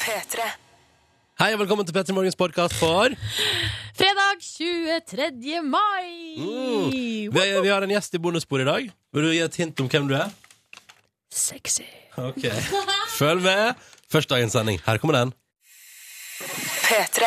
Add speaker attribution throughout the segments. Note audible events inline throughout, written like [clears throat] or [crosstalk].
Speaker 1: P3.
Speaker 2: Hei og velkommen til Petter Morgens podkast for
Speaker 3: Fredag 23. mai!
Speaker 2: Mm. vi, vi har en gjest i bonusbordet i dag. Vil du gi et hint om hvem du er?
Speaker 3: Sexy.
Speaker 2: Ok Følg med. Først dagens sending. Her kommer den.
Speaker 1: P3.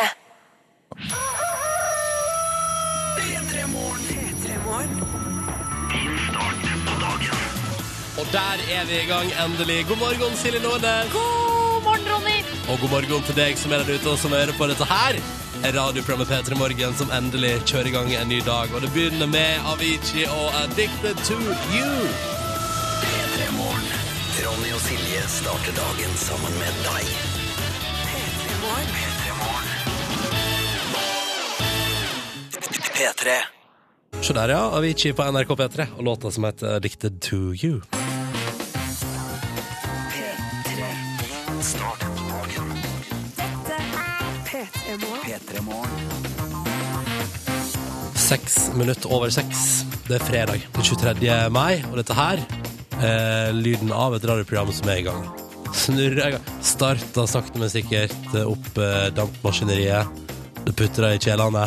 Speaker 2: Og der er vi i gang, endelig. God morgen, Silje Nordnes.
Speaker 3: God morgen, Ronny!
Speaker 2: Og god morgen til deg som er der ute og som hører på dette her. er Radioprogrammet P3 Morgen som endelig kjører i gang en ny dag. Og det begynner med Avicii og 'Addicted to You'.
Speaker 4: Ronny og Silje starter dagen sammen med deg. P3.
Speaker 2: Se der, ja. Avicii på NRK P3 og låta som heter 'Addicted to You'.
Speaker 4: Starter dagen. P3 Morgen.
Speaker 2: Seks minutter over seks. Det er fredag den 23. mai, og dette her er lyden av et radioprogram som er i gang. Snurrer i gang. Starter sakte, men sikkert opp eh, dampmaskineriet. Det putter deg i kjelene.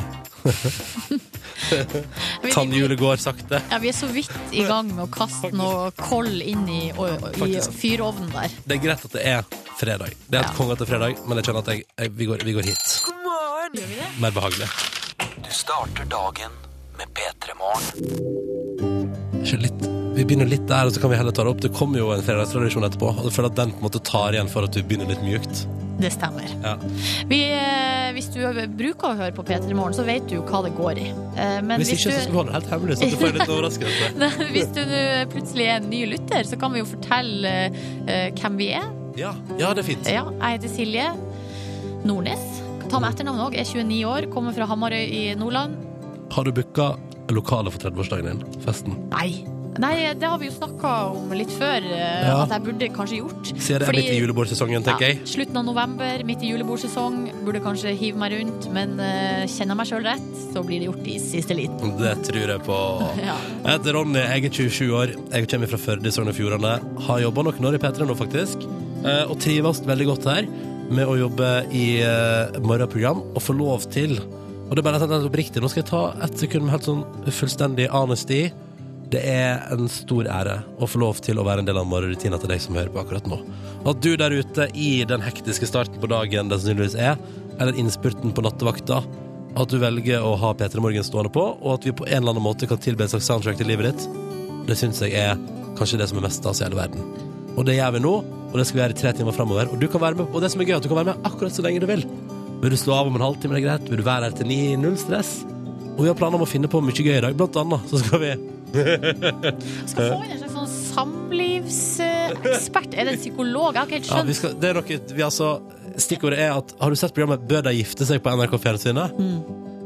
Speaker 3: Vi,
Speaker 2: Tannhjulet går sakte.
Speaker 3: ja, vi er så vidt i gang med å kaste noe koll inn i, og, og, i
Speaker 2: Faktisk.
Speaker 3: fyrovnen der.
Speaker 2: Det er greit at det er fredag. Det er et
Speaker 3: Ja.
Speaker 2: konge til fredag, men jeg kjenner at jeg, jeg, vi, går, vi går hit. Mer behagelig.
Speaker 4: Du starter dagen med P3 Morgen.
Speaker 2: Ikke litt, vi begynner litt der, og så kan vi heller ta det opp. Det kommer jo en fredagstradisjon etterpå, og jeg føler at den på en måte tar igjen for at du begynner litt mjukt.
Speaker 3: Det stemmer.
Speaker 2: Ja.
Speaker 3: Vi, eh, hvis du bruker å høre på P3 Morgen, så vet du jo hva det går i. Eh, Men
Speaker 2: Hvis ikke, så skal vi
Speaker 3: du,
Speaker 2: holde det helt hemmelig, så du får en liten overraskelse.
Speaker 3: [laughs] Nei, hvis du nå plutselig er en ny lytter, så kan vi jo fortelle eh, hvem vi er.
Speaker 2: Ja, ja det er fint.
Speaker 3: Ja, jeg heter Silje Nordnes. Ta med etternavn òg. Er 29 år, kommer fra Hamarøy i Nordland.
Speaker 2: Har du booka lokalet for 30-årsdagen din? Festen?
Speaker 3: Nei. Nei, det har vi jo snakka om litt før, eh,
Speaker 2: Ja.
Speaker 3: at jeg burde kanskje gjort.
Speaker 2: Siden det er
Speaker 3: Fordi-
Speaker 2: midt i julebordsesongen, tenker
Speaker 3: Ja,
Speaker 2: jeg.
Speaker 3: slutten av november, midt i julebordsesong. Burde kanskje hive meg rundt, men eh, kjenner jeg meg sjøl rett, så blir det gjort i siste liten.
Speaker 2: Det tror jeg på.
Speaker 3: [laughs] Ja.
Speaker 2: Jeg heter Ronny, jeg er 27 år. Jeg kommer fra Førde i Sogn og Fjordane. Har jobba noen år i P3 nå, faktisk. eh, Og trives veldig godt her med å jobbe i eh, morgenprogram og få lov til Og det er bare sånn helt oppriktig. Nå skal jeg ta ett sekund med helt sånn fullstendig honesty. Det er en stor ære å få lov til å være en del av morgenrutina til deg som hører på akkurat nå. At du der ute i den hektiske starten på dagen det sannsynligvis er, eller innspurten på nattevakta, at du velger å ha P3 Morgen stående på, og at vi på en eller annen måte kan tilbe en slags soundtrack til livet ditt, det syns jeg er kanskje det som er mest stas i hele verden. Og det gjør vi nå, og det skal vi gjøre i tre timer framover. Og, du kan være med, og det som er gøy, er at du kan være med akkurat så lenge du vil. Vil du slå av om en halvtime, det er greit. Vil du være her til ni, null stress. Og vi har planer om å finne på mye gøy i dag. Blant annet så skal vi
Speaker 3: Skal få inn en slags sånn samlivsekspert. Er det en psykolog? Jeg har ikke helt
Speaker 2: Ja, vi
Speaker 3: skjønt.
Speaker 2: skal, det er noe, vi altså, stikkordet er at Har du sett programmet Bør de gifte seg på NRK Fjernsynet?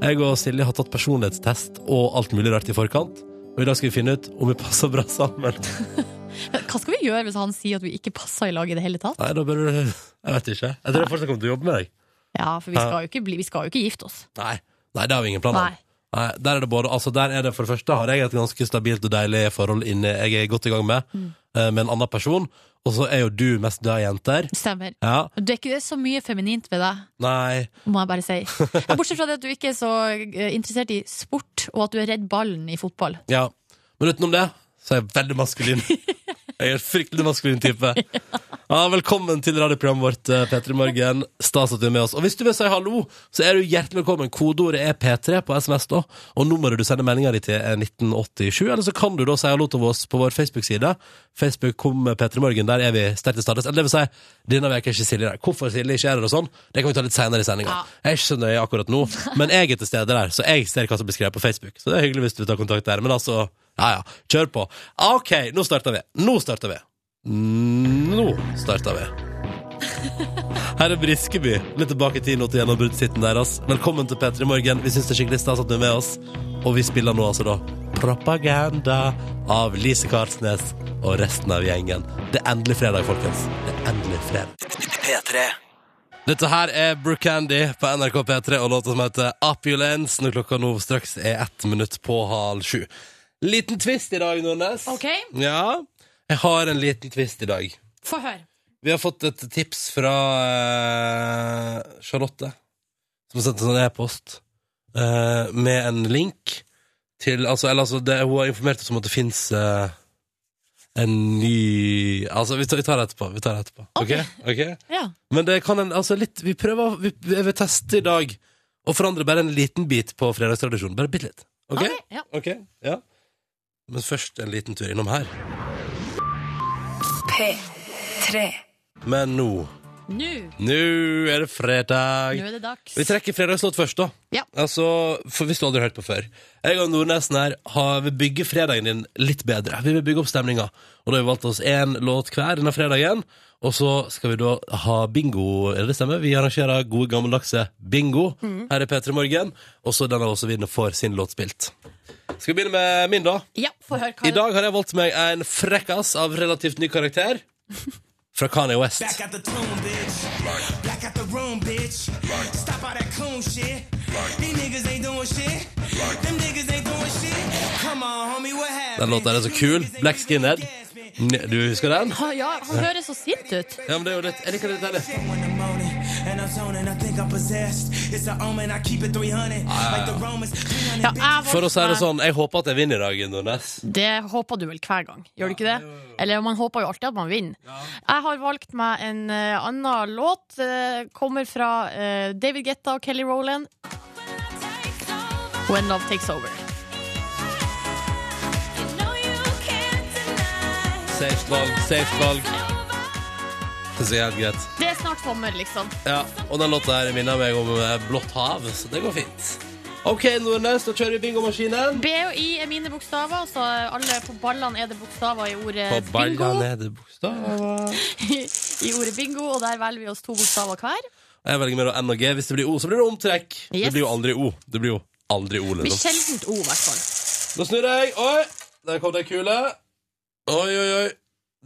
Speaker 2: Jeg og Silje har tatt personlighetstest og alt mulig rart i forkant. Og i dag skal vi finne ut om vi passer bra sammen.
Speaker 3: Hva skal vi gjøre hvis han sier at vi ikke passer i lag i det hele tatt?
Speaker 2: Nei, da bør du Jeg vet ikke. Jeg tror jeg fortsatt kommer til å jobbe med deg.
Speaker 3: Ja, for vi skal jo ikke, bli, vi skal jo ikke gifte oss.
Speaker 2: Nei, Nei det har vi ingen plan om.
Speaker 3: Nei.
Speaker 2: Nei, der er det både, altså der er det For det første har jeg et ganske stabilt og deilig forhold inne jeg er godt i gang med, eh, med en annen person. Og så er jo du mest glad i jenter.
Speaker 3: Stemmer.
Speaker 2: Ja.
Speaker 3: Det er ikke så mye feminint ved deg.
Speaker 2: Nei.
Speaker 3: må jeg bare
Speaker 2: [laughs]
Speaker 3: si. Ja, Bortsett fra det at du ikke er så eh, interessert i sport, og at du er redd ballen i fotball.
Speaker 2: Ja, men utenom det så er jeg veldig maskulin. Jeg er en fryktelig maskulin type. Ja, velkommen til radioprogrammet vårt, eh, P3 Morgen. Stas at du er med oss. Og hvis du vil si hallo, så er du hjertelig velkommen. Kodeordet er P3 på SMS, da. Og nummeret du sender meldinga di til, er 1987. Eller så kan du da si hallo til oss på vår Facebook-side. Facebook kom med P3 Morgen, der er vi sterkt til stades. Eller det vil si, denne veka er ikke Silje der. Hvorfor Silje ikke er der og sånn, det kan vi ta litt seinere i sendinga.
Speaker 3: Ja.
Speaker 2: Jeg er ikke så nøye akkurat nå, men jeg er til stede der, så jeg ser hva som blir skrevet på Facebook. Så det er hyggelig hvis du vil ta kontakt der. Men altså, ja ja, kjør på. OK, nå starter vi. Nå starter vi. Nå starter vi. Her er Briskeby. Litt tilbake i tid nå til gjennombruddshiten deres. Velkommen til P3 Morgen. Vi syns det er skikkelig stas at du er med oss. Og vi spiller nå altså da Propaganda av Lise Karsnes og resten av gjengen. Det er endelig fredag, folkens. Det er endelig fredag.
Speaker 4: P3.
Speaker 2: Dette her er Brooke Candy på NRK P3 og låta som heter Opulence når klokka nå straks er ett minutt på halv sju. Liten twist i dag, Nordnes.
Speaker 3: Ok.
Speaker 2: Ja, jeg har en liten twist i dag.
Speaker 3: Få høre.
Speaker 2: Vi har fått et tips fra eh, Charlotte, som har sendt en sånn e-post eh, med en link til altså, Eller altså, det, hun har informert oss om at det fins en ny Altså, vi tar, vi tar det etterpå. Vi tar det etterpå. Ok? Ok?
Speaker 3: Ja.
Speaker 2: Men det kan en, altså litt, vi prøver vi, Jeg vil teste i dag Og forandre bare en liten bit på fredagstradisjonen Bare bitte litt Ok?
Speaker 3: Ok, ja.
Speaker 2: Ok, ja Men først en liten tur innom her
Speaker 1: P3
Speaker 2: Men nå,
Speaker 3: Nå,
Speaker 2: nå er det fredag
Speaker 3: nå er det dags.
Speaker 2: Vi trekker fredagslåt først da
Speaker 3: Ja.
Speaker 2: Altså, for hvis du aldri har hørt på før Jeg og Nordnesen her har, vil bygge fredagen din litt bedre Vi vil bygge opp stemninga Og da har vi valgt oss en låt hver denne fredagen Og så skal vi da ha bingo Er det det stemmer? Vi arrangerer gode gammeldagse bingo Her er Petra Morgen Og så den av oss som vinner får sin låt spilt Skal vi begynne med min da?
Speaker 3: Ja, få høre hva
Speaker 2: I dag har jeg valgt meg en frekkas av relativt ny karakter Fra Kanye West
Speaker 5: Back out the tomb, bitch. Back out the room, bitch. Stop all that coon shit. These niggas ain't doing shit. Them niggas ain't doing shit. Come on, homie, what happened?
Speaker 2: Den låten er så kul. Black Skinhead. Ne- Du husker den?
Speaker 3: Ha, ja, han høres så sint ut.
Speaker 2: Ja, men det er jo litt Jeg liker litt deilig.
Speaker 5: When I'm moaning and I'm zoning, I think I'm possessed. It's an omen, I keep it 300. Like the Romans, 300
Speaker 3: Ja, jeg
Speaker 5: bitches.
Speaker 2: For å si det
Speaker 3: voksne-
Speaker 2: sånn, jeg håper at jeg vinner i dag, Nordnes.
Speaker 3: Det håper du vel hver gang, gjør du ikke det? Eller man håper jo alltid at man vinner. Jeg har valgt meg en eh, annen låt. eh, kommer fra eh, David Guetta og Kelly Rowland. When Love Takes Over.
Speaker 2: Safe valg, safe valg. Det er helt greit.
Speaker 3: Det er snart sommer, liksom.
Speaker 2: Ja, og den låta her minner meg om eh, Blått hav, så det går fint. OK, Nordnes, da kjører vi bingomaskinen.
Speaker 3: B og I er mine bokstaver, så alle på ballene er det bokstaver i ordet
Speaker 2: På
Speaker 3: bingo. [laughs]
Speaker 2: balla nede bokstaver.
Speaker 3: I ordet bingo, og der velger vi oss to bokstaver hver.
Speaker 2: Jeg velger mellom N og G. Hvis det blir O, så blir det omtrekk. Det
Speaker 3: Yes.
Speaker 2: blir jo aldri O. Det blir jo aldri O,
Speaker 3: Blir
Speaker 2: liksom.
Speaker 3: sjeldent O, i hvert fall.
Speaker 2: Nå snur jeg. Oi, der kom det en kule. Oi, oi, oi.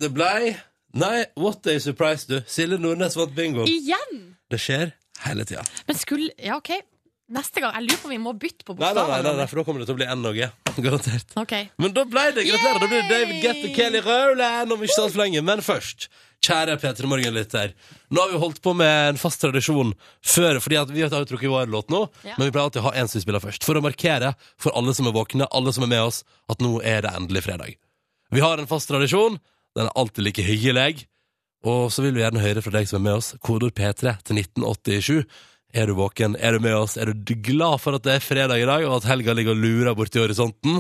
Speaker 2: Det blei Nei, what a surprise, du. Silje Nordnes vant bingoen.
Speaker 3: Igjen!
Speaker 2: Det skjer hele tida.
Speaker 3: Men skulle Ja, OK. Neste gang. Jeg lurer på om vi må bytte på
Speaker 2: Nei, nei, nei,
Speaker 3: bokstavene.
Speaker 2: nei, nei, for da kommer det til å bli N og G. [laughs] Garantert.
Speaker 3: Ok.
Speaker 2: Men da ble det. Gratulerer. Da blir det David
Speaker 3: Yay!
Speaker 2: Guetta, Kelly Rowland om ikke så altfor lenge. Men først, kjære P3 Morgen-lytter. Nå har vi holdt på med en fast tradisjon før, fordi at vi har jo trukket vår låt nå.
Speaker 3: Ja.
Speaker 2: Men vi pleier alltid å ha en som vi spiller først. For å markere for alle som er våkne, alle som er med oss, at nå er det endelig fredag. Vi har en fast tradisjon. Den er alltid like hyggelig. Og så vil vi gjerne høre fra deg som er med oss. Kodord P3 til 1987. Er du våken? Er du med oss? Er du glad for at det er fredag i dag, og at helga ligger og lurer borti horisonten?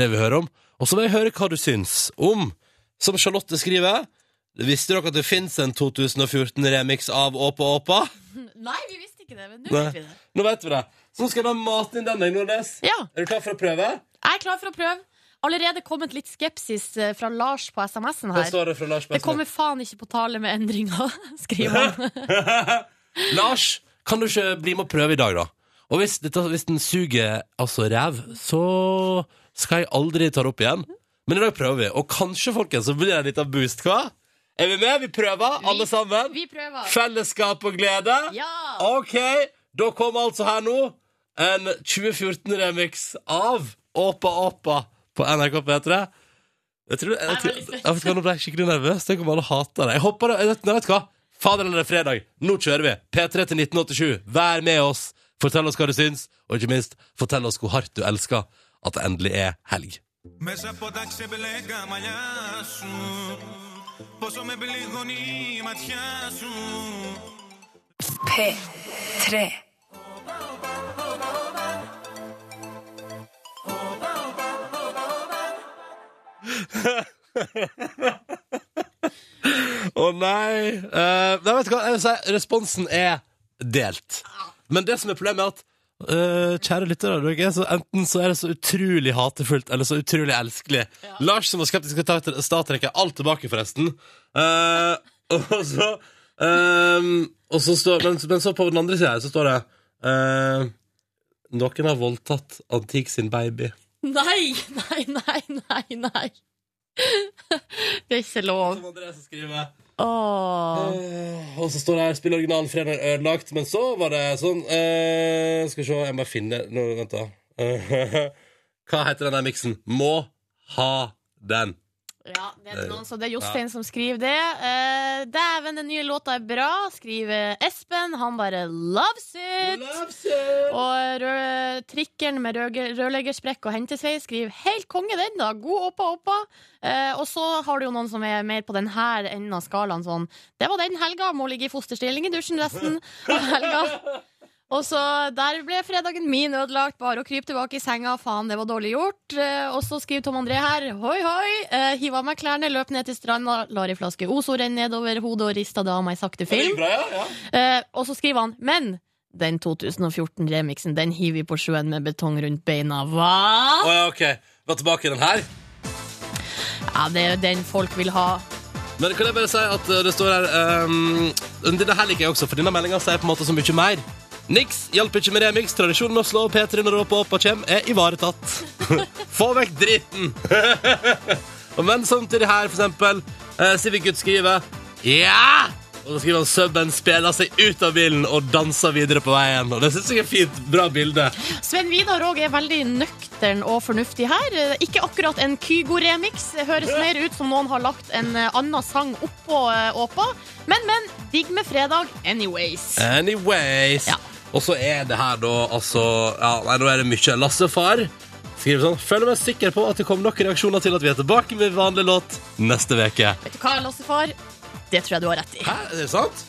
Speaker 2: det vi hører om. Og så vil jeg høre hva du syns om, som Charlotte skriver Visste dere at det fins en 2014-remix av Åpa Åpa?
Speaker 3: Nei, vi visste ikke det, men nå
Speaker 2: Nei.
Speaker 3: [laughs] vet vi det.
Speaker 2: Nå vet vi det. Så nå skal jeg da mate inn den, jeg, Nordnes.
Speaker 3: Ja,
Speaker 2: Er du klar for å prøve?
Speaker 3: jeg er klar for å prøve. Allerede kommet litt skepsis eh, fra Lars på SMS-en
Speaker 2: Det
Speaker 3: her.
Speaker 2: står det fra Lars
Speaker 3: Det
Speaker 2: Bessner.
Speaker 3: kommer faen ikke på tale med endringer, [laughs] skriver han.
Speaker 2: Lars, kan du ikke bli med og prøve i dag, da? Og hvis, dette, hvis den suger altså ræv, så skal jeg aldri ta det opp igjen. Men i dag prøver vi, og kanskje, folkens, så blir det en liten boost, hva? Er vi med? Vi prøver, alle sammen.
Speaker 3: Vi prøver.
Speaker 2: Fellesskap og glede.
Speaker 3: Ja!
Speaker 2: Ok, da kom altså her nå en 2014-remix av Åpa Åpa på NRK P3. Jeg tror, jeg,
Speaker 3: Jeg er
Speaker 2: tror,
Speaker 3: veldig
Speaker 2: jeg,
Speaker 3: spent.
Speaker 2: vet ikke, nå ble jeg skikkelig nervøs. Tenk om alle hater det. Jeg håper det, jeg vet, nei, vet du hva? Fader eller det er fredag, nå kjører vi. P3 til 1987. Vær med oss. Fortell oss hva du syns, og ikke minst, fortell oss hvor hardt du elsker at det endelig er helg.
Speaker 6: Μέσα από τα ξεμπλέκα μαλλιά σου Πόσο με πληγώνει η ματιά σου
Speaker 1: P3
Speaker 2: Å nei. Eh, nei vet du hva? Jeg vil si, responsen er delt. Men det som er problemet, er at eh, kjære lyttere, dere, så enten så er det så utrolig hatefullt eller så utrolig elskelig. Lars, som var skeptisk til Star- Star Trek, er alt tilbake, forresten. Eh, og så eh, og så står, men, men så på den andre sida her så står det eh, Noen har voldtatt Antik sin baby.
Speaker 3: Nei, nei, nei, nei, nei. Det er ikke lov.
Speaker 2: Som Andreas skriver
Speaker 3: Åh.
Speaker 2: Eh, Og så står det her Spill originalen fredag er ødelagt Men så var det sånn eh, Skal vi se, jeg må bare finne Nå, vent da Eh, [laughs] Hva heter den der miksen? Må ha den
Speaker 3: Ja, det er noen, så det er Jostein som skriver det. Eh, Dæven, 'Dæven, den nye låta er bra', skriver Espen. Han bare 'loves it'. Og rø trikkeren med røge- rørleggersprekk og hentesvei skriver 'helt konge, den, da'. God oppa, oppa. Eh, og så har du jo noen som er mer på den her enden av skalaen sånn 'Det var den helga, må ligge i fosterstilling i dusjen resten av helga'. Og så Der ble fredagen min ødelagt. Bare å krype tilbake i senga. Faen, det var dårlig gjort. Eh, og så skriver Tom André her. Hoi, hoi. Eh, Hiv av meg klærne, løp ned til stranda, lar ei flaske Ozo renne nedover hodet og rista det av meg sakte film. Eh, og så skriver han Men den 2014-remixen Den hiver vi på sjøen med betong rundt beina Hva?
Speaker 2: Å ja, ok. Var tilbake i den her.
Speaker 3: Ja, det er den folk vil ha
Speaker 2: Men kan jeg bare si at eh, det står her um, Denne her liker jeg også, for denne meldinga sier på en måte så mye mer. Niks hjelper ikke med remix. Tradisjonen å slå P3 når Åpa Åpa kommer, er ivaretatt. [laughs] Få vekk dritten! [laughs] Og Men samtidig her, for eksempel, eh, Civic Gutt skriver Ja! Og så skriver han subben spiller seg ut av bilen og danser videre på veien. Og det synes jeg er fint. Bra bilde.
Speaker 3: Sven Vidar også er veldig nøktern og fornuftig her Eh, Ikke akkurat en Kygo-remix Det Høres mer ut som noen har lagt en eh, annen sang oppå eh, åpa Men, men, digg med fredag Anyways
Speaker 2: Anyways.
Speaker 3: Ja.
Speaker 2: Og så er det her da altså ja, Nei, nå er det mye. Lassefar skriver sånn Føler meg sikker på at det kom nok reaksjoner til at vi er tilbake med vanlig låt neste veke
Speaker 3: Vet du hva, Lassefar? Det tror jeg du har rett i
Speaker 2: Hæ, er det sant?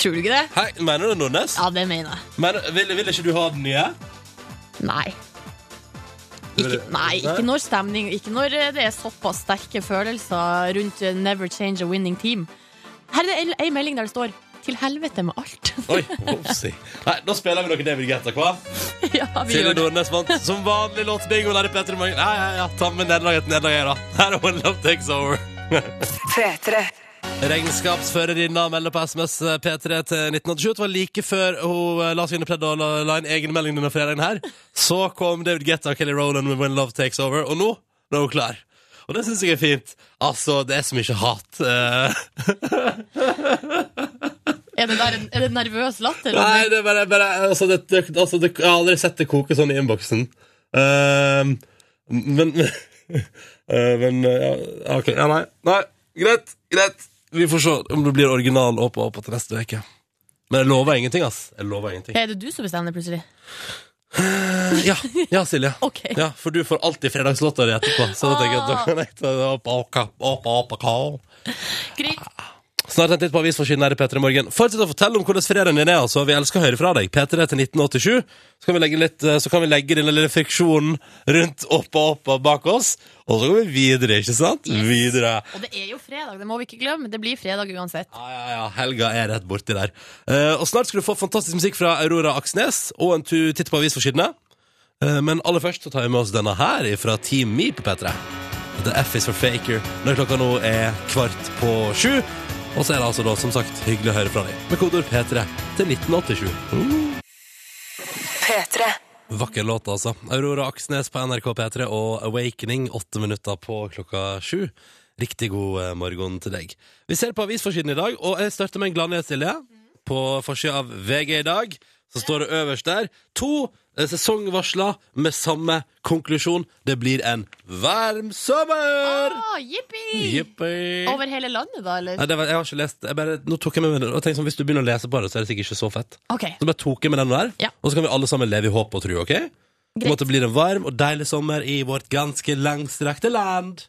Speaker 3: Tror du ikke det?
Speaker 2: Hæ, Mener du Nordnes?
Speaker 3: Ja, det mener jeg
Speaker 2: Men, vil, vil ikke du ha den nye?
Speaker 3: Nei Ikke, nei, ikke når stemning Ikke når eh, det er såpass sterke følelser rundt eh, Never change a winning team. Her er det ei melding der det står 'Til helvete med alt'. [laughs]
Speaker 2: Oi, hoppsi. Nei, da spiller vi noe David Guetta, hva?
Speaker 3: ja, vi
Speaker 2: Silje
Speaker 3: gjør det.
Speaker 2: Nordnes vant som vanlig låtbingo der i Petter Morgen. Ja, ja, ja. Ta med nederlaget til nederlaget, da. Her er One Love Takes Over.
Speaker 1: P3.
Speaker 2: Regnskapsførerinna melder på SMS P3 eh, til 1987. Det var like før hun eh, la seg inn i pledd og la, la inn egen melding denne fredagen her. Så kom David Guetta og Kelly Rowland med When Love Takes Over, og nå, nå er hun klar. Og det syns jeg er fint. Altså, det er så mye hat. eh.
Speaker 3: Er det, der en, er det en nervøs latter?
Speaker 2: Nei, det er bare, bare altså, det, det, altså, det, Jeg har aldri sett det koke sånn i innboksen. Ehm, men [laughs] eh, Men ja, OK. Ja, nei. nei. Greit. Greit. Vi får se om det blir original opp og opp til neste uke. Men jeg lover ingenting, ass. Jeg lover ingenting.
Speaker 3: Er det du som bestemmer plutselig?
Speaker 2: Ja, ja Silje.
Speaker 3: Ok.
Speaker 2: Ja, for du får alltid fredagslåta di etterpå. Så da tenker jeg at da kan jeg ta det opp, opp, opp, opp, opp.
Speaker 3: Greit.
Speaker 2: Snart en titt på avisforsiden her i P3 Morgen. Fortsett å fortelle om hvordan fredagen din er, altså. Vi elsker å høre fra deg. P3 til 1987. Så kan vi legge, litt, eh, så kan vi legge den lille friksjonen rundt opp og opp og bak oss. Og så går vi videre, ikke sant? Videre.
Speaker 3: Og det er jo fredag, det må vi ikke glemme. Det blir fredag uansett.
Speaker 2: Ja, ja, ja. Helga er rett borti der. Eh, og snart skal du få fantastisk musikk fra Aurora Aksnes og en tu- titt på avisforsidene. Eh, men aller først så tar vi med oss denne her fra Team Me på P3. The F is for Faker når klokka nå er kvart på sju. Og så er det altså da, som sagt, hyggelig å høre fra deg. Med kodeord P3 til 1987.
Speaker 1: P3.
Speaker 2: Vakker låt, altså. Aurora Aksnes på NRK P3 og Awakening, åtte minutter på klokka sju. Riktig god eh, morgen til deg. Vi ser på avisforsiden i dag, og jeg starter med en gladnyhet, Silje. På forsida av VG i dag så står det øverst der to eh, sesongvarsler med samme konklusjon. Det blir en varm sommer!
Speaker 3: Ah, jippi!
Speaker 2: Jippi!
Speaker 3: Over hele landet, da, eller?
Speaker 2: Nei, det var, jeg har ikke lest jeg bare, Nå tok jeg med meg den, og tenkte sånn, Hvis du begynner å lese på det, så er det sikkert ikke så fett.
Speaker 3: OK.
Speaker 2: Så bare tok jeg med den der,
Speaker 3: Ja.
Speaker 2: og så kan vi alle sammen leve i håp og tro, ok? På en måte blir det en varm og deilig sommer i vårt ganske langstrakte land.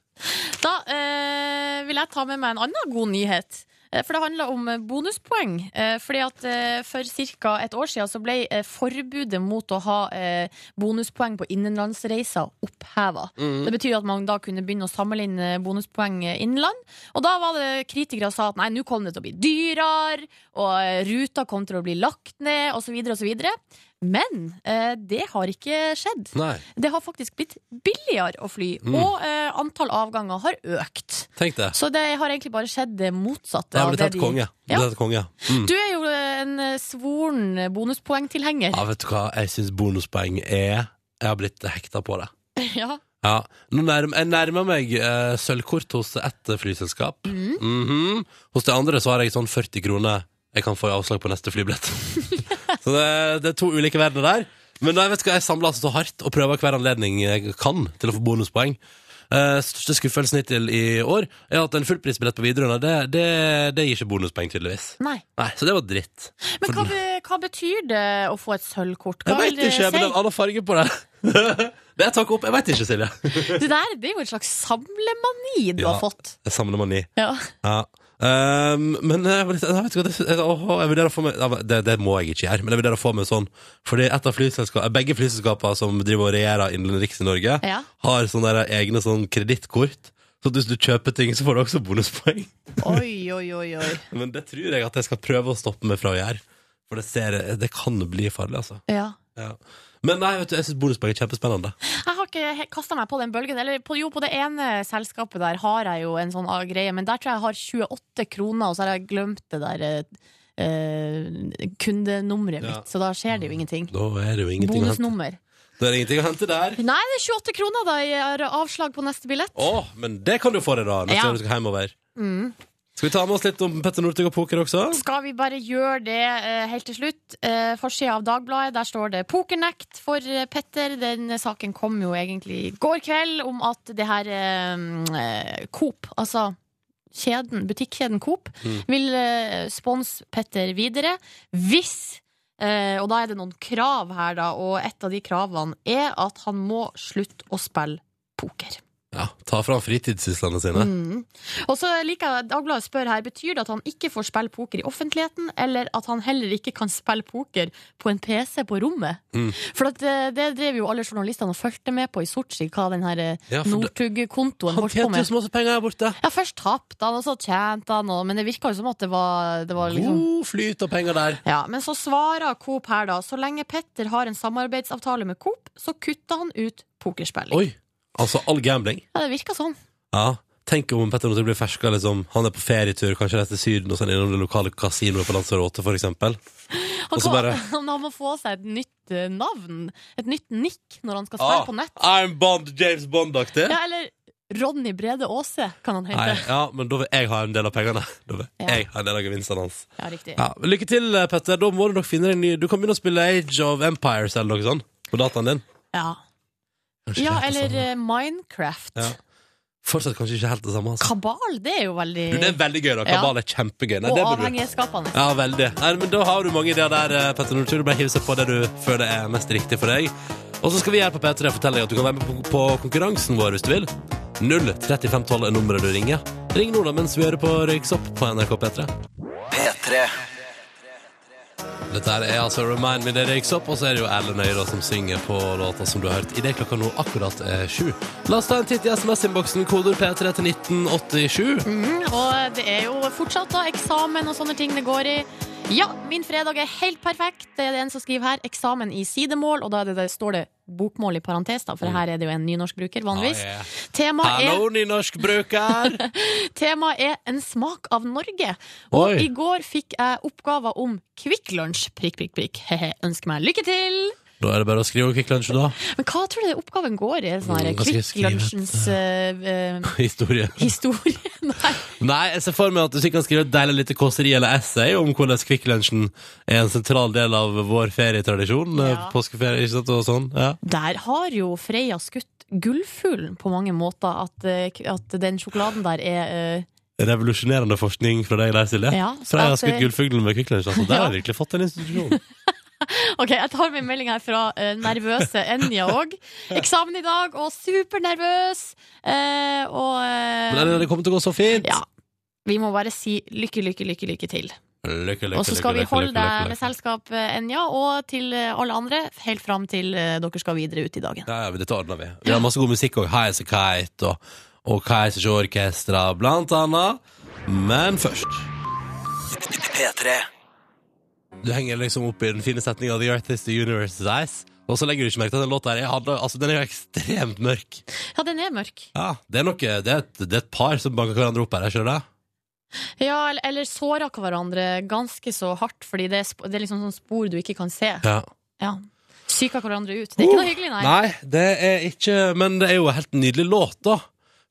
Speaker 3: Da eh, vil jeg ta med meg en annen god nyhet. Eh, For det handler om eh, bonuspoeng. Eh, Fordi at eh, For ca. et år siden så ble eh, forbudet mot å ha eh, bonuspoeng på innenlandsreiser oppheva. Det betyr at man da kunne begynne å sammenligne bonuspoeng eh, innenland. Og da var det kritikere som sa at nei, nå kom det til å bli dyrere, og eh, ruta kom til å bli lagt ned, osv. osv. Men eh, det har ikke skjedd.
Speaker 2: Nei,
Speaker 3: Det har faktisk blitt billigere å fly,
Speaker 2: Mm.
Speaker 3: og eh, antall avganger har økt.
Speaker 2: tenk det.
Speaker 3: Så det har egentlig bare skjedd det motsatte.
Speaker 2: Det har
Speaker 3: av
Speaker 2: blitt helt
Speaker 3: de-
Speaker 2: konge. Det
Speaker 3: Ja.
Speaker 2: har blitt helt konge. Mm.
Speaker 3: Du er jo en eh, svoren bonuspoengtilhenger.
Speaker 2: Ja, vet du hva? Jeg syns bonuspoeng er Jeg har blitt hekta på det.
Speaker 3: [laughs] Ja.
Speaker 2: Ja. Nå nærm, jeg nærmer meg eh, sølvkort hos ett flyselskap.
Speaker 3: Mm.
Speaker 2: Mhm. Hos det andre så har jeg sånn 40 kroner jeg kan få i avslag på neste
Speaker 3: [laughs]
Speaker 2: flybillett. så det, det er to ulike verdener der. Men nei, vet du hva, jeg samler altså så hardt og prøver hver anledning jeg kan til å få bonuspoeng. Eh, Eh, største skuffelsen hittil i år er at en fullprisbillett på videregående, det, det, det gir ikke bonuspoeng, tydeligvis.
Speaker 3: Nei.
Speaker 2: Nei, Så det var dritt.
Speaker 3: Men
Speaker 2: For
Speaker 3: hva, be- hva betyr det å få et sølvkort? Hva
Speaker 2: Jeg veit
Speaker 3: vil det
Speaker 2: ikke, men det er
Speaker 3: si?
Speaker 2: annen farge på det. [laughs] det er takk opp. Jeg veit ikke, Silje.
Speaker 3: Det der det er jo en slags samlemani du
Speaker 2: Ja.
Speaker 3: har fått.
Speaker 2: Jeg samler mani.
Speaker 3: Ja.
Speaker 2: Ja. Ehm, men jeg, vet- jeg vet ikke hva det jeg, åh, jeg vurderer å få meg ja, men det, det må jeg ikke gjøre, men jeg vurderer å få meg sånn. Fordi et av flyselskapene, begge flyselskapene som driver og regjerer innenriks i Norge,
Speaker 3: Ja.
Speaker 2: har sånne der egne sånn kredittkort. Så hvis du kjøper ting, så får du også bonuspoeng. [laughs]
Speaker 3: Oi, oi, oi, oi.
Speaker 2: Men det tror jeg at jeg skal prøve å stoppe meg fra å gjøre. For det, ser, jeg- det kan bli farlig, altså.
Speaker 3: Ja.
Speaker 2: Ja. Men nei, vet du, jeg syns bonuspoeng er kjempespennende.
Speaker 3: Jeg har ikke kasta meg på den bølgen. Eller på, jo, på det ene selskapet der har jeg jo en sånn ah, greie, men der tror jeg jeg har 28 kroner, og så har jeg glemt det der eh, eh, kundenummeret
Speaker 2: Ja.
Speaker 3: mitt. Så da skjer det jo ingenting.
Speaker 2: Da er det jo ingenting å hente.
Speaker 3: Bonusnummer.
Speaker 2: Da er det ingenting å hente der.
Speaker 3: Nei, det er 28 kroner da i eh, avslag på neste billett.
Speaker 2: Å, men det kan du få deg da, neste
Speaker 3: Ja. Mm.
Speaker 2: gang du skal hjemover. Skal vi ta med oss litt om Petter Northug og poker også?
Speaker 3: Skal vi bare gjøre det eh, helt til slutt? Uh, Forsida av Dagbladet, der står det 'Pokernekt for eh, Petter'. Den eh, saken kom jo egentlig i går kveld, om at det her eh, eh, Coop, altså kjeden, butikkjeden Coop, vil eh, sponse Petter videre hvis eh, Og da er det noen krav her, da, og et av de kravene er at han må slutte å spille poker.
Speaker 2: Ja, ta fram fritidssyslene sine.
Speaker 3: Mm. Og så liker jeg at Dagbladet spør her Betyr det at han ikke får spille poker i offentligheten, eller at han heller ikke kan spille poker på en PC på rommet?
Speaker 2: Mm.
Speaker 3: For at, eh, det drev jo alle journalistene og fulgte med på i Sotsji, hva den her eh,
Speaker 2: Ja, for det-
Speaker 3: Northug-kontoen
Speaker 2: Han
Speaker 3: holdt på
Speaker 2: tjente jo
Speaker 3: med.
Speaker 2: så masse penger her borte.
Speaker 3: Ja, først tapte han, og så tjente han, og, men det virka jo som at det var, det var liksom
Speaker 2: God flyt av penger der.
Speaker 3: ja, Men så svarer Coop her, da. Så lenge Petter har en samarbeidsavtale med Coop, så kutter han ut pokerspilling.
Speaker 2: Oi, altså all gambling.
Speaker 3: Ja, det virka sånn.
Speaker 2: Ja, tenk om Petter Northug blir ferska, liksom. Han er på ferietur, kanskje reiser til Syden og sånn innom det lokale kasinoet på Lanzarote, for eksempel.
Speaker 3: Han,
Speaker 2: Og så
Speaker 3: kan,
Speaker 2: bare-
Speaker 3: [laughs] han må få seg et nytt eh, navn, et nytt nikk, når han skal
Speaker 2: Ah.
Speaker 3: spille på nett.
Speaker 2: I'm Bond, James Bond-aktig.
Speaker 3: Ja, eller Ronny Brede Aase kan han
Speaker 2: Nei,
Speaker 3: hete.
Speaker 2: ja, men da vil jeg ha en del av pengene. Da vil
Speaker 3: Ja.
Speaker 2: jeg ha en del av gevinstene hans.
Speaker 3: Ja, riktig.
Speaker 2: Ja, men lykke til, eh, Petter. Da må du nok finne deg en ny Du kan begynne å spille Age of Empires eller noe sånt på dataen din.
Speaker 3: Ja,
Speaker 2: Kanskje
Speaker 3: ja
Speaker 2: ikke helt det
Speaker 3: eller
Speaker 2: samme.
Speaker 3: eh, Minecraft.
Speaker 2: sånn. Ja. Fortsatt kanskje ikke helt det samme. Altså.
Speaker 3: Kabal, det er jo veldig
Speaker 2: Du, det er veldig gøy, da.
Speaker 3: Ja.
Speaker 2: Kabal er kjempegøy. Nei,
Speaker 3: Og
Speaker 2: det burde du.
Speaker 3: avhengighetsskapende.
Speaker 2: Ja, veldig. Nei, men da har du mange ideer der, eh, Petter Northug. Du bare hiv seg på det du føler er mest riktig for deg. Og så skal vi her på P3 fortelle deg at du kan være med på, på konkurransen vår hvis du vil. 03512 er nummeret du ringer. Ring nå da mens vi hører på Røyksopp på NRK P3.
Speaker 4: P3
Speaker 2: Dette her er altså Remind Me Det røyks opp, og så er det jo Ellen Øyre som synger på låta som du har hørt i det klokka nå akkurat er sju. La oss ta en titt i SMS-innboksen, koder P3 til 1987.
Speaker 3: Mm, og det er jo fortsatt da eksamen og sånne ting det går i. Ja, min fredag er helt perfekt. Det er det en som skriver her. Eksamen i sidemål, og da er det, det står det bokmål i parentes, da, for
Speaker 2: Mm.
Speaker 3: her er det jo en nynorskbruker, vanligvis.
Speaker 2: Ah, yeah.
Speaker 3: Temaet er
Speaker 2: Hallo,
Speaker 3: [laughs]
Speaker 2: nynorskbruker!
Speaker 3: Temaet er En smak av Norge. Og
Speaker 2: Oi.
Speaker 3: i går fikk jeg oppgaver om Kvikk Lunsj. Prikk, prikk, prikk. Hehe, ønsker meg lykke til!
Speaker 2: da er det bare å skrive Kvikk Lunsj, da.
Speaker 3: Men hva tror du det oppgaven går i? Sånn her
Speaker 2: Mm, hva skal jeg
Speaker 3: Kvikk
Speaker 2: skrive?
Speaker 3: Lunsjens eh, eh,
Speaker 2: [laughs] Historie.
Speaker 3: historie? [laughs] Nei.
Speaker 2: Nei, jeg ser for meg at du sikkert kan skrive et deilig lite kåseri eller essay om hvordan Kvikk Lunsjen er en sentral del av vår ferietradisjon.
Speaker 3: Ja.
Speaker 2: eh, Påskeferie, ikke sant, og sånn. Ja.
Speaker 3: Der har jo Freia skutt gullfuglen på mange måter. At, eh, k- at den sjokoladen der er eh,
Speaker 2: Revolusjonerende forskning fra deg der, Silje.
Speaker 3: Ja, så
Speaker 2: Freia har
Speaker 3: at,
Speaker 2: skutt
Speaker 3: eh,
Speaker 2: gullfuglen med Kvikk Lunsj. Altså, der
Speaker 3: [laughs] Ja.
Speaker 2: har jeg virkelig fått en institusjon.
Speaker 3: Ok, jeg tar med en melding her fra eh, nervøse Enja òg. Eksamen i dag, og supernervøs! Eh, og eh,
Speaker 2: Men det, det kommer til å gå så fint.
Speaker 3: Ja. Vi må bare si lykke, lykke, lykke, lykke til.
Speaker 2: Lykke, lykke,
Speaker 3: Og så skal
Speaker 2: lykke,
Speaker 3: vi
Speaker 2: lykke,
Speaker 3: holde
Speaker 2: lykke, lykke,
Speaker 3: deg med
Speaker 2: lykke.
Speaker 3: selskap, eh, Enja, og til eh, alle andre, helt fram til eh, dere skal videre ut i dagen.
Speaker 2: Ja, ja, men dette ordner vi. Vi har masse god musikk òg. Highas a Kite og, og Kaizers Orkestra, blant annet. Men først
Speaker 4: P3
Speaker 2: Du henger liksom opp i den fine setninga The Earth is the Universe's Eyes, og så legger du ikke merke til at den låta her er- handler- altså, den er jo ekstremt mørk.
Speaker 3: Ja, den er mørk.
Speaker 2: Ja, Det er, noe, det er, et, det er et par som banker hverandre opp her, jeg skjønner det?
Speaker 3: Ja, eller, eller såra hverandre ganske så hardt, fordi det er, sp- det er liksom sånn spor du ikke kan se.
Speaker 2: Ja. Oh,
Speaker 3: Ja. Psyka hverandre ut. Det er ikke noe hyggelig, nei.
Speaker 2: Nei, det er ikke Men det er jo en helt nydelig låt, da.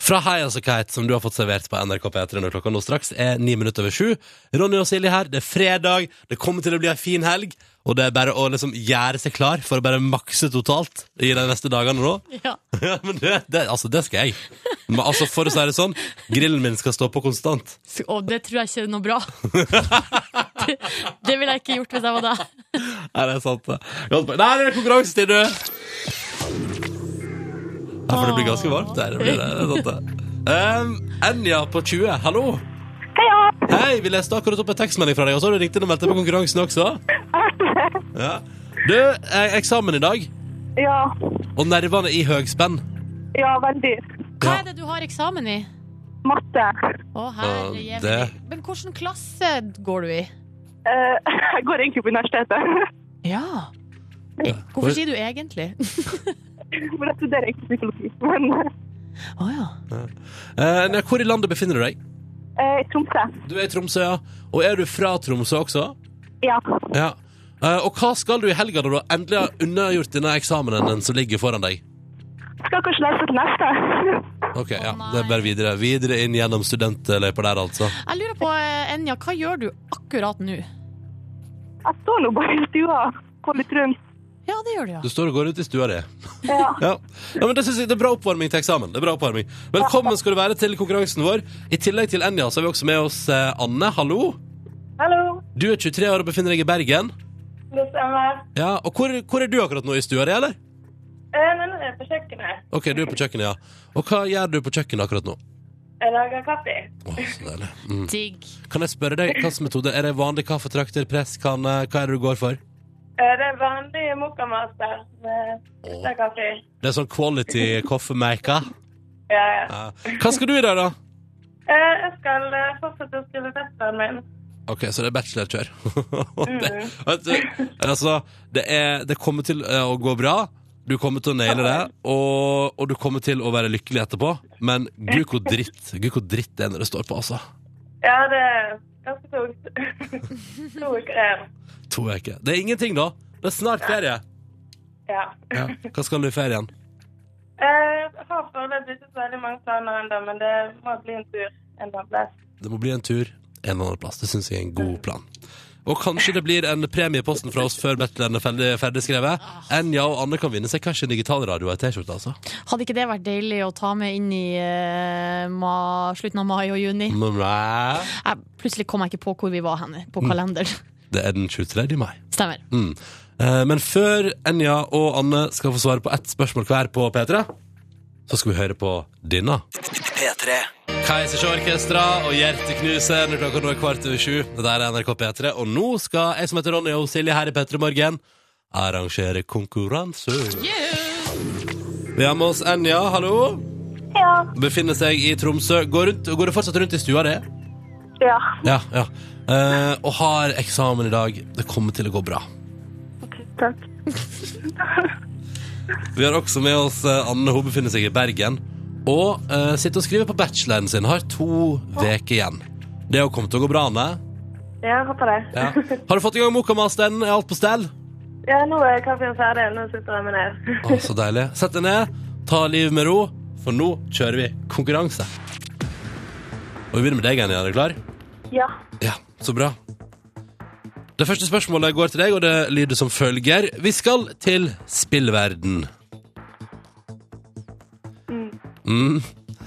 Speaker 2: fra High As A Kite, som du har fått servert på NRK P3 når klokka nå straks er ni minutter over sju. Ronny og Silje her, det er fredag, det kommer til å bli ei en fin helg, og det er bare å liksom gjøre seg klar for å bare makse totalt i de neste dagene nå.
Speaker 3: Ja.
Speaker 2: [laughs] Ja, men det, det, altså, det skal jeg. Men altså, for å si det sånn, grillen min skal stå på konstant.
Speaker 3: Så- Og det tror jeg ikke er
Speaker 2: [laughs]
Speaker 3: noe bra. det, det ville jeg ikke gjort hvis jeg var deg.
Speaker 2: Er det sant? det? Godt poeng. Nei, det er konkurranse til, du! Ja, for det blir ganske varmt der. Det blir det, det er sant, det. Um, Enja på 20, hallo. Hei, Vi leste akkurat opp en tekstmelding fra deg, og så har du ringt inn og meldt deg på konkurransen også. Ja. Du, eh, eksamen i dag,
Speaker 7: Ja,
Speaker 2: og nervene i høgspenn.
Speaker 7: ja, veldig.
Speaker 3: Hva er det du har eksamen i?
Speaker 7: Matte.
Speaker 3: Å, herre
Speaker 2: Ja,
Speaker 3: jævlig.
Speaker 2: det-
Speaker 3: Men hvilken klasse går du i?
Speaker 7: Eh, [laughs] jeg går egentlig på universitetet, [laughs]
Speaker 3: Ja.
Speaker 2: Hvor-
Speaker 3: Hvorfor sier du egentlig?
Speaker 7: men jeg studerer egentlig psykologi. Men
Speaker 3: Å ja.
Speaker 2: Eh, Enja, hvor i landet befinner du deg?
Speaker 7: eh, i Tromsø.
Speaker 2: Du er i Tromsø, ja. Og er du fra Tromsø også?
Speaker 7: Ja.
Speaker 2: Ja. Eh, og hva skal du i helga når du har endelig har unnagjort denne eksamenen den som ligger foran deg?
Speaker 7: Skal kanskje lese til neste. [laughs]
Speaker 2: Ok, ja,
Speaker 3: nei.
Speaker 2: det er bare videre. Videre inn gjennom studentløypa der, altså.
Speaker 3: Jeg lurer på, eh, Enja, hva gjør du akkurat nå?
Speaker 7: Jeg står nå bare i stua, går litt rundt.
Speaker 3: Ja, det gjør du, ja.
Speaker 2: Du står og går ut i stua di.
Speaker 7: Ja.
Speaker 2: [laughs] Ja. ja, men det synes jeg det er bra oppvarming til eksamen. Det er bra oppvarming. Velkommen skal du være til konkurransen vår. I tillegg til Enja så har vi også med oss eh, Anne. Hallo.
Speaker 7: Hallo,
Speaker 2: Du er 23 år og befinner deg i Bergen.
Speaker 7: det stemmer.
Speaker 2: Ja, og hvor, hvor er du akkurat nå? I stua di, eller?
Speaker 7: Eh, men nå er jeg på kjøkkenet.
Speaker 2: Ok, du er på kjøkkenet, ja. Og hva gjør du på kjøkkenet akkurat nå?
Speaker 7: Jeg lager kaffe.
Speaker 2: Åh, så deilig. Mm.
Speaker 3: Digg.
Speaker 2: Kan jeg spørre deg, hva slags metode? Er det vanlig kaffe, trakter, press? Kan, eh, hva er det du går for?
Speaker 7: Eh, det er vanlig mokkamaster med ekstra kaffe.
Speaker 2: Det er sånn quality coffee-maker.
Speaker 7: Ja, ja.
Speaker 2: Ja. Hva skal du i dag, da?
Speaker 7: Eh, jeg skal eh, fortsette å skrive testen min.
Speaker 2: Ok, så det er bachelorkjør. [laughs] det, vet du, altså, det, er, det kommer til eh, å gå bra. Du kommer til å naile det, og, og du kommer til å være lykkelig etterpå. Men gud, hvor dritt Gud, hvor dritt det er når det står på, altså.
Speaker 7: Ja, det er ganske tungt. to uker igjen.
Speaker 2: To uker. Det er ingenting, da. Det er snart ferie.
Speaker 7: Ja.
Speaker 2: Ja. Hva skal du i ferien?
Speaker 7: Eh, Jeg har foreløpig ikke så veldig mange planer ennå, men det må bli en tur en eller annen plass.
Speaker 2: Det må bli en tur en eller annen plass. Det syns jeg er en god plan. Og kanskje det blir en premie i posten fra oss før bacheloren er ferdig, ferdig skrevet. Enja og Anne kan vinne seg kanskje en digitalradio og ei T-skjorte, altså.
Speaker 3: Hadde ikke det vært deilig å ta med inn i eh, ma, slutten av mai og juni?
Speaker 2: Mm. Mwah.
Speaker 3: Jeg, plutselig kom jeg ikke på hvor vi var hen på kalenderen.
Speaker 2: Det er den 23. mai.
Speaker 3: [laughs] Stemmer.
Speaker 2: Mm. Eh, Men før Enja og Anne skal få svare på ett spørsmål hver på P3, så skal vi høre på denne.
Speaker 4: P3
Speaker 2: Keisers Orkestra og Hjerteknuser når klokka nå er kvart over sju. Det der er NRK P3, og nå skal jeg som heter Ronny og Silje her i P3 Morgen arrangere konkurranse. Vi har med oss Enja, hallo.
Speaker 7: Ja.
Speaker 2: Befinner seg i Tromsø. Går, rundt, går du fortsatt rundt i stua di?
Speaker 7: Ja.
Speaker 2: Ja, ja. Eh, og har eksamen i dag. Det kommer til å gå bra.
Speaker 7: Ok, takk.
Speaker 2: Vi har også med oss eh, Anne. Hun befinner seg i Bergen. Og eh, sitter og skriver på bacheloren sin. Har to uker igjen. Det har kommet til å gå bra, Anne.
Speaker 7: Ja, jeg håper det.
Speaker 2: Ja. Har du fått i gang Mokamasteren? Er alt på stell?
Speaker 7: Ja, nå er kaffen ferdig. Nå sitter jeg
Speaker 2: [laughs]
Speaker 7: meg ned.
Speaker 2: Å, så deilig. Sett deg ned, ta livet med ro, for nå kjører vi konkurranse. Og vi begynner med deg, Anne. Er du klar?
Speaker 7: Ja.
Speaker 2: Ja, så bra. Det første spørsmålet går til deg, og det lyder som følger. Vi skal til spillverden. Mm.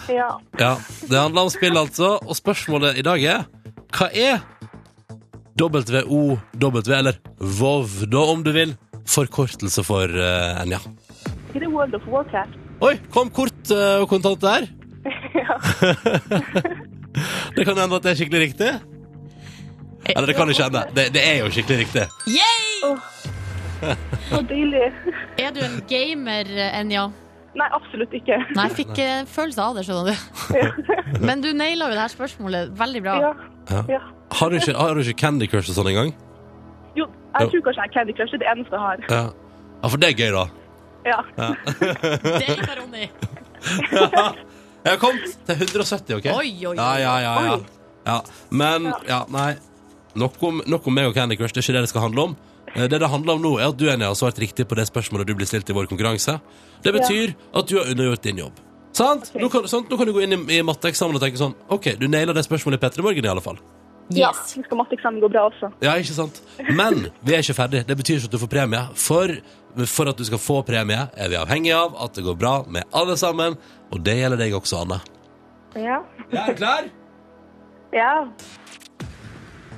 Speaker 7: Ja.
Speaker 2: Ja, det handler om spill altså Og spørsmålet i dag er Hva er WOW Eller WoW da om du vil Forkortelse for eh, Enja
Speaker 7: Er det World of Warcraft?
Speaker 2: Oi, kom kort eh, og kontant der
Speaker 7: Ja.
Speaker 2: [laughs] Det kan hende at det er skikkelig riktig Eller det kan ikke hende Det, det er jo skikkelig riktig
Speaker 3: Yay!
Speaker 7: Så deilig. [laughs]
Speaker 3: Er du en gamer, Enja?
Speaker 7: Nei, absolutt ikke.
Speaker 3: Nei, jeg fikk eh, en følelse av det, skjønner du. [laughs] Men du naila jo det her spørsmålet veldig bra.
Speaker 7: Ja.
Speaker 2: Ja.
Speaker 7: ja.
Speaker 2: Har du ikke, har du ikke Candy Crush og sånn en gang?
Speaker 7: Jo, jeg tror kanskje jeg er Candy Crush. Det er det eneste jeg har.
Speaker 2: Ja. ja, for det er gøy da
Speaker 7: Ja.
Speaker 3: Det liker Ronny.
Speaker 2: Jeg har kommet til 170, ok?
Speaker 3: Oi, oi, oi.
Speaker 2: Ja, ja, ja, ja. ja. Men, ja, nei nok om, nok om meg og Candy Crush, det er ikke det det skal handle om Eh, Det det handler om nå er at du Anja, har svart riktig på det spørsmålet du blir stilt i vår konkurranse Det betyr at du har undergjort din jobb Sant? Nå, kan, sant? Nå kan du gå inn i, i matteeksamen og tenke sånn OK, du naila det spørsmålet i P3 Morgen, i alle fall.
Speaker 8: Ja, nå skal matteeksamen gå bra også.
Speaker 2: Ja, ikke sant? Men vi er ikke ferdig. Det betyr ikke at du får premie. For, for at du skal få premie, er vi avhengig av at det går bra med alle sammen. Og det gjelder deg også, Anne.
Speaker 8: Ja.
Speaker 2: Er du klar?
Speaker 8: ja.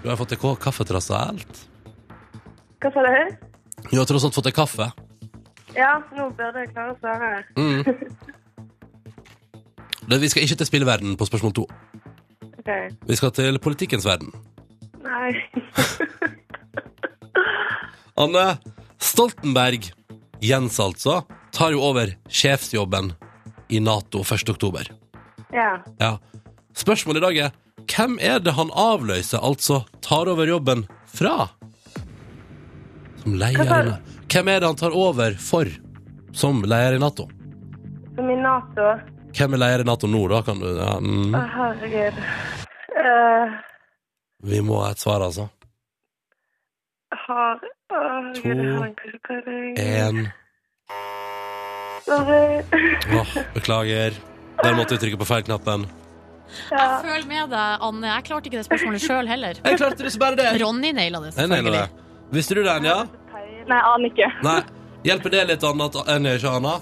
Speaker 2: Du har fått deg k- kaffe tross alt.
Speaker 7: Hva sa du?
Speaker 2: Du har tross alt fått deg kaffe.
Speaker 7: Ja, nå burde jeg klare å svare.
Speaker 2: Mm. Det, vi skal ikke til spillverden på spørsmål to.
Speaker 7: OK.
Speaker 2: Vi skal til politikkens verden.
Speaker 7: Nei. [laughs]
Speaker 2: Anne Stoltenberg, Jens altså, tar jo over sjefsjobben i Nato 1. oktober.
Speaker 7: Ja.
Speaker 2: Ja. Spørsmålet i dag er hvem er det han avløser, altså tar over jobben fra? Som
Speaker 7: Hva sa du?
Speaker 2: leder Hvem er det han tar over for som leder i Nato?
Speaker 7: Som i Nato.
Speaker 2: Hvem er leder i Nato nå, da? Kan du, ja, mm.
Speaker 7: Å, herregud. Eh,
Speaker 2: Vi må ha et svar, altså.
Speaker 7: har Å, herregud,
Speaker 2: To,
Speaker 7: jeg har ikke hva det er.
Speaker 2: Én
Speaker 7: Sorry. [laughs]
Speaker 2: Åh, Beklager. Der måtte vi trykke på feil knappen.
Speaker 7: Ja.
Speaker 3: Føl med deg, Anne. Jeg klarte ikke det spørsmålet sjøl heller.
Speaker 2: Jeg klarte det så bare det!
Speaker 3: Ronny naila det,
Speaker 2: Jeg nailer det.
Speaker 3: selvfølgelig.
Speaker 2: Visste du det, Anja?
Speaker 8: Nei, jeg aner ikke.
Speaker 2: Nei. Hjelper det litt annet enn ikke Anna?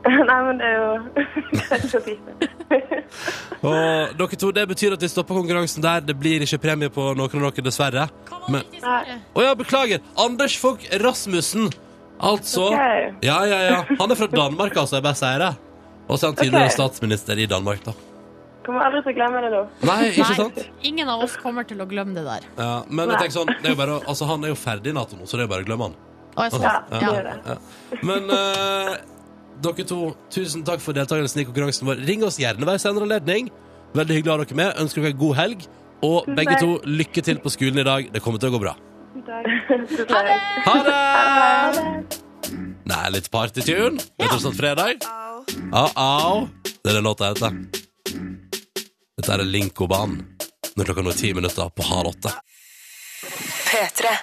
Speaker 7: Nei, men det er jo det er ikke så fint.
Speaker 2: Og dere to, det betyr at vi stopper konkurransen der. Det blir ikke premie på noen av dere, dessverre. Men Å ja, beklager. Anders Fogh Rasmussen. Altså
Speaker 7: Ok.
Speaker 2: Ja, ja, ja. Han er fra Danmark, altså. Jeg bare sier det. Og så er han tidligere
Speaker 7: Ok.
Speaker 2: statsminister i Danmark, da.
Speaker 7: Kommer aldri til å glemme det nå.
Speaker 2: Nei, ikke sant?
Speaker 3: Nei, ingen av oss kommer til å glemme det der.
Speaker 2: Ja, men jeg tenker sånn, det er jo bare, å- altså, han er jo ferdig i Nato nå, så det er jo bare å glemme han.
Speaker 3: Å, jeg så-
Speaker 7: Ja, det
Speaker 3: ja.
Speaker 7: gjør det.
Speaker 2: Ja. Men eh, dere to, tusen takk for deltakelsen i konkurransen vår. Ring oss gjerne hver senere anledning. Veldig hyggelig å ha dere med. Ønsker dere en god helg. Og begge to, lykke til på skolen i dag. Det kommer til å gå bra.
Speaker 7: Ha det!
Speaker 2: Ha det! Nei, litt partytune. Litt sånn fredag. Au, au. Det er det låta heter. Dette er Linkobanen. Når klokka nå er ti minutter på halv åtte.
Speaker 1: P3.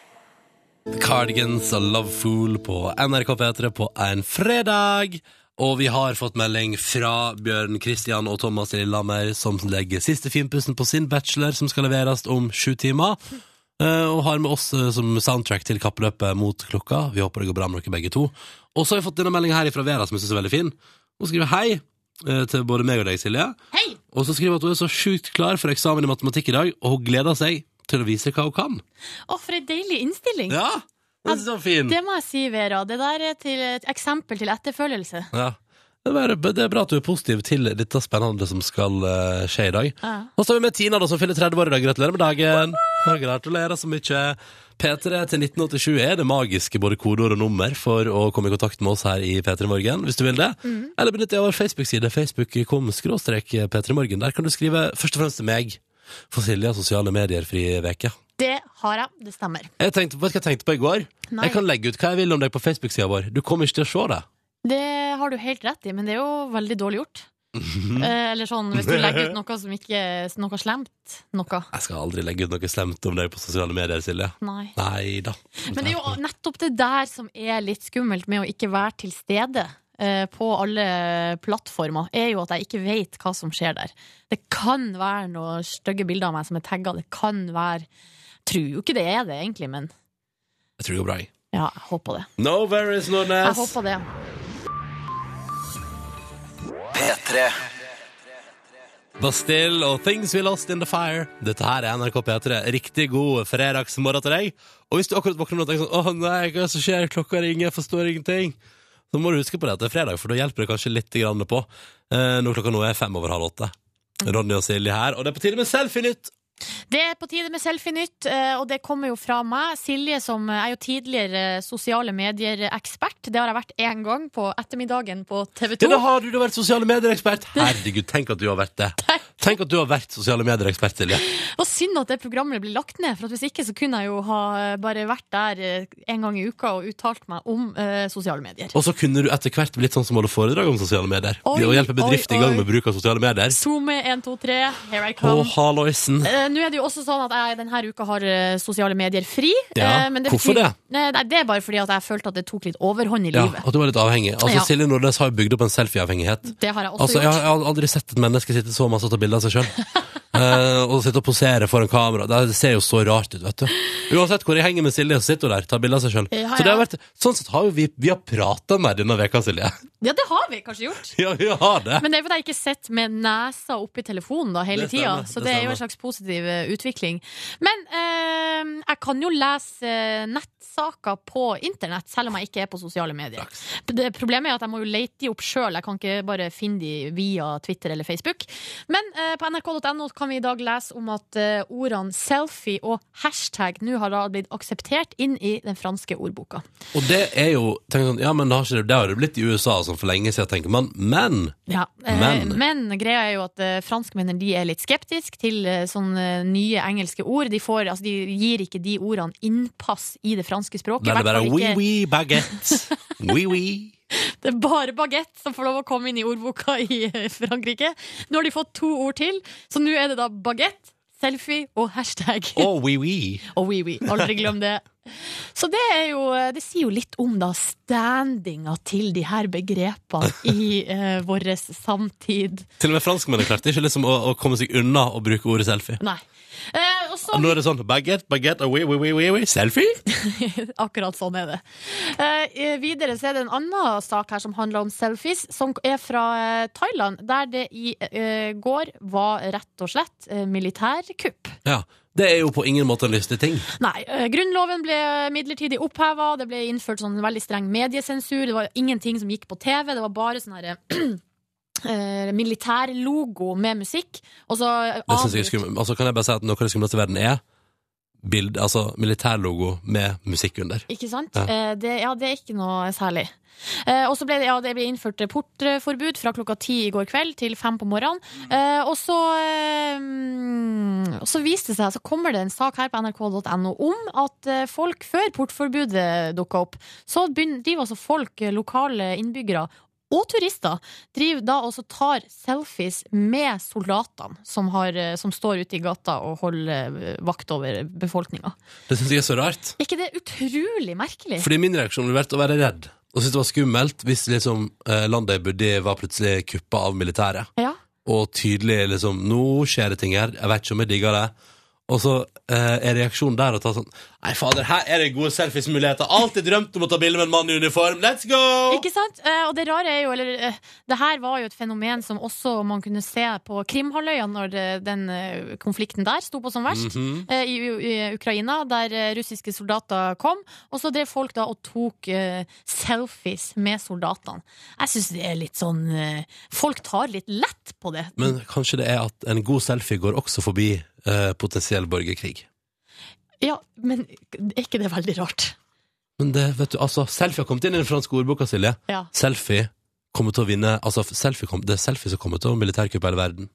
Speaker 2: Cardigans og Love Fool på NRK P3 på en fredag. Og vi har fått melding fra Bjørn Kristian og Thomas i Lillehammer, som legger siste finpussen på sin bachelor, som skal leveres om sju timer. Eh, Og har med oss eh, som soundtrack til kappløpet mot klokka. Vi håper det går bra med dere begge to. Og så har vi fått denne meldinga her fra Vera, som jeg syns er veldig fin. Hun skriver hei eh, til både meg og deg, Silje.
Speaker 3: Hei!
Speaker 2: Og så skriver hun at hun er så sjukt klar for eksamen i matematikk i dag, og hun gleder seg til å vise hva hun kan.
Speaker 3: Å, for ei deilig innstilling.
Speaker 2: Ja, den synes jeg var fin.
Speaker 3: Det må jeg si, Vera. Det der er til et eksempel til etterfølgelse.
Speaker 2: Ja. Det er, bare- det er bra at du er positiv til dette spennende som skal eh, skje i dag.
Speaker 3: Ja.
Speaker 2: Og så har vi med Tina, da, som fyller 30 år i dag. Gratulerer med dagen! Ja, Gratulerer så mye. P3 til 1987 er det magiske både kodeord og nummer for å komme i kontakt med oss her i P3 Morgen, hvis du vil det.
Speaker 3: Mm.
Speaker 2: Eller benytt deg av vår Facebook-side, facebook.com skråstrek P3 Morgen. Der kan du skrive først og fremst til meg. For Silje har sosiale medier fri veke.
Speaker 3: Det har jeg. Det stemmer.
Speaker 2: Jeg tenkte, vet du hva jeg tenkte på i går?
Speaker 3: Nei.
Speaker 2: Jeg kan legge ut hva jeg vil om deg på Facebook-sida vår. Du kommer ikke til å se det.
Speaker 3: Det har du helt rett i, men det er jo veldig dårlig gjort. Eh, Eller sånn, hvis du legger ut noe som ikke Noe slemt. Noe.
Speaker 2: Jeg skal aldri legge ut noe slemt om deg på sosiale medier, Silje.
Speaker 3: Nei.
Speaker 2: Nei da.
Speaker 3: Men det er jo nettopp det der som er litt skummelt med å ikke være til stede eh, på alle plattformer, er jo at jeg ikke vet hva som skjer der. Det kan være noen stygge bilder av meg som er tagga, det kan være Tror jo ikke det er det, egentlig, men
Speaker 2: Jeg tror det går bra. jeg.
Speaker 3: ja, jeg håper det.
Speaker 2: No worries,
Speaker 3: Jeg
Speaker 2: Nordnes.
Speaker 3: håper det.
Speaker 4: P3
Speaker 2: Bastille og Things We Lost In The Fire. Dette her er NRK P3. Riktig god fredagsmorgen til deg. Og hvis du akkurat våkner nå og tenker sånn Å nei, hva er det som skjer? Klokka ringer, jeg forstår ingenting. Så må du huske på det at det er fredag, for da hjelper det kanskje litt grann på. Eh, Når klokka nå er fem over halv åtte. Ronny og Silje her, og det er på tide med Selfie-nytt!
Speaker 3: Det er på tide med Selfie-nytt, eh, og det kommer jo fra meg. Silje som er jo tidligere sosiale medier-ekspert. Det har jeg vært én gang på ettermiddagen på TV
Speaker 2: Ja, da
Speaker 3: 2.
Speaker 2: har du, du har vært sosiale medier-ekspert! Herregud, tenk at du har vært det. Tenk at du har vært sosiale medier-ekspert, Silje.
Speaker 3: Og synd at det programmet blir lagt ned, for at hvis ikke så kunne jeg jo ha eh, bare vært der eh, en gang i uka og uttalt meg om eh, sosiale medier.
Speaker 2: Og så kunne du etter hvert blitt sånn som holder foredrag om sosiale medier.
Speaker 3: Oi,
Speaker 2: Det å hjelpe bedrifter
Speaker 3: oi,
Speaker 2: i gang
Speaker 3: oi.
Speaker 2: med bruk av sosiale medier.
Speaker 3: SoMe 123, here I
Speaker 2: På
Speaker 3: come.
Speaker 2: Halloisen.
Speaker 3: Eh, Eh, Nå er det jo også sånn at jeg denne uka har eh, sosiale medier fri.
Speaker 2: Ja,
Speaker 3: eh, men
Speaker 2: hvorfor
Speaker 3: betyr-
Speaker 2: det?
Speaker 3: Nei, nei, det er bare fordi at jeg følte at det tok litt overhånd i
Speaker 2: Ja,
Speaker 3: livet.
Speaker 2: at du var litt avhengig. Altså,
Speaker 3: Ja.
Speaker 2: Silje Nordnes har jo bygd opp en selfieavhengighet.
Speaker 3: Det har jeg også
Speaker 2: Altså, jeg, har-
Speaker 3: gjort.
Speaker 2: jeg har aldri sett et menneske sitte så masse og ta bilder av seg sjøl.
Speaker 3: [laughs]
Speaker 2: og sitte og posere foran kamera. Det ser jo så rart ut, vet du. Uansett hvor jeg henger med Silje, så sitter hun der, tar bilder av seg sjøl.
Speaker 3: Ja,
Speaker 2: Så det har
Speaker 3: ja.
Speaker 2: vært, sånn sett har jo vi, vi har prata mer denne veka, Silje. [laughs]
Speaker 3: Ja, det har vi kanskje gjort.
Speaker 2: ja, vi har det.
Speaker 3: [laughs] Men det er fordi jeg ikke sitter med nesa oppi telefonen da hele
Speaker 2: Det stemmer,
Speaker 3: tida. Så
Speaker 2: det
Speaker 3: det er jo
Speaker 2: stemmer.
Speaker 3: en slags positiv eh, utvikling. Men eh, jeg kan jo lese eh, nettsaker på internett, selv om jeg ikke er på sosiale medier. Det Problemet er at jeg må jo lete de opp sjøl, jeg kan ikke bare finne de via Twitter eller Facebook. Men eh, på nrk.no kan vi i dag lese om at eh, ordene selfie og hashtag nå har da blitt akseptert inn i den franske ordboka.
Speaker 2: Og det er jo tenk sånn, Ja, men det har, ikke, det har det blitt i USA og sånn for lenge siden, tenker man. Men
Speaker 3: Ja, eh,
Speaker 2: Men-
Speaker 3: men. greia er jo at eh, franskmennene de er litt skeptiske til eh, sånne eh, nye engelske ord. De, får, altså, de gir ikke de ordene innpass i det franske språket.
Speaker 2: da er det
Speaker 3: i hvert
Speaker 2: bare
Speaker 3: fall
Speaker 2: oui,
Speaker 3: ikke-
Speaker 2: oui, baguette. [laughs] Oui, oui.
Speaker 3: Det er bare baguette som får lov å komme inn i ordboka i eh, Frankrike. Nå har de fått to ord til, så nå er det da baguette, selfie og hashtag.
Speaker 2: Oh, oui, oui.
Speaker 3: Og oui, oui. Aldri glem det. Så det, er jo, eh, det sier jo litt om da standinga til de her begrepene i eh, vår samtid.
Speaker 2: Til og med franskmennene klarte ikke liksom å, å komme seg unna å bruke ordet selfie.
Speaker 3: Nei. Eh, og så
Speaker 2: Og nå er det sånn baguette, baguette, oui, oui, oui, oui, oui. selfie.
Speaker 3: Akkurat sånn er det. Eh, videre så er det en annen sak her som handler om selfies, som er fra eh, Thailand, der det i eh, går var rett og slett eh, militærkupp.
Speaker 2: Ja, Det er jo på ingen måte en lystig ting.
Speaker 3: Nei, eh, grunnloven ble midlertidig oppheva, det ble innført sånn veldig streng mediesensur, det var ingenting som gikk på TV, det var bare sånn [clears throat] herre Militærlogo med musikk. Og så eh,
Speaker 2: Det synes jeg er
Speaker 3: avbrutt-
Speaker 2: skummelt. Altså, kan jeg bare si at Noe av det skumleste i verden er bild, altså, militærlogo med musikk under.
Speaker 3: Ikke sant?
Speaker 2: Ja.
Speaker 3: Eh, det, ja, det er ikke noe særlig. Eh, og så ble det, ja, det ble innført portforbud fra klokka ti i går kveld til fem på morgenen. Eh, og så eh, mm, og så viste det seg, så kommer det en sak her på nrk.no om at eh, folk før portforbudet dukka opp, så begyn- driver altså folk, eh, lokale innbyggere, og turister driver da også tar selfies med soldatene som, har, eh, som står ute i gata og holder eh, vakt over befolkninga.
Speaker 2: Det syns jeg er så rart.
Speaker 3: Er ikke det utrolig merkelig?
Speaker 2: Fordi min reaksjon ville vært å være redd. Og synes det var skummelt hvis liksom, eh, landet jeg bodde i, var plutselig kuppa av militæret.
Speaker 3: Ja.
Speaker 2: Og tydelig liksom Nå skjer det ting her. Jeg vet ikke om jeg digger det. Og så eh, er reaksjonen der å ta sånn Nei, fader, her er det gode selfiesmuligheter. Alltid drømt om å ta bilde med en mann i uniform. Let's go!
Speaker 3: Ikke sant? Eh, og det rare er jo, eller eh, det her var jo et fenomen som også man kunne se på Krimhalvøya når eh, den eh, konflikten der sto på som verst,
Speaker 2: Mhm.
Speaker 3: eh, i, U- i Ukraina, der eh, russiske soldater kom. Og så drev folk da og tok eh, selfies med soldatene. Jeg syns det er litt sånn eh, Folk tar litt lett på det.
Speaker 2: Men kanskje det er at en god selfie går også forbi eh, potensiell borgerkrig.
Speaker 3: Ja, men er ikke det veldig rart?
Speaker 2: Men det, vet du, altså, selfie har kommet inn i den franske ordboka, Silje.
Speaker 3: Ja.
Speaker 2: Selfie kommer til å vinne Altså, selfie kom, det er selfie som kommer til å militærkuppe hele verden.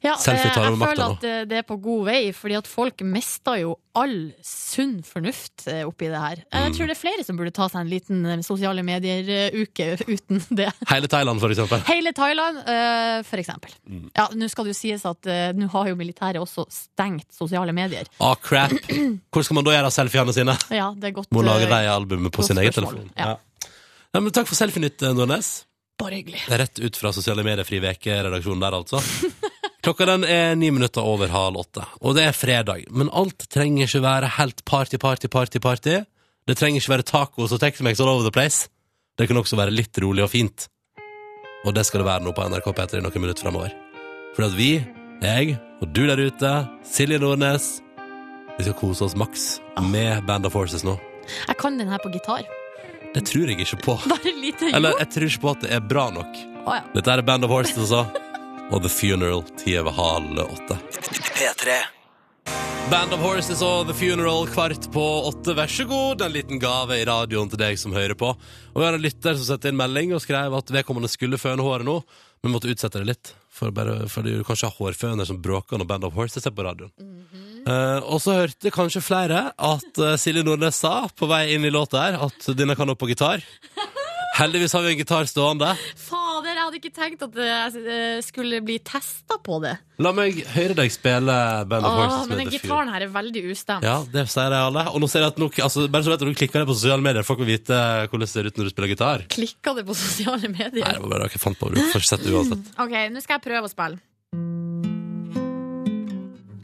Speaker 3: Ja,
Speaker 2: Selfie tar
Speaker 3: eh,
Speaker 2: over makta
Speaker 3: Jeg
Speaker 2: nå.
Speaker 3: føler at eh, det er på god vei, fordi at folk mister jo all sunn fornuft eh, oppi det her.
Speaker 2: Mm.
Speaker 3: Jeg tror det er flere som burde ta seg en liten eh, sosiale medier-uke [laughs] uten det.
Speaker 2: Hele Thailand, for eksempel.
Speaker 3: Hele Thailand, eh, for eksempel.
Speaker 2: Mm.
Speaker 3: Ja, nå skal det jo sies at eh, nå har jo militæret også stengt sosiale medier.
Speaker 2: Ah, crap. Hvor skal man da gjøre av selfiene sine?
Speaker 3: Ja, det er godt.
Speaker 2: Må lage
Speaker 3: eh,
Speaker 2: de i albumet på
Speaker 3: godt
Speaker 2: sin egen
Speaker 3: spørsmål.
Speaker 2: telefon.
Speaker 3: Ja.
Speaker 2: Ja, men takk for selfienytt, eh, Nordnes.
Speaker 3: Bare hyggelig.
Speaker 2: Det er Rett ut fra sosiale medier, Fri veke, redaksjonen der, altså. [laughs] Klokka den er ni minutter over halv åtte, og det er fredag. Men alt trenger ikke være helt party, party, party, party. Det trenger ikke være tacos og Tex-Mex all over the place. Det kan også være litt rolig og fint. Og det skal det være nå på NRK P3 i noen minutter framover. For at vi, jeg og du der ute, Silje Nordnes, vi skal kose oss maks med Band of Forces nå.
Speaker 3: Jeg kan den her på gitar. [laughs]
Speaker 2: Det tror jeg ikke på.
Speaker 3: Bare lite jo.
Speaker 2: Eller jeg tror ikke på at det er bra nok.
Speaker 3: Å, ja.
Speaker 2: Dette er Band of Horses, altså. Og The Funeral, ti over halv åtte.
Speaker 4: P3
Speaker 2: Band of Horses og The Funeral kvart på åtte. Vær så god, en liten gave i radioen til deg som hører på. Og vi har en lytter som sendte inn melding og skrev at vedkommende skulle føne håret nå, men måtte utsette det litt. For, bare, for du kan ikke ha hårføner som bråker når Band of Horses er på radioen.
Speaker 3: Mhm.
Speaker 2: Eh, og så hørte kanskje flere at eh, Silje Nordnes sa på vei
Speaker 3: [laughs]
Speaker 2: inn i låta her at denne kan opp på gitar. Heldigvis har vi en gitar stående.
Speaker 3: Fader, jeg hadde hadde ikke tenkt at jeg eh, skulle bli testa på det.
Speaker 2: La meg høre deg spille Band of
Speaker 3: Åh,
Speaker 2: Horses. med
Speaker 3: men den
Speaker 2: The Feud.
Speaker 3: gitaren her er veldig ustemt.
Speaker 2: Ja, det sier jeg alle. Og nå ser jeg at nå, altså, bare så vet du, nå klikker det på sosiale medier. Folk vil vite eh, hvordan det ser ut når du spiller gitar.
Speaker 3: Klikka det på [laughs] sosiale
Speaker 2: Nei,
Speaker 3: medier?
Speaker 2: det var bare noe jeg fant på. Du får ikke sett det uansett.
Speaker 3: OK, nå skal jeg prøve å spille.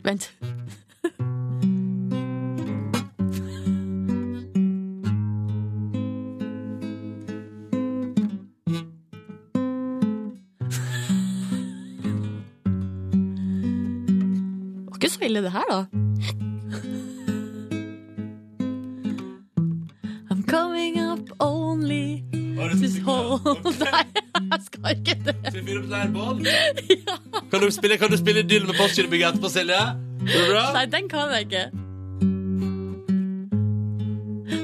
Speaker 3: Vent. Det var ikke så ille, det her, da. I'm coming up only to hold [laughs] Nei, jeg skal ikke det. [laughs]
Speaker 2: Kan du spille, kan du spille Dylan med Postgirobygget etterpå, Silje? Er det bra?
Speaker 3: Nei, den kan jeg ikke.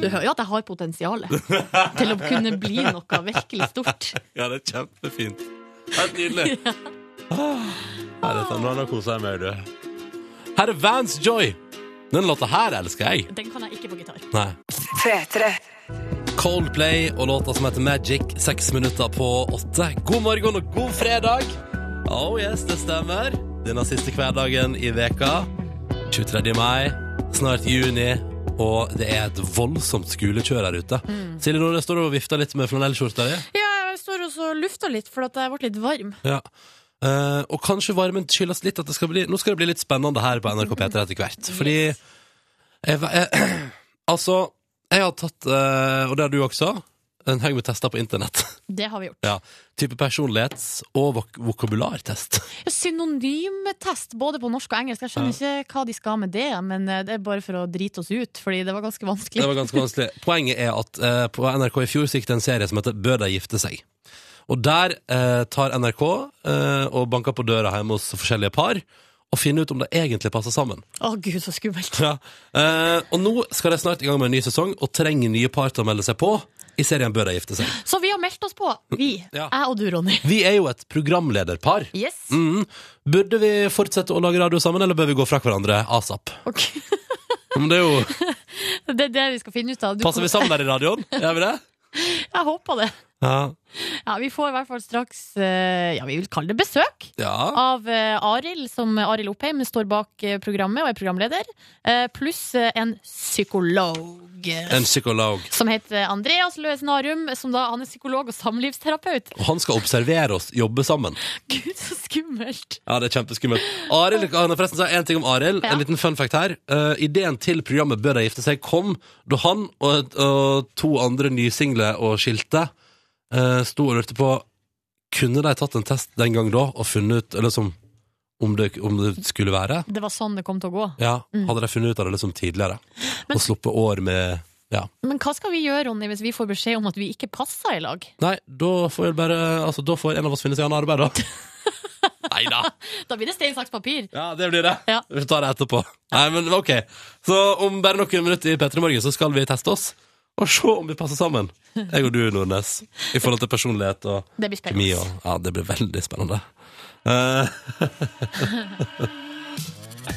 Speaker 3: Du hører jo at jeg har potensial til å kunne bli noe virkelig stort.
Speaker 2: Ja, det er kjempefint. Helt nydelig. Ah, Nei, dette, nå har jeg kosa meg, du. Her er Vans Joy. Den låta her elsker jeg.
Speaker 3: Den kan jeg ikke på gitar.
Speaker 2: Nei.
Speaker 1: P3.
Speaker 2: Coldplay og låta som heter Magic, seks minutter på åtte. God morgen og god fredag! Oh yes, det stemmer. Denne siste hverdagen i veka. 23. mai, snart juni, og det er et voldsomt skolekjør her ute. Silje Nordnes, står du og vifter litt med flanellskjorta di?
Speaker 3: Ja, jeg står også og lufter litt, for at jeg ble litt varm.
Speaker 2: Ja. Eh, og kanskje varmen skyldes litt at det skal bli Nå skal det bli litt spennende her på NRK P3 etter hvert. Fordi jeg, va- jeg, [clears throat] Altså, jeg har tatt, eh, og det har du også, en haug med tester på internett. [laughs]
Speaker 3: Det har vi gjort.
Speaker 2: ja. Type personlighets- og vok vokabulartest.
Speaker 3: [laughs] Synonymtest både på norsk og engelsk. Jeg skjønner ikke hva de skal med det, men eh, det er bare for å drite oss ut, fordi det var ganske
Speaker 2: Det
Speaker 3: vanskelig.
Speaker 2: var ganske vanskelig. Poenget er at eh, på NRK i fjor så gikk det en serie som heter Bør de gifte seg? Og der eh, tar NRK eh, og banker på døra hjemme hos forskjellige par og finner ut om det egentlig passer sammen.
Speaker 3: Å gud, så skummelt.
Speaker 2: Ja. Eh, og nå skal de snart i gang med en ny sesong og trenger nye par til å melde seg på. I serien Bør de gifte seg.
Speaker 3: Så vi har meldt oss på, vi.
Speaker 2: Ja.
Speaker 3: Jeg og du, Ronny.
Speaker 2: Vi er jo et programlederpar.
Speaker 3: Yes.
Speaker 2: Mhm. Burde vi fortsette å lage radio sammen, eller bør vi gå fra hverandre asap?
Speaker 3: Ok. [laughs]
Speaker 2: Men det er jo,
Speaker 3: Det er det vi skal finne ut av. Du
Speaker 2: Passer vi
Speaker 3: kommer-
Speaker 2: sammen der i radioen? Gjør vi det?
Speaker 3: Jeg håper det.
Speaker 2: Ja.
Speaker 3: Ja, vi får i hvert fall straks eh, Ja, vi vil kalle det besøk
Speaker 2: ja.
Speaker 3: av eh, Arild, som Arild Oppheim står bak eh, programmet og er programleder, eh, pluss eh, en psykolog.
Speaker 2: En psykolog.
Speaker 3: Som heter Andreas Løes Narum. Som da, han er psykolog og samlivsterapeut.
Speaker 2: Og han skal observere oss, jobbe sammen.
Speaker 3: Gud, så skummelt!
Speaker 2: Ja, det er kjempeskummelt. Arild, han har forresten sagt en ting om Arild.
Speaker 3: Ja.
Speaker 2: En liten fun fact her. Eh, ideen til programmet Bør de gifte seg kom da han og, og to andre nysingle og skilte eh, sto og lurte på Kunne de tatt en test den gang da og funnet ut eller som, om, det, om det skulle være?
Speaker 3: Det var sånn det kom til å gå.
Speaker 2: Ja, Hadde de funnet ut av det liksom tidligere? og sluppet år med ja.
Speaker 3: Men hva skal vi gjøre, Ronny, hvis vi får beskjed om at vi ikke passer i lag?
Speaker 2: Nei, da får, vel bare, altså, da får en av oss finne seg annet arbeid, da. Nei da.
Speaker 3: Da blir det stein, saks, papir.
Speaker 2: Ja, det blir det.
Speaker 3: Ja.
Speaker 2: Vi får ta det etterpå. Nei, men ok. Så om bare noen minutter i P3 Morgen så skal vi teste oss. Og se om vi passer sammen. Jeg og du, Nordnes. I forhold til personlighet og
Speaker 3: Det blir
Speaker 2: kjemi
Speaker 3: spennende.
Speaker 2: og Ja, det blir veldig spennende. Eh, [laughs]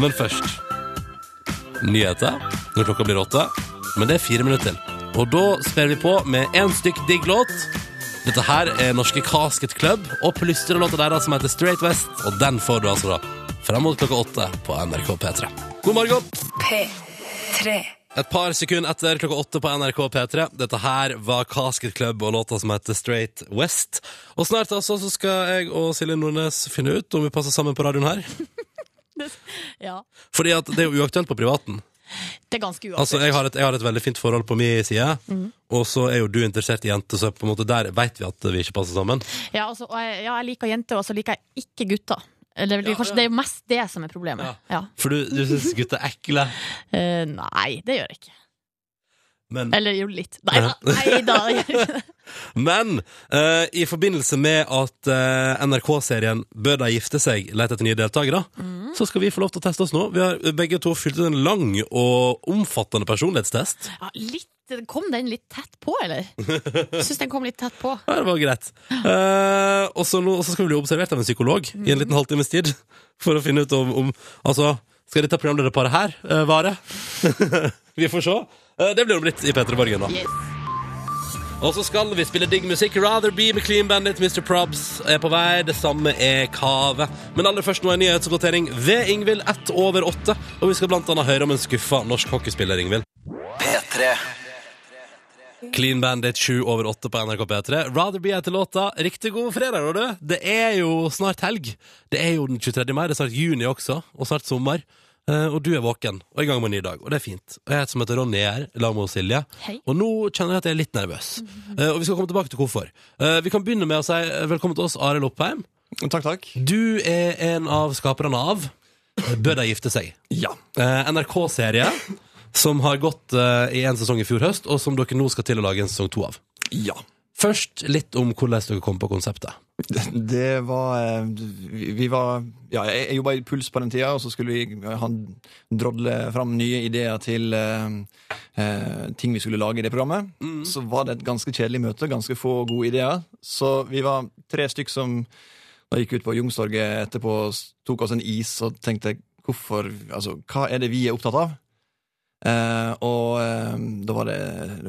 Speaker 2: men først Nyheter når klokka blir åtte. Men det er fire minutter til. Og da sper vi på med én stykk digg låt. Dette her er norske Casket Club og plystrelåta deres som heter Straight West. Og den får du altså da fram mot klokka åtte på NRK P3. God morgen!
Speaker 1: P3.
Speaker 2: Et par sekunder etter klokka åtte på NRK P3. Dette her var Casket Club og låta som heter Straight West. Og snart altså så skal jeg og Silje Nordnes finne ut om vi passer sammen på radioen her.
Speaker 3: Ja.
Speaker 2: Fordi at det er jo uaktuelt på privaten.
Speaker 3: Det er ganske uaktuelt.
Speaker 2: Altså, jeg har, et, jeg har et veldig fint forhold på min side, og så er jo du interessert i jenter, så på en måte der veit vi at vi ikke passer sammen.
Speaker 3: Ja, altså, og jeg, ja, jeg liker jenter, og så liker jeg ikke gutter. Eller det er kanskje det er jo mest det som er problemet. Ja.
Speaker 2: For du, du syns gutter er ekle.
Speaker 3: Eh, nei, det gjør jeg ikke.
Speaker 2: Men
Speaker 3: Eller jo litt. Nei da. Nei, da. jeg gjør
Speaker 9: [laughs]
Speaker 3: ikke det.
Speaker 2: Men eh, i forbindelse med at eh, NRK-serien Bør de gifte seg? leter etter nye deltakere, så skal vi få lov til å teste oss nå. Vi har begge to fylt ut en lang og omfattende personlighetstest.
Speaker 3: Ja, litt. Kom den litt tett på, eller? Syns den kom litt tett på.
Speaker 2: Ja, det var greit. Eh, og så nå- og så skal vi bli observert av en psykolog i en liten halvtimes tid for å finne ut om, om Altså, skal dette programlederparet her eh, [laughs] vare? vi får se. Eh, det blir om litt i P3 Borgen, da.
Speaker 3: Yes.
Speaker 2: Og så skal vi spille digg musikk. Rather Be med Clean Bandit, Mr. Probs er på vei. Det samme er Kave. Men aller først nå en nyhetsoppdatering ved Ingvild ett over åtte. Og vi skal blant annet høre om en skuffa norsk hockeyspiller, Ingvild.
Speaker 4: P3
Speaker 2: Clean Bandit sju over åtte på NRK P3. Rather Be etter låta. Riktig god fredag, da, du. Det er jo snart helg. Det er jo den 23. mai. Det er snart juni også, og snart sommer. Eh, Og du er våken og i gang med en ny dag, og det er fint. Og jeg heter som heter Ronny her, sammen med Silje.
Speaker 3: Hei.
Speaker 2: Og nå kjenner jeg at jeg er litt nervøs. Eh, og vi skal komme tilbake til hvorfor. Eh, vi kan begynne med å si eh, velkommen til oss, Arild Oppheim.
Speaker 9: Takk, takk.
Speaker 2: Du er en av skaperne av Bør de gifte seg?
Speaker 9: Ja.
Speaker 2: Eh, NRK-serie som har gått eh, i en sesong i fjor høst, og som dere nå skal til å lage en sesong to av.
Speaker 9: Ja.
Speaker 2: Først litt om hvordan dere kom på konseptet.
Speaker 9: Det var eh, Vi vi var Ja, jeg, jeg jobba i Puls på den tida, og så skulle vi eh, han drodle fram nye ideer til eh, eh, ting vi skulle lage i det programmet. Så var det et ganske kjedelig møte, ganske få gode ideer. Så vi var tre stykk som da gikk ut på Youngstorget etterpå, s- tok oss en is og tenkte hvorfor Altså, hva er det vi er opptatt av? Eh, og eh, da var det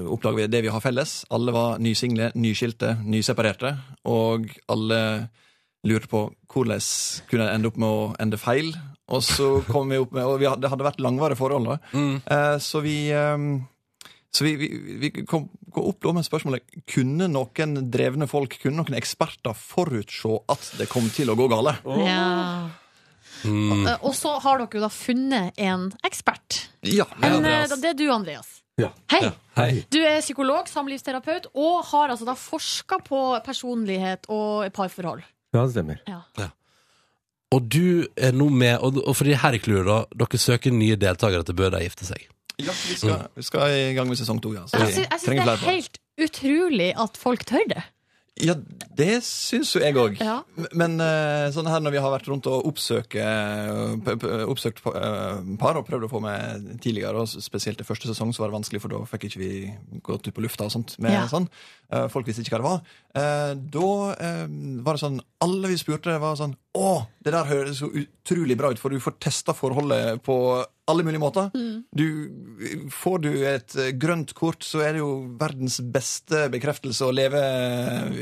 Speaker 9: oppdaget vi det vi har felles. Alle var nysingle, nyskilte, nyseparerte. Og alle lurte på hvordan kunne jeg ende opp med å ende feil. Og så kom vi opp med Og vi hadde, det hadde vært langvarige forhold, da. Eh, så vi eh, så vi, vi, vi kom, kom opp da med spørsmålet Kunne noen drevne folk, kunne noen eksperter forutse at det kom til å gå gale?
Speaker 3: Ja.
Speaker 2: Mm.
Speaker 3: Eh, Og så har dere jo da funnet en ekspert.
Speaker 9: Ja, altså-
Speaker 3: En,
Speaker 2: Andreas.
Speaker 3: eh, det er du, Andreas. Hei.
Speaker 2: Hei.
Speaker 3: Du er psykolog, samlivsterapeut, og har altså da forska på personlighet og parforhold.
Speaker 10: Ja, det stemmer.
Speaker 3: Ja.
Speaker 2: Og du er nå med, og, og for de her klur, da, dere søker nye deltakere til Bør de gifte seg.
Speaker 9: ja vi, skal, Mm. vi skal i gang med sesong to. Ja, så
Speaker 3: Jeg
Speaker 9: vi
Speaker 3: syns, jeg syns
Speaker 9: trenger
Speaker 3: det
Speaker 9: flere
Speaker 3: er
Speaker 9: folk.
Speaker 3: helt utrolig at folk tør det.
Speaker 9: Ja, det syns jo jeg òg.
Speaker 3: Ja.
Speaker 9: Men eh, sånn her når vi har vært rundt og oppsøke, eh, p- p- oppsøkt pa- eh, par og prøvd å få med tidligere, og spesielt i første sesong, så var det vanskelig, for da fikk ikke vi gått ut på lufta og sånt. med
Speaker 3: Ja.
Speaker 9: sånn. Eh, Folk visste ikke hva det var. Eh, Da eh, var det sånn Alle vi spurte, var sånn Å, det der høres så utrolig bra ut, for du får testa forholdet på alle mulige måter. Du, får du et eh, grønt kort, så er det jo verdens beste bekreftelse å leve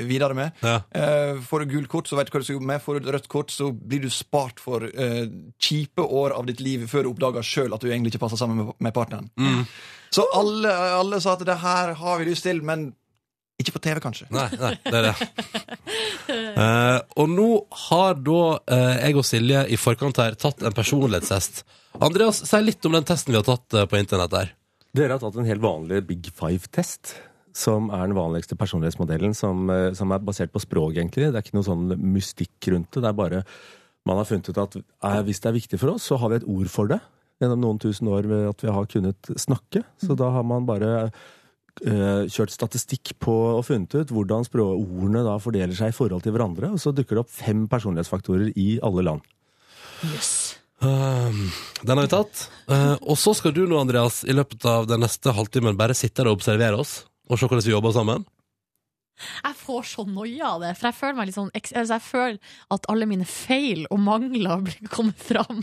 Speaker 9: videre med.
Speaker 2: Ja.
Speaker 9: Eh, får du gult kort, så vet du hva du skal jobbe med. Får du et rødt kort, så blir du spart for eh, kjipe år av ditt liv før du oppdager sjøl at du egentlig ikke passer sammen med, med partneren. Så alle, alle sa at det her har vi lyst til, men ikke på TV, kanskje.
Speaker 2: Nei, nei, det er det. Eh, og nå har da eh, jeg og Silje i forkant her tatt en personlighetstest. Andreas, si litt om den testen vi har tatt eh, på internett her.
Speaker 10: Dere har tatt en helt vanlig Big Five-test. Som er den vanligste personlighetsmodellen, som, eh, som er basert på språk, egentlig. Det er ikke noe sånn mystikk rundt det. Det er bare Man har funnet ut at eh, hvis det er viktig for oss, så har vi et ord for det. Gjennom noen tusen år ved at vi har kunnet snakke. Så da har man bare eh, kjørt statistikk på og funnet ut hvordan språ- ordene da fordeler seg i forhold til hverandre. Og så dukker det opp fem personlighetsfaktorer i alle land.
Speaker 2: Um, den har vi tatt. Eh, og så skal du nå, Andreas, i løpet av den neste halvtimen bare sitte her og observere oss. Og se hvordan vi jobber sammen.
Speaker 3: Jeg får så noia av det, for jeg føler meg litt sånn eks- altså Jeg føler at alle mine feil og mangler blir kommet fram.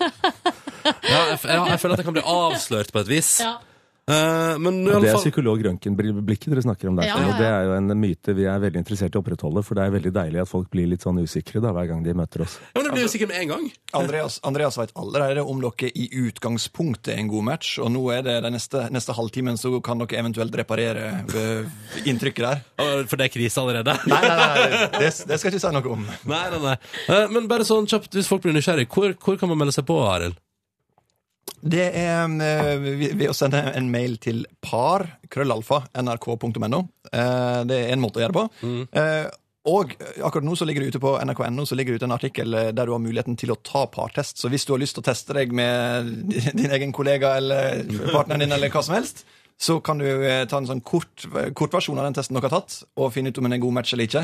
Speaker 2: Ja, jeg, f- ja, jeg føler at jeg kan bli avslørt på et vis.
Speaker 3: Ja.
Speaker 2: Eh, men
Speaker 10: Og
Speaker 2: nå i
Speaker 10: det
Speaker 2: alle
Speaker 10: er
Speaker 2: fall
Speaker 10: psykolog røntgen-blikket dere snakker om der.
Speaker 3: Ja,
Speaker 10: Sten,
Speaker 3: ja,
Speaker 10: Og det er jo en myte vi er veldig interessert i å opprettholde, for det er veldig deilig at folk blir litt sånn usikre da, hver gang de møter oss.
Speaker 2: ja, men Du blir jo sikker med en gang.
Speaker 9: Andreas, Andreas veit allerede om dere i utgangspunktet er en god match, og nå er det den neste, neste halvtimen, så kan dere eventuelt reparere eh, inntrykket der.
Speaker 2: Å, For det er krise allerede. [laughs]
Speaker 9: Nei, nei, nei, det, det skal jeg ikke si noe om.
Speaker 2: Nei, nei, nei. Eh, men bare sånn kjapt, hvis folk blir nysgjerrig, hvor, hvor kan man melde seg på, Arild?
Speaker 9: Det er eh, ved ved å sende en mail til par, krøllalfa, nrk.no. Eh, Det er en måte å gjøre det på. Eh, Og akkurat nå så ligger det ute på nrk.no så ligger det ute en artikkel eh, der du har muligheten til å ta partest. Så hvis du har lyst til å teste deg med [laughs] din egen kollega eller partneren din, eller hva som helst, så kan du eh, ta en sånn kort, kort versjon av den testen dere har tatt, og finne ut om en er god match eller ikke.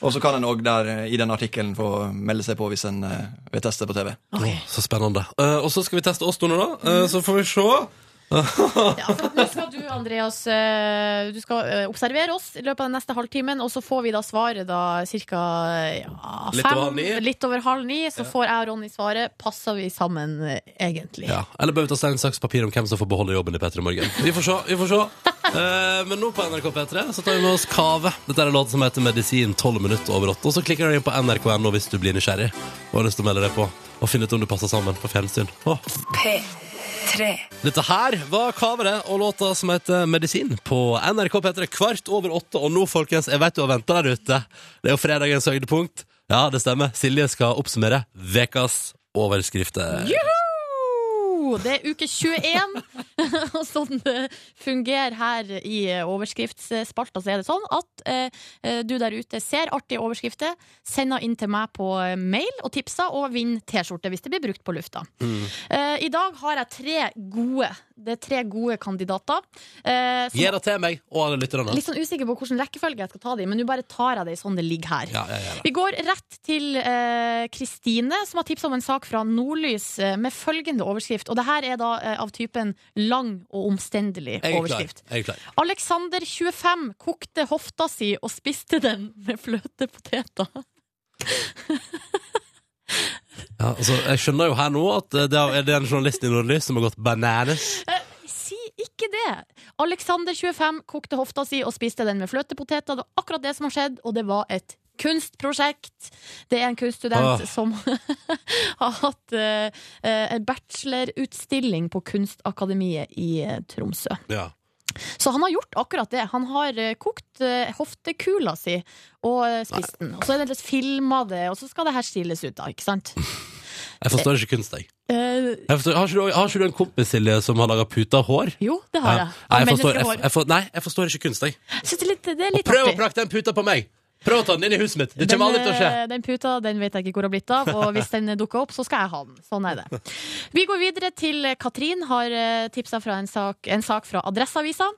Speaker 9: Og så kan en òg der eh, i den artikkelen få melde seg på hvis en eh, vil teste på TV.
Speaker 2: Åh, så spennende. Eh, og så skal vi teste oss to nå, da. Eh, så får vi se
Speaker 3: Ja, for nå skal du, Andreas, eh, du skal eh, observere oss i løpet av den neste halvtimen, og så får vi da svaret da ca. Ja,
Speaker 2: Litt
Speaker 3: fem-
Speaker 2: over halv ni?
Speaker 3: Litt over halv ni. Så får jeg og Ronny svaret. Passer vi sammen, eh, egentlig?
Speaker 2: Ja. Eller bør vi ta stein, saks, papir om hvem som får beholde jobben i P3 Morgen? Vi får se. Vi får se. Eh, men nå på NRK P3 så tar vi med oss Kave. Dette er en låt som heter Medisin 12 minutter over 8. Og så klikker du inn på nrk.no hvis du blir nysgjerrig og har lyst til å melde deg på. Og finne ut om du passer sammen på fjernsyn. Åh.
Speaker 1: P3.
Speaker 2: Dette her var Kavere og låta som heter Medisin på NRK P3 kvart over åtte. Og nå, folkens, jeg vet du har venta der ute. Det er jo fredagens høydepunkt. Ja, det stemmer. Silje skal oppsummere ukas overskrifter.
Speaker 3: Juhu! Det er uke 21, [laughs] og sånn det fungerer her i overskriftsspalta, så er det sånn at eh, eh, du der ute ser artige overskrifter, sender inn til meg på eh, mail og tipser, og vinner T-skjorte hvis det blir brukt på lufta.
Speaker 2: Mm.
Speaker 3: Eh, I dag har jeg tre gode Det er tre gode kandidater. eh, som-
Speaker 2: Gi det til meg og alle lytterne.
Speaker 3: Litt sånn usikker på hvilken rekkefølge jeg skal ta det i, men nå bare tar jeg det i sånn det ligger her.
Speaker 2: Ja, ja, ja, ja.
Speaker 3: Vi går rett til eh, Kristine, som har tipsa om en sak fra Nordlys eh, med følgende overskrift. Og det her er da eh, av typen lang og omstendelig
Speaker 2: Jeg er klar.
Speaker 3: overskrift.
Speaker 2: Jeg er klar.
Speaker 3: Alexander 25 kokte hofta si og spiste den med fløtepoteter.
Speaker 2: Ja, altså, jeg skjønner jo her nå at eh, det er det en journalist i Nordlys som har gått bananas.
Speaker 3: Si ikke det! Alexander 25 kokte hofta si og spiste den med fløtepoteter. Det var akkurat det som har skjedd, og det var et kunstprosjekt. Det er en kunststudent
Speaker 2: Ah.
Speaker 3: som [laughs] har hatt eh, eh, en bachelorutstilling på Kunstakademiet i eh, Tromsø.
Speaker 2: Ja.
Speaker 3: Så han har gjort akkurat det. Han har eh, kokt eh, hoftekula si og eh, spist den. Og så er det litt filma det, og så skal det her stilles ut, da. Ikke sant?
Speaker 2: Mm. Jeg forstår ikke kunst, jeg.
Speaker 3: Eh,
Speaker 2: jeg forstår, har, ikke du, har ikke du en kompis Silje, som har laga pute av hår?
Speaker 3: jo, det har
Speaker 2: Ja.
Speaker 3: jeg.
Speaker 2: Nei,
Speaker 3: Av
Speaker 2: jeg forstår, jeg,
Speaker 3: menneskehår.
Speaker 2: jeg, for- nei, jeg forstår ikke kunst, jeg.
Speaker 3: Jeg synes det er litt, det er litt
Speaker 2: Prøv å
Speaker 3: artig.
Speaker 2: prakke den puta på meg! Prøv å ta den inn i huset mitt! Det kommer aldri til å skje.
Speaker 3: eh, den puta den vet jeg ikke hvor har blitt av, og hvis den dukker opp, så skal jeg ha den. Sånn er det. Vi går videre til eh, Katrin har tipsa fra en sak, en sak fra Adresseavisa.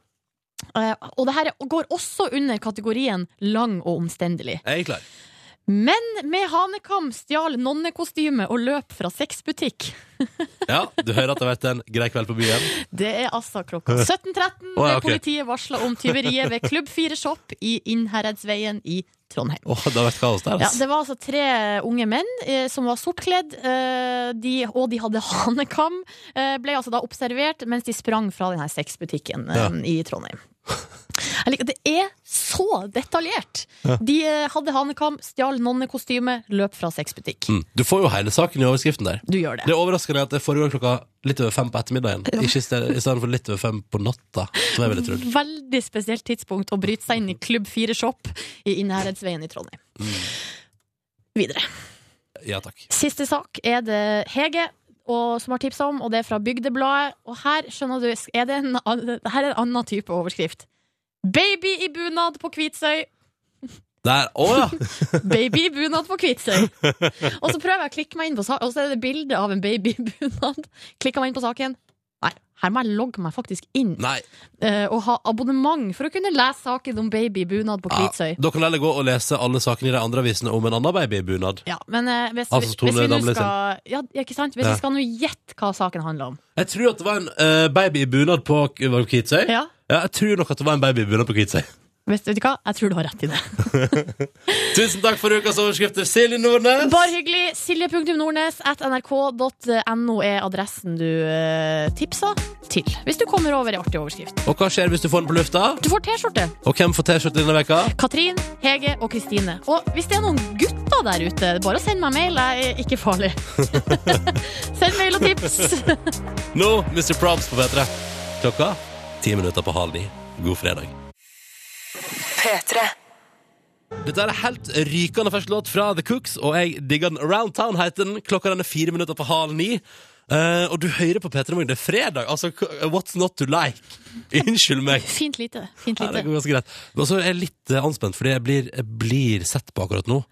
Speaker 3: Eh, Og det her er- går også under kategorien lang og omstendelig.
Speaker 2: Jeg er klar.
Speaker 3: Men med hanekam stjal nonnekostyme og løp fra sexbutikk.
Speaker 2: Ja, du hører at det har vært en grei kveld på byen.
Speaker 3: Det er altså klokka
Speaker 2: [laughs]
Speaker 3: 17.13.
Speaker 2: Å, ja, ok.
Speaker 3: ble Politiet varsla om tyveriet ved Klubb 4 Shop i Innherredsveien i Trondheim.
Speaker 2: Åh, det har vært kaos der,
Speaker 3: Ja,
Speaker 2: altså.
Speaker 3: det var altså tre unge menn eh, som var sortkledd, eh, de, og de hadde [laughs] hanekam. Eh, ble altså da observert mens de sprang fra denne sexbutikken eh,
Speaker 2: Ja.
Speaker 3: i Trondheim. Jeg liker, det er så detaljert! De eh, hadde hanekam, stjal nonnekostyme, løp fra sexbutikk.
Speaker 2: Mm. Du får jo hele saken i overskriften der.
Speaker 3: Du gjør
Speaker 2: Det
Speaker 3: det.
Speaker 2: er overraskende at det foregår klokka litt over fem på ettermiddagen, ikke i sted- i stedet for litt over fem på natta, som jeg ville trodd.
Speaker 3: Veldig spesielt tidspunkt å bryte seg inn i Klubb 4 Shop i Innherredsveien i Trondheim.
Speaker 2: Mm.
Speaker 3: Videre.
Speaker 2: Ja takk.
Speaker 3: Siste sak er det Hege og, som har tipsa om, og det er fra Bygdebladet. Og her skjønner du, er det en, an- her er en annen type overskrift. Baby i bunad på Kvitsøy!
Speaker 2: Der, å ja!
Speaker 3: Baby i bunad på Kvitsøy! Og så prøver jeg å klikke meg inn på saken, og så er det bilde av en baby i bunad. Klikker meg inn på saken. Nei, her må jeg logge meg faktisk inn
Speaker 2: Nei.
Speaker 3: [laughs] eh, og ha abonnement for å kunne lese saken om baby i bunad på Kvitsøy.
Speaker 2: Ja, da kan du heller gå og lese alle sakene i de andre avisene om en annen baby i bunad.
Speaker 3: Ja, men eh, hvis,
Speaker 2: Altså, Tone
Speaker 3: hvis vi nå
Speaker 2: Damli sin.
Speaker 3: skal Ja, ikke sant? Hvis
Speaker 2: Ja.
Speaker 3: vi skal nå gjette hva saken handler om
Speaker 2: Jeg tror at det var en eh, baby i bunad på K- var det Kvitsøy.
Speaker 3: Ja
Speaker 2: jeg tror nok at det var en baby i bunad på Kvitsøy.
Speaker 3: Vet vet du hva? Jeg tror du har rett i det.
Speaker 2: Tusen takk for ukas overskrifter, Silje Nordnes!
Speaker 3: Bare hyggelig. Silje.nordnes at nrk.no er adressen du eh, tipsa til. Hvis du kommer over ei artig overskrift.
Speaker 2: Og hva skjer hvis du får den på lufta?
Speaker 3: Du får T-skjorte.
Speaker 2: Og hvem får T-skjorte denne veka?
Speaker 3: Katrin, Hege og Kristine. Og hvis det er noen gutter der ute, bare send meg mail. Jeg er ikke farlig. [laughs] send mail og tips.
Speaker 2: Nå Mr. Proms på P3. Klokka ti minutter på halv ni. God fredag.
Speaker 1: P3.
Speaker 2: Dette er en helt rykende fersk låt fra The Cooks, og jeg digger den. Around Town heter den. Klokka den er fire minutter på halv ni. Eh, og du hører på P3 Morgen. Det er fredag. Altså, k- what's not to like? [laughs] Unnskyld meg.
Speaker 3: Fint lite. Fint
Speaker 2: Ja, det
Speaker 3: lite.
Speaker 2: går ganske greit. Og så er jeg litt eh, anspent, fordi jeg blir, jeg blir sett på akkurat nå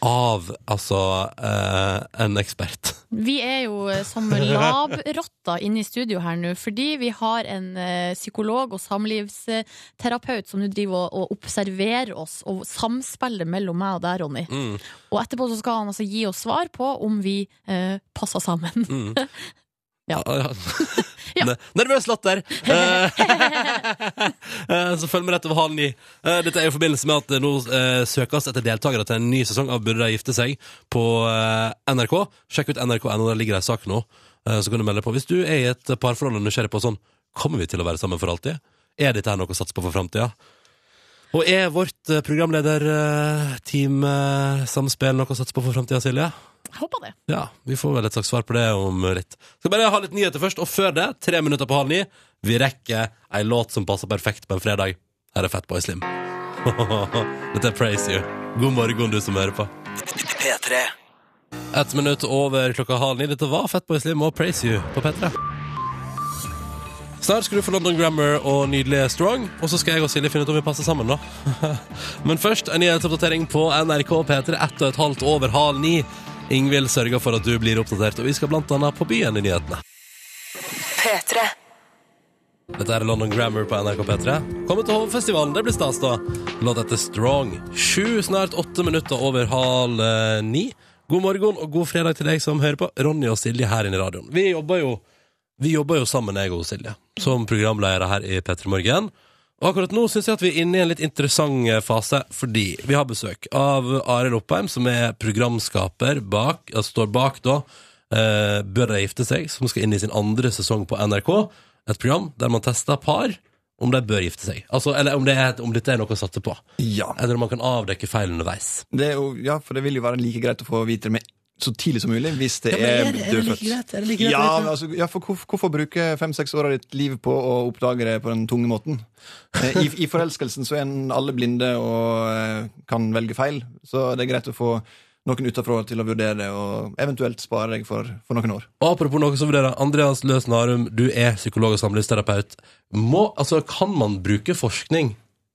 Speaker 2: av altså eh, en ekspert.
Speaker 3: Vi er jo eh, som labrotter inne i studio her nå, fordi vi har en eh, psykolog og samlivsterapeut som nå driver og, og observerer oss og samspillet mellom meg og deg, Ronny.
Speaker 2: Mm.
Speaker 3: Og etterpå så skal han altså gi oss svar på om vi eh, passer sammen. Ja.
Speaker 2: Ne- Nervøs latter! [laughs] Eh, Så følg med rett over halv ni. Eh, Dette er i forbindelse med at det nå eh, søkes etter deltakere til en ny sesong av Burde de gifte seg på eh, NRK. Sjekk ut nrk.no, der ligger det en sak nå. Eh, Så kan du melde på. Hvis du er i et parforhold og nysgjerrig på sånn, kommer vi til å være sammen for alltid? Er dette her noe å satse på for framtida? Og er vårt eh, programleder eh, Team eh, Samspill noe å satse på for framtida, Silje?
Speaker 3: Jeg [laughs] håper det.
Speaker 2: Ja, vi får vel et slags svar på det om litt. Skal bare ha litt nyheter først, og før det, tre minutter på halv ni, vi rekker ei låt som passer perfekt på en fredag. Her er Fatboy Slim. [laughs] Dette er Praise You. God morgen, du som hører på.
Speaker 4: P3.
Speaker 2: Ett minutt over klokka halv ni. Dette var Fatboy Slim og Praise You på P3. Snart skal du få London Grammar og nydelige Strong, og så skal jeg og Silje finne ut om vi passer sammen, da. [laughs] Men først en nyhetsoppdatering på NRK P3 ett og et halvt over halv ni. Ingvild sørger for at du blir oppdatert, og vi skal blant annet på byen i nyhetene.
Speaker 1: P3.
Speaker 2: Dette er London Grammar på NRK P3. Kommer til Hovfestivalen, det blir stas, da. Låt etter Strong. Sju, snart åtte minutter over halv eh, ni. God morgen og god fredag til deg som hører på. Ronny og Silje her inne i radioen. Vi jobber jo, vi jobber jo sammen, jeg og Silje, som programledere her i P3 Morgen. Og akkurat nå syns jeg at vi er inne i en litt interessant eh, fase, fordi vi har besøk av Arild Oppheim, som er programskaper bak, altså står bak, da, eh, Bør de gifte seg?, som skal inn i sin andre sesong på NRK et program der man tester par om de bør gifte seg. Altså, eller om, det er, om dette er noe å satse på. Eller om man kan avdekke feil underveis.
Speaker 11: Det er jo, ja, for det vil jo være like greit å få vite det med så tidlig som mulig hvis det
Speaker 2: Ja, men er
Speaker 11: er
Speaker 2: det- er det like
Speaker 11: dødfødt.
Speaker 2: greit? Er det like greit å
Speaker 11: ja,
Speaker 2: vite?
Speaker 11: men altså, ja, for hvorfor, hvorfor bruke fem-seks år av ditt liv på å oppdage det på den tunge måten? Eh, I, i forelskelsen så er en alle blinde og eh, kan velge feil, så det er greit å få noen utenfra til å vurdere det, og eventuelt spare deg for, for noen år.
Speaker 2: Og apropos noe som vurderer, Andreas Løs Narum, du er psykolog og samlivsterapeut. Må, altså, kan man bruke forskning?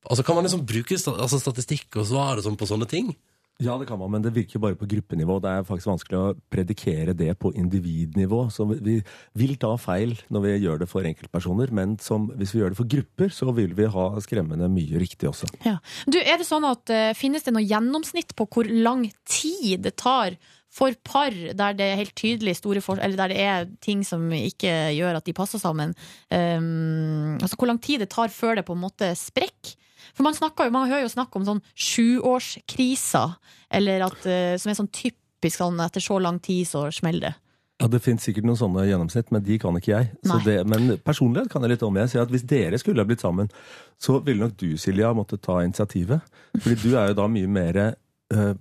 Speaker 2: Altså, kan man liksom bruke sta- altså, statistikk og svar og sånn på sånne ting?
Speaker 9: Ja, det kan man, men det virker bare på gruppenivå. Det er faktisk vanskelig å predikere det på individnivå. Så vi vil ta feil når vi gjør det for enkeltpersoner, men som, hvis vi gjør det for grupper, så vil vi ha skremmende mye riktig også.
Speaker 3: Ja. Du, er det sånn at eh, Finnes det noe gjennomsnitt på hvor lang tid det tar for par der det er helt tydelig store for Eller der det er ting som ikke gjør at de passer sammen? Um, altså Hvor lang tid det tar før det på en måte sprekker? For man, snakker jo, man hører jo snakk om sånn sjuårskriser, eller at, eh, som er sånn typisk sånn etter så lang tid så smeller det.
Speaker 9: Ja, Det finnes sikkert noen sånne gjennomsnitt, men de kan ikke jeg. Så
Speaker 3: Nei.
Speaker 9: det, men personlighet kan jeg litt om. Jeg sier at Hvis dere skulle ha blitt sammen, så ville nok du, Silja, måtte ta initiativet. Fordi du er jo da mye mer eh,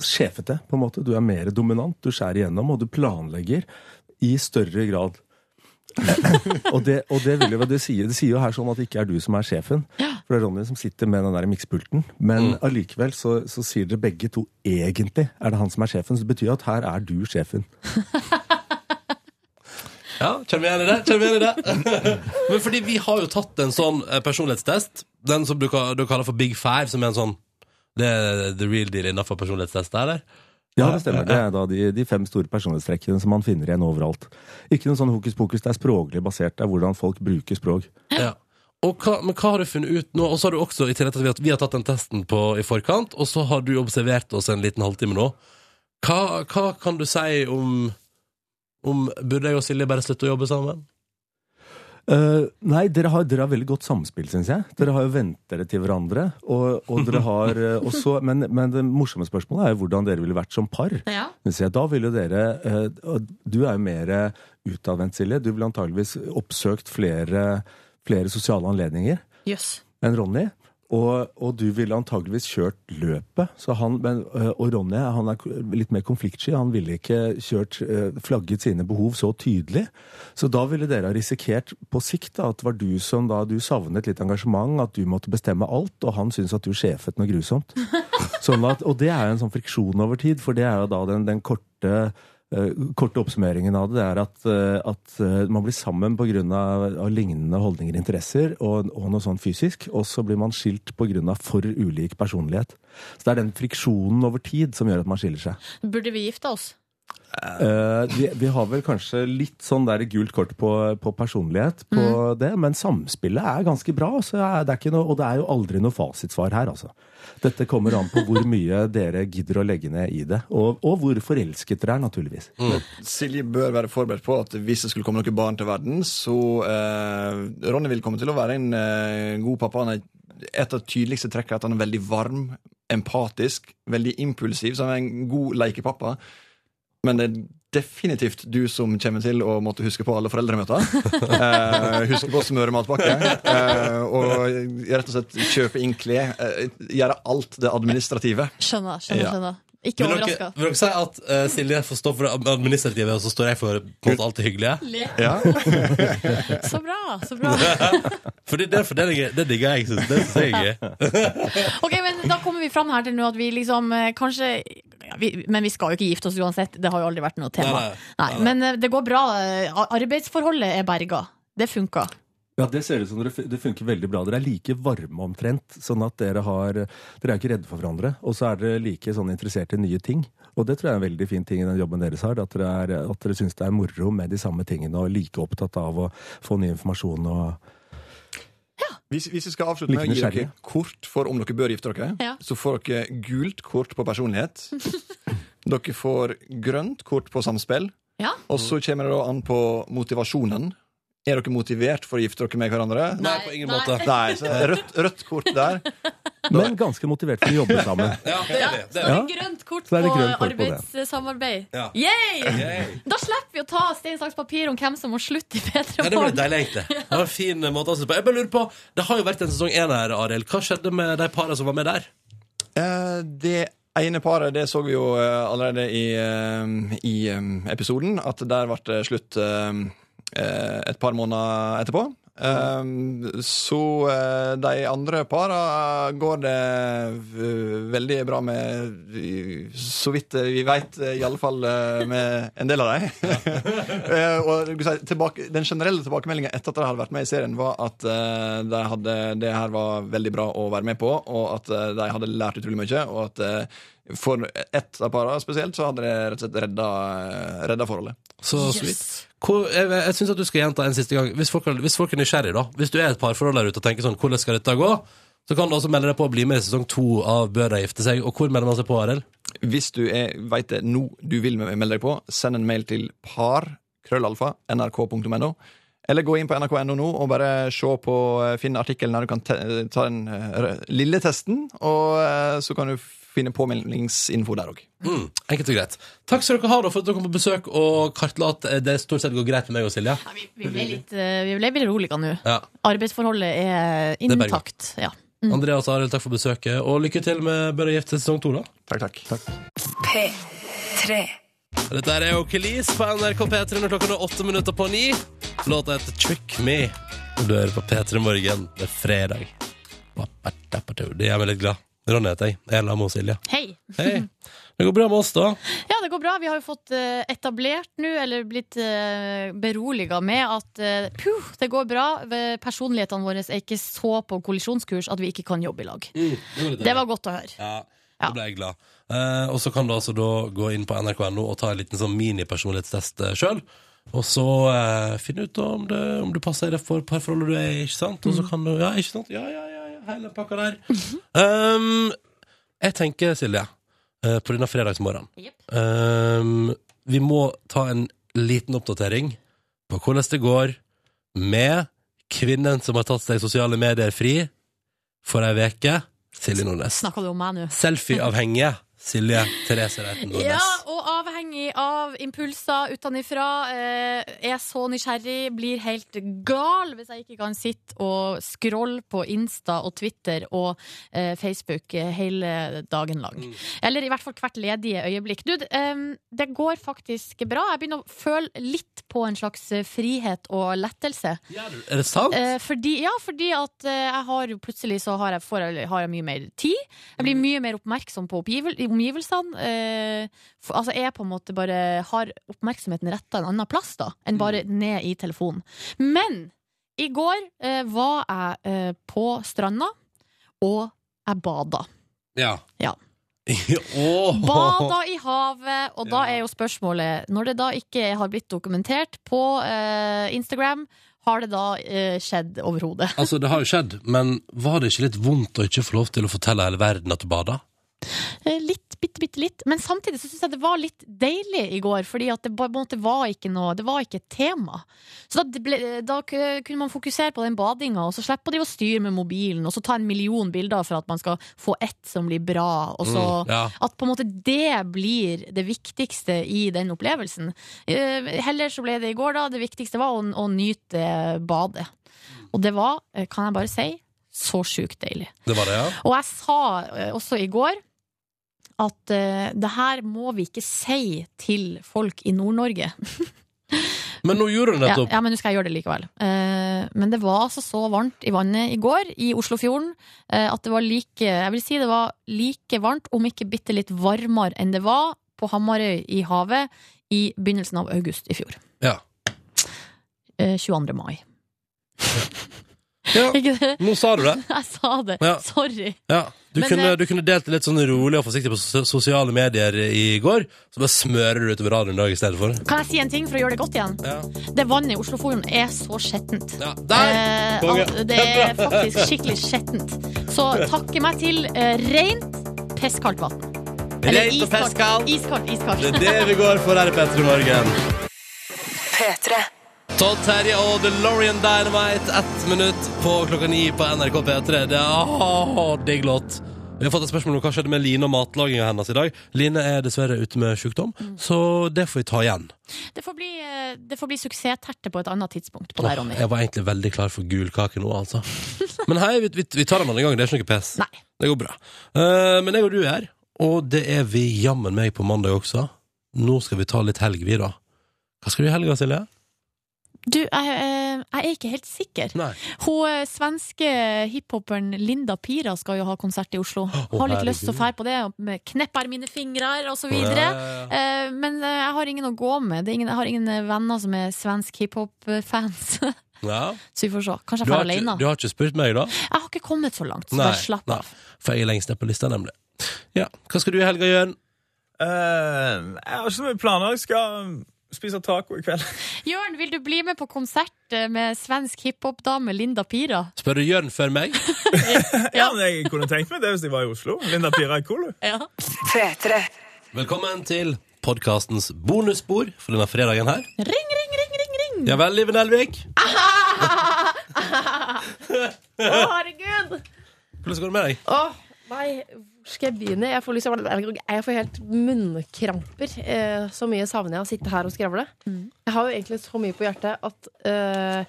Speaker 9: sjefete, på en måte. Du er mer dominant. Du skjærer igjennom, og du planlegger i større grad. [laughs] og, det, og det vil jo det sier, det sier jo her sånn at det ikke er du som er sjefen. For det er Ronny som sitter med den der mikspulten. Men allikevel så, så sier dere begge to egentlig er det han som er sjefen. Så det betyr at her er du sjefen.
Speaker 2: Ja, kjenner vi igjen i det? Kjenner vi igjen i det? [laughs] Men fordi vi har jo tatt en sånn eh, personlighetstest, den som du, ka- du kaller for Big Five, som er en sånn Det er the real deal innafor personlighetstest, eller?
Speaker 9: Ja, det stemmer. Det er da de, de fem store personlighetstrekkene som man finner igjen overalt. Ikke noe sånn hokus pokus. Det er språklig basert. Det er hvordan folk bruker språk.
Speaker 2: Ja. Og hva, men hva har du funnet ut nå? Og så har du også, i tillegg til at vi har tatt den testen på, i forkant, og så har du observert oss en liten halvtime nå. Hva, hva kan du si om, om Burde jeg og Silje bare slutte å jobbe sammen?
Speaker 9: Eh, nei, dere har, dere har veldig godt samspill, syns jeg. Dere har jo vent dere til hverandre. Og, og dere har eh, [laughs] også, men, men det morsomme spørsmålet er jo hvordan dere ville vært som par.
Speaker 3: Ja.
Speaker 9: Synes jeg. Da vil jo dere eh, og Du er jo mer eh, utadvendt, Silje. Du ville antageligvis oppsøkt flere, flere sosiale anledninger
Speaker 3: Jøss.
Speaker 9: enn Ronny. Og, og du ville antageligvis kjørt løpet. Så han, men, øh, og Ronny han er k- litt mer konfliktsky. Han ville ikke kjørt, øh, flagget sine behov så tydelig. Så da ville dere ha risikert på sikt da, at det var du som da du savnet litt engasjement, at du måtte bestemme alt, og han syntes at du sjefet noe grusomt. Sånn at, og det er jo en sånn friksjon over tid, for det er jo da den, den korte eh, korte oppsummeringen av det er at, eh, at eh, man blir sammen pga. lignende holdninger og interesser og, og noe sånn fysisk, og så blir man skilt pga. for ulik personlighet. Så det er den friksjonen over tid som gjør at man skiller seg.
Speaker 3: Burde vi gifte oss?
Speaker 9: Eh, vi, vi har vel kanskje litt sånn der gult kort på, på personlighet på det, men samspillet er ganske bra. Så er det er ikke noe, og det er jo aldri noe fasitsvar her, altså. Dette kommer an på hvor mye dere gidder å legge ned i det, og, og hvor forelsket dere er, naturligvis.
Speaker 11: Silje bør være forberedt på at hvis det skulle komme noen barn til verden, så eh, Ronny vil komme til å være en eh, god pappa. Han er et av de tydeligste trekkene er at han er veldig varm, empatisk, veldig impulsiv, så han er en god lekepappa. Men det er definitivt du som kommer til å måtte huske på alle foreldremøter. Eh, huske på å smøre matpakke. Eh, og rett og slett kjøpe inn klær. Eh, gjøre alt det administrative.
Speaker 3: Skjønner, skjønner.
Speaker 2: Ja.
Speaker 3: skjønner. Ikke
Speaker 2: vil,
Speaker 3: overraska.
Speaker 2: dere, vil dere si at eh, Silje får stå for det administrative, og så står jeg for på en måte, alt det hyggelige?
Speaker 3: Le.
Speaker 2: Ja.
Speaker 3: Så bra, så
Speaker 2: [laughs]
Speaker 3: bra.
Speaker 2: Fordi det, for det, er gøy- det digger jeg. Synes. Det synes jeg er gøy.
Speaker 3: Ok, men Da kommer vi fram her til nå at vi liksom eh, kanskje ja, vi, Men vi skal jo ikke gifte oss uansett. Det har jo aldri vært noe tema.
Speaker 9: Nei,
Speaker 3: Nei, Men eh, det går bra. eh, ar- Arbeidsforholdet er berga. Det funka.
Speaker 9: Ja, Det ser ut som dere, fun- det funker veldig bra. Dere er like varme omtrent. sånn at Dere har, dere er ikke redde for hverandre. Og så er dere like sånn interessert i nye ting. Og det tror jeg er en veldig fin ting i den jobben deres har. At dere, er, at dere syns det er moro med de samme tingene og like opptatt av å få ny informasjon. og...
Speaker 11: Hvis, hvis vi skal avslutte med å
Speaker 9: Like
Speaker 11: gi dere
Speaker 9: nysgjerrige.
Speaker 11: kort for om dere bør gifte dere,
Speaker 9: Ja.
Speaker 11: så får dere gult kort på personlighet. dere får grønt kort på samspill,
Speaker 3: Ja.
Speaker 11: og så kommer det da an på motivasjonen. Er dere motivert for å gifte dere med hverandre?
Speaker 2: Nei, på ingen måte.
Speaker 11: Nei, så rødt, rødt kort der.
Speaker 9: Men ganske motivert for å jobbe sammen.
Speaker 2: Ja, det er det. det, er
Speaker 9: Ja.
Speaker 2: det.
Speaker 3: Grønt kort
Speaker 9: Så
Speaker 3: på
Speaker 9: er det grønt kort på det.
Speaker 3: arbeidssamarbeid.
Speaker 2: Ja.
Speaker 3: Yay!
Speaker 2: Yay!
Speaker 3: Da slipper vi å ta stein, saks, papir om hvem som må slutte i P3
Speaker 2: Ja, det var litt deilig, egentlig. Det var en fin måte å se på. Jeg bare lurer på, Det har jo vært en sesong én her, Arild. Hva skjedde med de parene som var med der?
Speaker 11: [laughs] Eh, Det ene paret det så vi jo eh, allerede i, eh, i eh, episoden, at der ble det slutt eh, eh, et par måneder etterpå. Eh, Så eh, de andre para går det eh, veldig bra med, i- så vidt eh, vi veit, iallfall eh, med en del av dem. [laughs] Eh, og jeg vil si, tilbake, Den generelle tilbakemeldinga etter at de hadde vært med i serien, var at eh, de hadde, det her var veldig bra å være med på, og at eh, de hadde lært utrolig mye. Og at eh, for ett av parene spesielt, så hadde det rett og slett redda, eh, redda forholdet.
Speaker 2: Så sweet. Hvor, jeg jeg syns du skal gjenta en siste gang. Hvis folk, har- hvis folk er nysgjerrige, da. Hvis du er et parforhold der ute og tenker sånn, hvordan skal dette gå? Så kan du også melde deg på å bli med i sesong to av Bør de gifte seg? Og hvor melder man seg på, Arild?
Speaker 11: Hvis du er- vet det nå du vil melde deg på, send en mail til par krøllalfa nrk.no. Eller gå inn på nrk.no nå og bare se på, eh, finn artikkelen der du kan te ta den eh, rø- lille testen, og eh, så kan du finne påmeldingsinfo der òg.
Speaker 2: Mm, enkelt og greit. Takk skal dere ha da for at dere kom på besøk og kartla at eh, det stort sett går greit med meg og Silje.
Speaker 3: Vi ble litt, eh, vi ble beroliga nå.
Speaker 2: Ja.
Speaker 3: Arbeidsforholdet er
Speaker 2: Det er berga.
Speaker 3: intakt. Ja.
Speaker 2: Andreas og Arild, takk for besøket, og lykke til med Bør jeg gifte sesong to, da.
Speaker 11: Takk, takk.
Speaker 1: P3.
Speaker 2: Dette er jo Kelis på NRK P3 når klokken er åtte minutter på ni. Låta heter Trick Me. Og Du hører på P3 Morgen. Det er fredag. Det gjør meg litt glad. Ronny heter jeg. Jeg er sammen med Silje.
Speaker 3: Hei.
Speaker 2: Hei. Det går bra med oss, da.
Speaker 3: Ja, det går bra. Vi har jo fått eh, etablert nå, eller blitt uh, beroliga med, at eh, puh, det går bra. Ve- Personlighetene våre er ikke så på kollisjonskurs at vi ikke kan jobbe i lag. Det var godt å høre.
Speaker 2: Ja, da ble jeg glad. Eh, og så kan du altså da gå inn på nrk.no og ta en liten sånn minipersonlighetstest eh, sjøl. Og så eh, finne ut om, det, om du passer i det for parforholdet du er i, ikke sant? Og så kan du Ja, ikke sant? Ja, ja, ja, ja hele pakka der. um, jeg tenker, Silje, eh, på denne fredagsmorgenen um, Vi må ta en liten oppdatering på hvordan det går med kvinnen som har tatt seg sosiale medier fri for ei uke, Silje Nordnes.
Speaker 3: Snakka du om meg nå?
Speaker 2: Selfieavhengige Silje Therese Reiten Nordnes.
Speaker 3: Ja, og avhengig av impulser utenifra. Eh, er så nysgjerrig, blir helt gal hvis jeg ikke kan sitte og scrolle på Insta og Twitter og eh, Facebook eh, hele dagen lang. Eller i hvert fall hvert ledige øyeblikk. Du, det, em, det går faktisk bra. Jeg begynner å føle litt på en slags eh, frihet og lettelse.
Speaker 2: Er det sant?
Speaker 3: Eh, fordi, ja, fordi at eh, jeg har jo plutselig så har jeg, får, jeg- har jeg mye mer tid. Jeg blir mye mer oppmerksom på oppgivel, omgivelsene. eh, for, altså jeg på en måte bare har oppmerksomheten retta en annen plass da, enn bare ned i telefonen. Men i går eh, var jeg eh, på stranda, og jeg bada.
Speaker 2: [laughs] Ja.
Speaker 3: Ja.
Speaker 2: Åh.
Speaker 3: Bada i havet, og da er jo spørsmålet Når det da ikke har blitt dokumentert på eh, Instagram, har det da eh, skjedd overhodet?
Speaker 2: Altså, det har jo skjedd, men var det ikke litt vondt å ikke få lov til å fortelle hele verden at du bada?
Speaker 3: Eh, Litt, bitte, bitte litt. Men samtidig så syns jeg det var litt deilig i går, fordi at det på en måte var ikke noe Det var ikke et tema. Så da, ble, da k- kunne man fokusere på den badinga, og så slippe å drive og styre med mobilen, og så ta en million bilder for at man skal få ett som blir bra, og så
Speaker 12: Mm, ja.
Speaker 3: At på en måte det blir det viktigste i den opplevelsen. Eh, Heller så ble det i går, da. Det viktigste var å, å nyte badet. Og det var, eh, kan jeg bare si, så sjukt deilig.
Speaker 2: Det var det, ja.
Speaker 3: Og jeg sa eh, også i går at eh, det her må vi ikke si til folk i Nord-Norge.
Speaker 2: Men nå gjorde du det
Speaker 3: ja,
Speaker 2: nettopp.
Speaker 3: ja, men nå skal jeg gjøre det likevel. Eh, men det var altså så varmt i vannet i går, i Oslofjorden, eh, at det var like Jeg vil si det var like varmt, om ikke bitte litt varmere enn det var på Hamarøy i havet i begynnelsen av august i fjor.
Speaker 2: Ja.
Speaker 3: Eh, 22. mai.
Speaker 2: Ja,
Speaker 3: [laughs] Ikke det?
Speaker 2: nå sa du det.
Speaker 3: Jeg sa det.
Speaker 2: Ja.
Speaker 3: Sorry.
Speaker 2: Ja, du,
Speaker 3: Men,
Speaker 2: kunne,
Speaker 3: eh,
Speaker 2: du kunne delt det litt sånn rolig og forsiktig på so- sosiale medier i går, så bare smører du utover radioen i dag i stedet for.
Speaker 3: Kan jeg si en ting for å gjøre det godt igjen?
Speaker 2: Ja.
Speaker 3: Det vannet i Oslofjorden er så skjettent.
Speaker 2: der!
Speaker 3: Eh,
Speaker 2: Konge.
Speaker 3: at det er faktisk skikkelig skjettent. Så takke meg til eh, rent, pesskaldt vann. Eh, Eller
Speaker 2: Rent og
Speaker 3: iskaldt. Iskaldt, iskaldt.
Speaker 2: Det er det vi går for her i Petter i morgen.
Speaker 1: P3.
Speaker 2: Todd Terje og DeLorean Dynamite, ett minutt på klokka ni på NRK P3. Det er åh, digg låt. Vi har fått et spørsmål om hva skjedde med Line og matlaginga hennes i dag. Line er dessverre ute med sykdom, så det får vi ta igjen.
Speaker 3: Det får bli, eh, det får bli suksessterte på et annet tidspunkt. På det, her, Ronny.
Speaker 2: Åh, jeg var egentlig veldig klar for gul kake nå, altså. Men hei, vi, vi, vi tar den andre gang, det er ikke noe pes. Det går bra. Eh, men jeg og du er her, og det er vi jammen meg på mandag også. Nå skal vi ta litt helg, vi, da. Hva skal du i helga, Silje?
Speaker 3: Du, jeg, eh, jeg er ikke helt sikker.
Speaker 2: Nei.
Speaker 3: Hun eh, svenske hiphoperen Linda Pira skal jo ha konsert i Oslo. har litt
Speaker 12: herregud.
Speaker 3: lyst til å fære på det, og med 'knepper mine fingrer' og så videre.
Speaker 12: Ja, ja,
Speaker 3: Eh, Men eh, jeg har ingen å gå med. Det er ingen, jeg har ingen eh, venner som er svensk hiphop-fans. [laughs]
Speaker 2: Ja.
Speaker 3: så vi får se. Kanskje jeg
Speaker 2: Du
Speaker 3: drar
Speaker 2: har, ikke,
Speaker 3: alene.
Speaker 2: du har ikke spurt meg, da?
Speaker 3: Jeg har ikke kommet så langt, så bare slapp av.
Speaker 2: For jeg er lengst ned på lista, nemlig. Ja. Hva skal du i helga, Jørn?
Speaker 13: Eh, jeg har ikke så mye planer. Jeg skal spise taco i kveld.
Speaker 3: Jørn, vil du bli med på konsert eh, med svensk hiphop-dame Linda Pira?
Speaker 2: Spør du Jørn før meg?
Speaker 13: ja, men Jeg kunne tenkt meg det hvis jeg var i Oslo. Linda Pira er cool.
Speaker 3: Ja.
Speaker 2: Velkommen til podkastens bonusspor for denne fredagen her.
Speaker 3: Ring, ring, ring, ring, ring!
Speaker 2: Ja vel, Liven Elvik?
Speaker 14: Å, herregud!
Speaker 2: Hvordan går det med deg?
Speaker 14: Åh, nei, hvor skal jeg begynne? Jeg får, liksom, jeg får helt munnkramper. Eh, så mye savner jeg å sitte her og skravle. Jeg har jo egentlig så mye på hjertet at eh,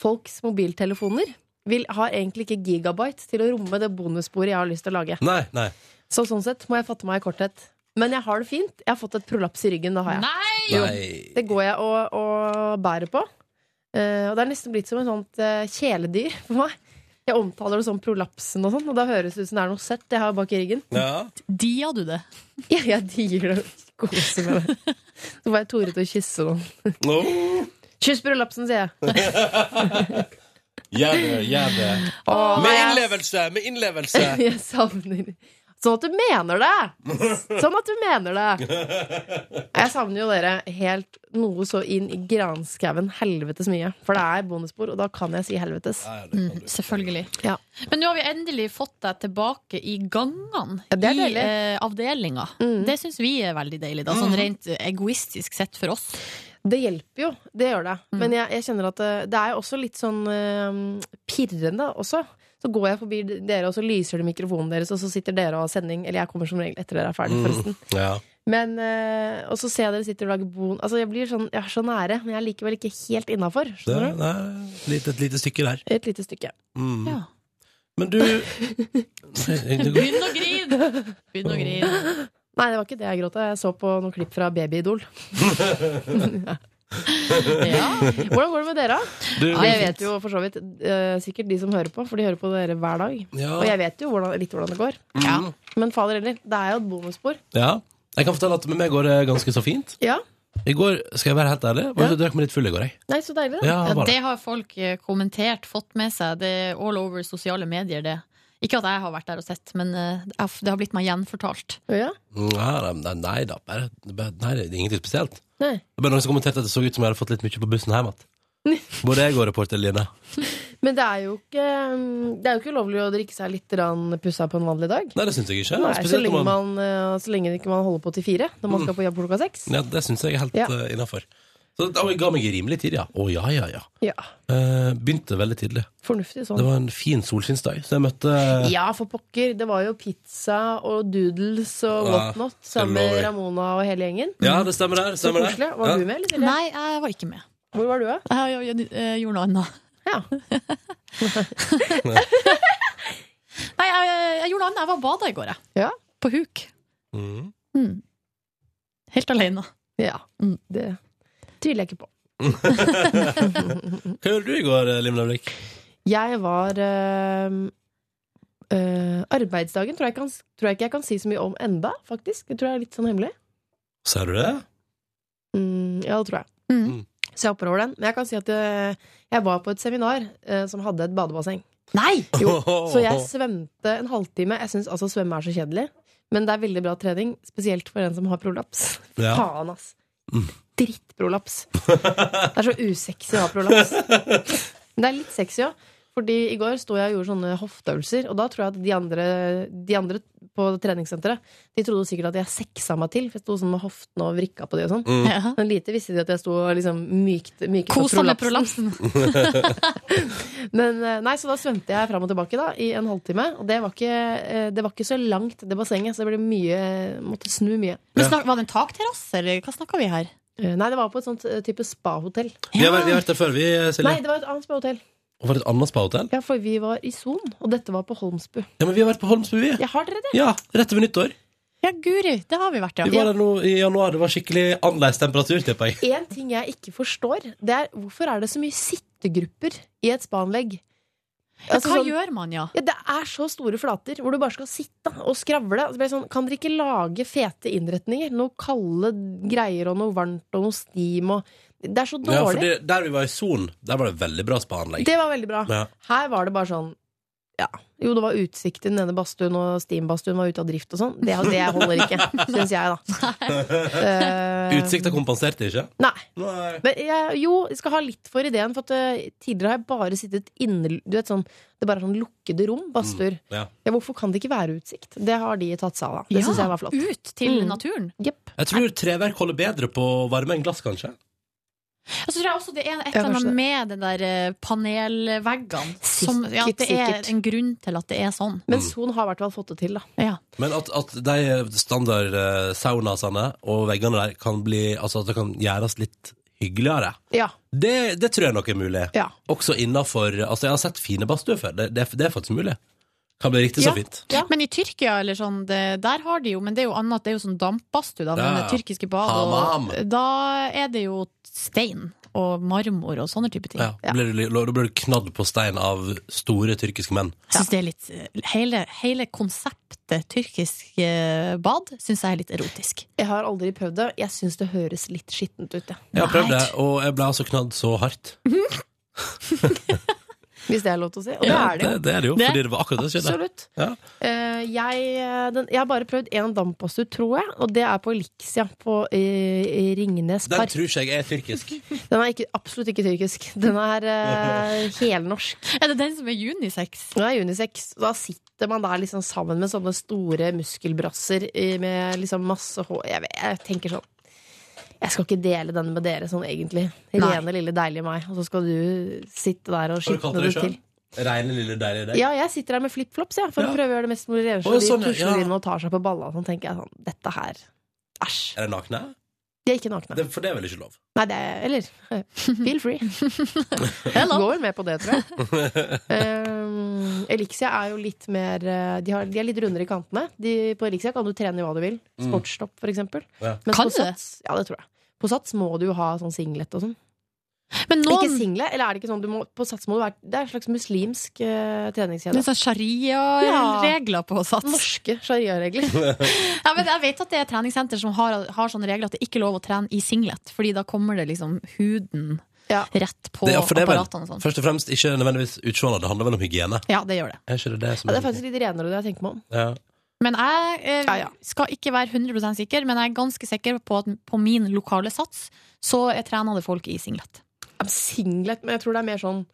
Speaker 14: folks mobiltelefoner vil, har egentlig ikke gigabyte til å romme det bonussporet jeg har lyst til å lage.
Speaker 2: Nei, nei.
Speaker 14: Så sånn sett må jeg fatte meg i korthet. Men jeg har det fint. Jeg har fått et prolaps i ryggen. Det har jeg.
Speaker 2: Nei! Nei.
Speaker 14: Det går jeg og, og bærer på. Eh, og det er nesten blitt som et sånt eh, kjæledyr for meg. Jeg omtaler det som prolapsen, og sånn Og da høres det ut som det er noe søtt jeg har bak i ryggen. [laughs]
Speaker 2: Ja.
Speaker 3: Dia du det?
Speaker 14: Ja, jeg dier det. Koser med det. Så var jeg Tore til å kysse noen. Kyss prolapsen, sier jeg.
Speaker 2: Gjør det, gjør det.
Speaker 14: Åh,
Speaker 2: med
Speaker 14: jeg-
Speaker 2: innlevelse, med
Speaker 14: [laughs]
Speaker 2: innlevelse.
Speaker 14: jeg savner Sånn at du mener det! Sånn at du mener det! Jeg savner jo dere helt noe så inn i granskauen helvetes mye. For det er bonusspor, og da kan jeg si helvetes.
Speaker 3: Mm, selvfølgelig. Men nå har vi endelig fått deg tilbake i gangene
Speaker 14: det er
Speaker 3: i
Speaker 14: deilig. Mm.
Speaker 3: eh, avdelinga. Det syns vi er veldig deilig, da,
Speaker 2: Mm.
Speaker 3: sånn rent eh, egoistisk sett for oss.
Speaker 14: Det hjelper jo, det gjør det. Men jeg, jeg kjenner at det, det er jo også litt sånn eh, pirrende også. Så går jeg forbi dere, og så lyser det mikrofonen deres, og så sitter dere og har sending. Eller jeg kommer som regel etter dere er
Speaker 2: Mm.
Speaker 14: ferdig, forresten.
Speaker 2: Ja.
Speaker 14: Men, eh, og så ser jeg dere sitter og lager bon Altså Jeg blir sånn, jeg er så nære, men jeg er likevel ikke helt innafor.
Speaker 2: Det er litt, et lite stykke der.
Speaker 14: Et lite stykke.
Speaker 2: Mm. Men du
Speaker 3: Begynn å grine! Begynn å
Speaker 2: [laughs]
Speaker 3: grine.
Speaker 14: Nei, det var ikke det jeg gråt av. Jeg så på noen klipp fra Babyidol. Hvordan går det med dere?
Speaker 12: Du-
Speaker 14: Ja, jeg vet jo for så vidt eh, sikkert de som hører på, for de hører på dere hver dag.
Speaker 2: Ja.
Speaker 14: Og jeg vet jo hvordan, litt hvordan det går.
Speaker 2: Ja.
Speaker 14: Men fader heller, det er jo et bonusspor.
Speaker 2: Ja. Jeg kan fortelle at med meg går det ganske så fint.
Speaker 14: Ja.
Speaker 2: I går, skal jeg være helt ærlig, var jeg drakk meg litt full i går, jeg.
Speaker 14: Nei, så deilig,
Speaker 2: da. Ja, bare.
Speaker 3: det har folk eh, kommentert, fått med seg. Det er all over sosiale medier, det. Ikke at jeg har vært der og sett, men eh, det er- det har blitt meg gjenfortalt.
Speaker 2: Mm, Nei, nei, nei da, bare, bare nei, det er ingenting spesielt.
Speaker 14: Nei.
Speaker 2: Det var noen som kommenterte at det så ut som jeg hadde fått litt mye på bussen hjem
Speaker 14: [laughs]
Speaker 2: igjen. Både jeg og reporter Line.
Speaker 14: Men det er jo ikke um, Det er jo ikke ulovlig å drikke seg litt rann pussa på en vanlig dag.
Speaker 2: Nei, det syns jeg ikke.
Speaker 14: Nei, så
Speaker 2: Spesielt
Speaker 14: lenge,
Speaker 2: når man
Speaker 14: man, uh, så lenge ikke man holder på til fire når man
Speaker 2: Mm.
Speaker 14: skal på jobb klokka seks.
Speaker 2: Ja, det syns jeg er helt
Speaker 14: Ja.
Speaker 2: eh, innafor. Så da- jeg ga meg rimelig tid, ja. Å ja, ja, ja.
Speaker 14: Ja,
Speaker 2: Eh, begynte veldig tidlig.
Speaker 14: fornuftig sånn.
Speaker 2: Det var eh, en fin solskinnsdag, så jeg møtte
Speaker 14: Ja, for pokker. Det var jo pizza og doodles og
Speaker 2: Ja,
Speaker 14: whatnot sammen med
Speaker 2: lover.
Speaker 14: Ramona og hele gjengen.
Speaker 2: Ja, det stemmer der.
Speaker 14: Så
Speaker 2: Stemmer der.
Speaker 14: koselig. Var
Speaker 2: ja.
Speaker 14: du med, eller? Silje?
Speaker 3: Nei, jeg var ikke med.
Speaker 14: Hvor var du, da?
Speaker 3: Jeg, jeg, jeg gjorde noe annet.
Speaker 14: Ja.
Speaker 3: [laughs] Nei, jeg, jeg gjorde noe annet. Jeg var og bada i går, jeg. På huk.
Speaker 2: Mm.
Speaker 3: Mm. Helt alene.
Speaker 14: Ja. mm, Det tviler jeg ikke på.
Speaker 2: Hva gjorde du i går, eh, Lim Lavrik?
Speaker 14: Jeg var øhm, øh, Arbeidsdagen tror jeg, kan, tror jeg ikke jeg kan si så mye om enda, faktisk. Det tror jeg er litt sånn hemmelig.
Speaker 2: Ser du det?
Speaker 14: Mm, ja, det tror jeg. Så jeg hopper over den. Men jeg kan si at øh, jeg var på et seminar øh, som hadde et badebasseng.
Speaker 3: Nei!
Speaker 14: Jo, så jeg svømte en halvtime. Jeg syns altså svømme er så kjedelig. Men det er veldig bra trening, spesielt for en som har prolaps.
Speaker 2: [laughs] Ja.
Speaker 14: Faen, ass. Drittprolaps. Det er så usexy å ha prolaps. Men det er litt sexy òg. Fordi i går sto jeg og gjorde sånne hofteøvelser, og da tror jeg at de andre, de andre på treningssenteret De trodde sikkert at jeg sexa meg til, for jeg sto sånn med hoftene og vrikka på de og sånn.
Speaker 2: Mm. Ja.
Speaker 14: Men lite visste de at jeg sto og liksom mykt, myket
Speaker 3: Kosa med
Speaker 2: [laughs]
Speaker 14: Men, eh, nei, så da svømte jeg fram og tilbake da, i en halvtime. Og det var, ikke, eh, det var ikke så langt, det bassenget, så det ble mye, måtte snu mye.
Speaker 3: Men snak, Var det en takterrasse, eller hva snakka vi her?
Speaker 14: Nei, det var på et sånt eh, type spahotell.
Speaker 2: Vi har, vært- vi har vært der før, vi, Silje.
Speaker 14: Nei, det var et annet spahotell.
Speaker 2: Og var det et annet spahotell?
Speaker 14: Ja, for vi var i Son, og dette var på Holmsbu.
Speaker 2: Ja, men vi har vært på Holmsbu, vi.
Speaker 14: Ja, har dere det?
Speaker 2: Ja, rett over nyttår.
Speaker 3: Ja, guri, det har vi vært, ja.
Speaker 2: Vi var der nå i januar. Det var skikkelig annerledes temperatur, tipper jeg.
Speaker 14: En ting jeg ikke forstår, det er hvorfor er det så mye sittegrupper i et spaanlegg? Altså,
Speaker 3: Ja,
Speaker 14: sånn-
Speaker 3: hva gjør man, ja?
Speaker 14: Det er så store flater hvor du bare skal sitte og skravle. Det blir sånn, kan dere ikke lage fete innretninger? Noe kalde greier og noe varmt og noe steam og Det er så dårlig.
Speaker 2: Ja, for det, der vi var i Son, der var det veldig bra spaanlegg.
Speaker 14: Det var veldig bra.
Speaker 2: Ja.
Speaker 14: Her var det bare sånn ja. Jo, det var utsikt til den ene badstuen, og steambadstuen var ute av drift og sånn. Det, det
Speaker 2: [laughs]
Speaker 14: holder ikke, syns jeg, da. Eh,
Speaker 2: Utsikta kompenserte ikke.
Speaker 14: Nei. Men jeg, jo, jeg skal ha litt for ideen, for at eh, tidligere har jeg bare sittet inne Du vet sånn, det bare er sånn lukkede rom, badstuer.
Speaker 2: Mm, Ja.
Speaker 14: Ja, hvorfor kan det ikke være utsikt? Det har de tatt seg av, da. Det
Speaker 3: Ja, Mm.
Speaker 14: synes jeg var flott.
Speaker 3: Ut til naturen.
Speaker 2: Jeg tror treverk holder bedre på varme enn glass, kanskje.
Speaker 3: Og så tror jeg også det er et
Speaker 2: Ja,
Speaker 3: eller
Speaker 2: kanskje det.
Speaker 3: annet med den der eh, panelveggene. Som, ja, at det
Speaker 14: sikkert.
Speaker 3: er en grunn til at det er sånn.
Speaker 14: Men Son har i hvert fall fått det til, da.
Speaker 2: Men at, at de standard eh, saunasene og veggene der kan bli Altså at det kan gjøres litt hyggeligere.
Speaker 14: Ja.
Speaker 2: Det, det tror jeg nok er mulig.
Speaker 14: Ja.
Speaker 2: Også innafor Altså, jeg har sett fine badstuer før. Det, det, det er faktisk mulig. Kan bli riktig så fint.
Speaker 3: Men i Tyrkia, eller sånn, det, der har de jo Men det er jo annet, det er jo sånn dampbadstue, da. Men
Speaker 2: Ja, ja.
Speaker 3: det tyrkiske badet og-
Speaker 2: Hammam.
Speaker 3: Da er det jo stein og marmor og sånne type ting.
Speaker 2: Ja, da blir du, da blir du knadd på stein av store tyrkiske menn.
Speaker 3: Jeg synes det er litt eh, hele, hele konseptet tyrkisk eh, bad syns jeg er litt erotisk.
Speaker 14: Jeg har aldri prøvd det. Jeg syns det høres litt skittent ut, ja.
Speaker 2: Jeg har prøvd det, og jeg ble altså knadd så hardt.
Speaker 14: hvis det er lov til å si. Og
Speaker 2: Ja,
Speaker 14: det er det jo.
Speaker 2: Det, er det jo, fordi det var akkurat det som skjedde.
Speaker 14: Absolutt.
Speaker 2: Ja.
Speaker 14: Eh, jeg, eh, den, jeg har bare prøvd én dampbadstue, tror jeg, og det er på Elixia på eh, i Ringnes
Speaker 2: Den
Speaker 14: Park.
Speaker 2: tror ikke jeg er tyrkisk.
Speaker 14: Den er ikke, absolutt ikke tyrkisk. Den
Speaker 2: [laughs]
Speaker 14: er eh, helnorsk.
Speaker 3: Er det den som er unisex?
Speaker 14: Den er unisex. Da sitter man der liksom sammen med sånne store muskelbrasser i- med liksom masse hår jeg, vet- jeg tenker sånn Jeg skal ikke dele den med dere sånn, egentlig.
Speaker 3: Nei.
Speaker 14: Rene, lille, deilige meg. Og så skal du sitte der og
Speaker 2: Har du kalt
Speaker 14: skitne
Speaker 2: det
Speaker 14: det
Speaker 2: sjøl?
Speaker 14: til.
Speaker 2: Reine, lille, deilige deg?
Speaker 14: Ja, jeg sitter her med flipflops jeg, for
Speaker 2: Ja.
Speaker 14: å prøve å gjøre det mest mulig rene.
Speaker 2: Å,
Speaker 14: Så de
Speaker 2: sånn, ja.
Speaker 14: tusler
Speaker 2: Ja.
Speaker 14: inn og tar seg på balla. Sånn tenker jeg sånn Dette her
Speaker 2: Er det nakne?
Speaker 14: De er ikke nakne.
Speaker 2: Det, for det er vel ikke lov?
Speaker 14: Nei, det er Eller [laughs] eh, feel [laughs] free. Går vel med på det, tror jeg. [laughs] Um, Elixia er jo litt mer eh, de, har, de er litt rundere i kantene. De, på Elixia kan du trene i hva du vil.
Speaker 3: Mm.
Speaker 14: Sportsstopp, for eksempel.
Speaker 2: Ja.
Speaker 14: Mens
Speaker 3: Kan
Speaker 14: på
Speaker 3: du det?
Speaker 14: Sats, Ja, det tror jeg. På Sats må du jo ha sånn singlet og sånn. Ikke singlet, eller er det ikke sånn du må, På Sats må du være Det er en slags muslimsk uh, treningskjede.
Speaker 3: Litt sånn sharia-regler på sats.
Speaker 14: Norske sharia-regler.
Speaker 3: Ja, men jeg vet at det er treningssenter som har, har sånne regler at det ikke er lov å trene i singlet, fordi da kommer det liksom huden
Speaker 12: rett på
Speaker 2: Det- ja, for det er vel
Speaker 12: apparatene og sånn.
Speaker 2: Først og fremst ikke nødvendigvis utseendet, det handler vel om hygiene?
Speaker 12: Ja, det gjør det.
Speaker 2: Er ikke det det som
Speaker 12: Ja,
Speaker 2: er
Speaker 12: det er faktisk
Speaker 2: viktig?
Speaker 14: Litt renere enn jeg tenker meg om.
Speaker 2: Ja.
Speaker 12: Men jeg eh, skal ikke være 100 sikker, men jeg er ganske sikker på at på min lokale sats så er trenende folk i singlet.
Speaker 14: Ja, men Singlet, men jeg tror det er mer sånn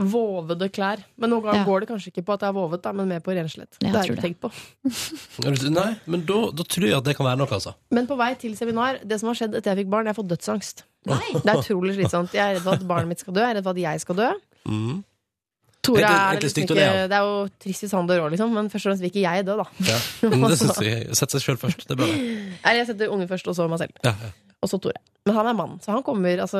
Speaker 14: vovede klær. Men nå går, går det kanskje ikke på at det er vovet, da, men mer på renslighet.
Speaker 12: Ja, jeg
Speaker 14: Det har jeg
Speaker 12: tror
Speaker 14: ikke tenkt på.
Speaker 2: Er du- Nei, men da, da tror jeg at det kan være noe, altså.
Speaker 14: Men på vei til seminar, det som har skjedd etter jeg fikk barn, jeg har fått dødsangst. Det er utrolig slitsomt. Jeg er redd for at barnet mitt skal dø, jeg er redd for at jeg skal dø.
Speaker 2: Mm.
Speaker 14: Tora
Speaker 2: Egentlig-
Speaker 14: er
Speaker 2: egentlig
Speaker 14: liksom
Speaker 2: stygt å
Speaker 14: ikke,
Speaker 2: le av.
Speaker 14: det er jo trist hvis han dør òg, liksom, men først og fremst vil ikke jeg dø, da. [laughs]
Speaker 2: Ja. Men det syns jeg. Sett seg sjøl først. Det er bare
Speaker 14: Eller jeg setter ungen først, og så meg selv.
Speaker 2: ja, ja.
Speaker 14: Og så Tore. Men han er mann, så han kommer altså